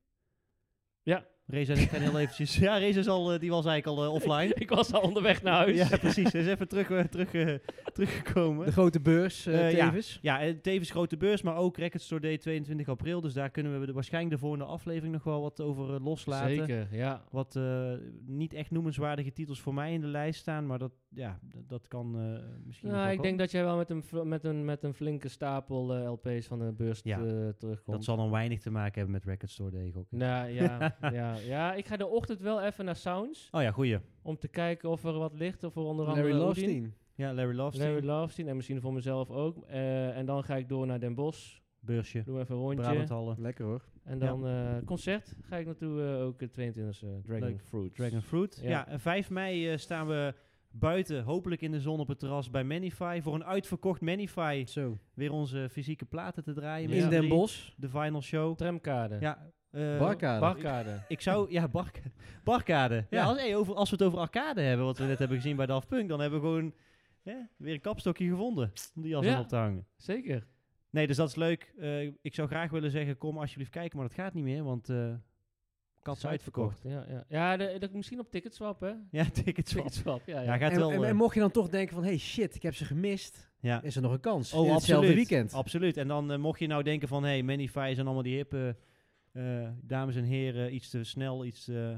Speaker 2: Ja.
Speaker 3: Reza zegt dan heel eventjes... Ja, Reza is al, eh, die was eigenlijk al eh, offline.
Speaker 2: Ik was al onderweg naar huis.
Speaker 3: Ja, precies. Hij is even terug, eh, terug, eh, teruggekomen.
Speaker 1: De grote beurs, eh,
Speaker 3: Eh, ja.
Speaker 1: tevens.
Speaker 3: Ja, en tevens grote beurs, maar ook Record Store Day 22 april. Dus daar kunnen we de, waarschijnlijk de volgende aflevering nog wel wat over eh, loslaten.
Speaker 2: Zeker, ja.
Speaker 3: Wat eh, niet echt noemenswaardige titels voor mij in de lijst staan, maar dat, ja, d- dat kan eh, misschien. nog
Speaker 2: Nou,
Speaker 3: wel
Speaker 2: ik denk
Speaker 3: komen.
Speaker 2: dat jij wel met een, fl- met een, met een flinke stapel eh, LP's van de beurs
Speaker 3: Ja,
Speaker 2: eh, terugkomt.
Speaker 3: dat zal dan weinig te maken hebben met Record Store Day. Gok. ik.
Speaker 2: Nou ja, ja, ja, ik ga de ochtend wel even naar Sounds.
Speaker 3: Oh ja, goeie.
Speaker 2: Om te kijken of er wat ligt. Of er onder andere.
Speaker 1: Larry
Speaker 2: Odin.
Speaker 1: Lovestein.
Speaker 3: Ja, Larry Love
Speaker 2: Larry Lovestein. En misschien voor mezelf ook. Eh, en dan ga ik door naar Den Bosch.
Speaker 3: beursje.
Speaker 2: Doe even een rondje.
Speaker 3: Brabanthallen.
Speaker 1: Lekker hoor.
Speaker 2: En dan eh, concert ga ik naartoe eh, ook eh, 22e. Dragon
Speaker 3: Leuk.
Speaker 2: Fruit.
Speaker 3: Dragon Fruit. Ja,
Speaker 2: Ja.
Speaker 3: en 5 mei eh, staan we buiten, hopelijk in de zon op het terras bij Manify. Voor een uitverkocht Manify.
Speaker 1: Zo.
Speaker 3: Weer onze fysieke platen te draaien.
Speaker 2: Ja.
Speaker 3: met
Speaker 1: In
Speaker 3: z'n
Speaker 1: Den
Speaker 3: drieën.
Speaker 1: Bosch.
Speaker 3: De final show.
Speaker 2: Tramkade.
Speaker 3: Ja. eh,
Speaker 1: Barkade.
Speaker 2: Barkade.
Speaker 3: Ik zou, ja, bark, barkade. Ja,
Speaker 1: Ja.
Speaker 3: als, hey, over, als we het over arcade hebben, wat we net hebben gezien bij Daft Punk, dan hebben we gewoon hè, weer een kapstokje gevonden om die jas
Speaker 2: Ja.
Speaker 3: aan op te hangen.
Speaker 2: Zeker.
Speaker 3: Nee, dus dat is leuk. Eh, ik zou graag willen zeggen, kom alsjeblieft kijken, maar dat gaat niet meer, want eh kat is uitverkocht.
Speaker 2: Ja, ja. ja de, de- misschien op Ticketswap, hè?
Speaker 3: Ja, tickets wel.
Speaker 2: Ticketswap, ja. ja.
Speaker 3: Ja, gaat
Speaker 1: En,
Speaker 3: wel.
Speaker 1: en,
Speaker 3: eh,
Speaker 1: en mocht je dan toch denken van, hey shit, ik heb ze gemist.
Speaker 3: ja.
Speaker 1: Is er nog een kans?
Speaker 3: Oh,
Speaker 1: in hetzelfde
Speaker 3: absoluut.
Speaker 1: weekend.
Speaker 3: Absoluut. En dan eh, mocht je nou denken van, hé, hey, Manify zijn allemaal die hippe eh, dames en heren, iets te snel, iets... eh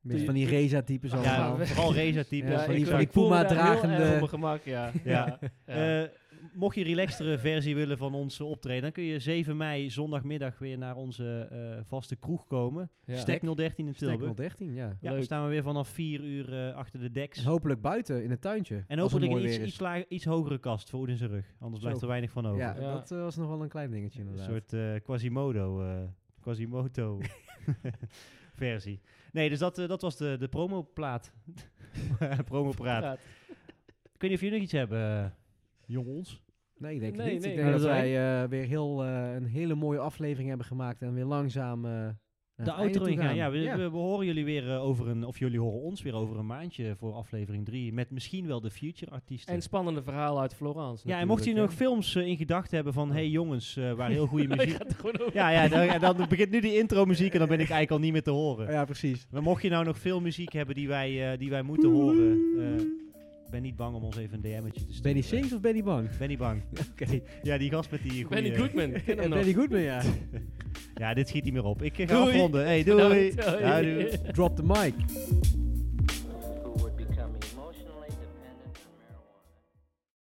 Speaker 1: Met van die Reza-types
Speaker 2: Ja,
Speaker 1: allemaal.
Speaker 3: ja, vooral Reza-types.
Speaker 1: Ja,
Speaker 3: van
Speaker 1: ik-
Speaker 3: die
Speaker 1: ik-
Speaker 2: voel me
Speaker 3: zwarte-
Speaker 1: Puma
Speaker 2: daar heel erg
Speaker 1: dragende-
Speaker 2: op mijn gemak, ja.
Speaker 3: Ja.
Speaker 2: ja. ja.
Speaker 3: Eh, mocht je een relaxtere versie willen van onze optreden, dan kun je 7 mei zondagmiddag weer naar onze eh, vaste kroeg komen.
Speaker 2: Ja.
Speaker 3: Stek 013 in
Speaker 1: Stek
Speaker 3: Tilburg.
Speaker 1: 013, ja.
Speaker 3: Ja,
Speaker 2: Leuk.
Speaker 3: dan staan we weer vanaf 4 uur eh, achter de deks.
Speaker 1: En hopelijk buiten, in het tuintje.
Speaker 3: En
Speaker 1: als het
Speaker 3: hopelijk een
Speaker 1: mooi
Speaker 3: iets,
Speaker 1: weer is.
Speaker 3: iets, la- iets hogere kast voor Oed in zijn rug. Anders blijft
Speaker 1: Zo.
Speaker 3: er weinig van over.
Speaker 1: Ja,
Speaker 2: Ja.
Speaker 1: dat eh, was nog wel een klein dingetje
Speaker 3: een
Speaker 1: inderdaad.
Speaker 3: soort eh, Quasimodo, eh, Quasimoto versie. Nee, dus dat, eh, dat was de, de promoplaat. Promopraat.
Speaker 2: Praat.
Speaker 3: Ik weet niet of jullie nog iets hebben, eh, jongens.
Speaker 1: Nee, ik denk het
Speaker 2: Nee,
Speaker 1: niet.
Speaker 2: nee,
Speaker 1: ik
Speaker 2: ik
Speaker 1: denk dat
Speaker 3: denk dat
Speaker 1: wij eh, weer heel, eh, een hele mooie aflevering hebben gemaakt en weer langzaam eh, naar het
Speaker 3: de
Speaker 1: einde
Speaker 3: outro
Speaker 1: toe
Speaker 3: ingaan. Ja, we,
Speaker 1: ja.
Speaker 3: we- we horen jullie weer eh, over een, of jullie horen ons weer over een maandje voor aflevering 3 met misschien wel de future artiesten.
Speaker 2: En spannende verhalen uit Florence.
Speaker 3: ja, en mocht je nog
Speaker 2: natuurlijk,
Speaker 3: films eh, in gedachten hebben van, hey jongens, eh, waar heel goede
Speaker 2: hè. Je
Speaker 3: muziek.
Speaker 2: gaat er gewoon over.
Speaker 3: ja, ja, dan, ja, dan begint nu die intro muziek en dan ben ik eigenlijk al niet meer te horen.
Speaker 1: ja, precies.
Speaker 3: Maar mocht je nou nog veel muziek hebben die wij, eh, die wij moeten horen, eh, ben niet bang om ons even een DM'tje te sturen.
Speaker 1: Benny Sings of Benny Bang?
Speaker 3: Ben niet bang.
Speaker 1: Oké.
Speaker 3: Ja, die gast met die goede...
Speaker 2: Benny Goodman, ik ken hem nog.
Speaker 1: Benny Goodman, ja.
Speaker 3: Ja, dit schiet niet meer op. Ik eh, ga
Speaker 2: Doei.
Speaker 3: afronden. Hey, doei.
Speaker 2: Bedankt.
Speaker 3: Ja, doei.
Speaker 1: Drop the mic.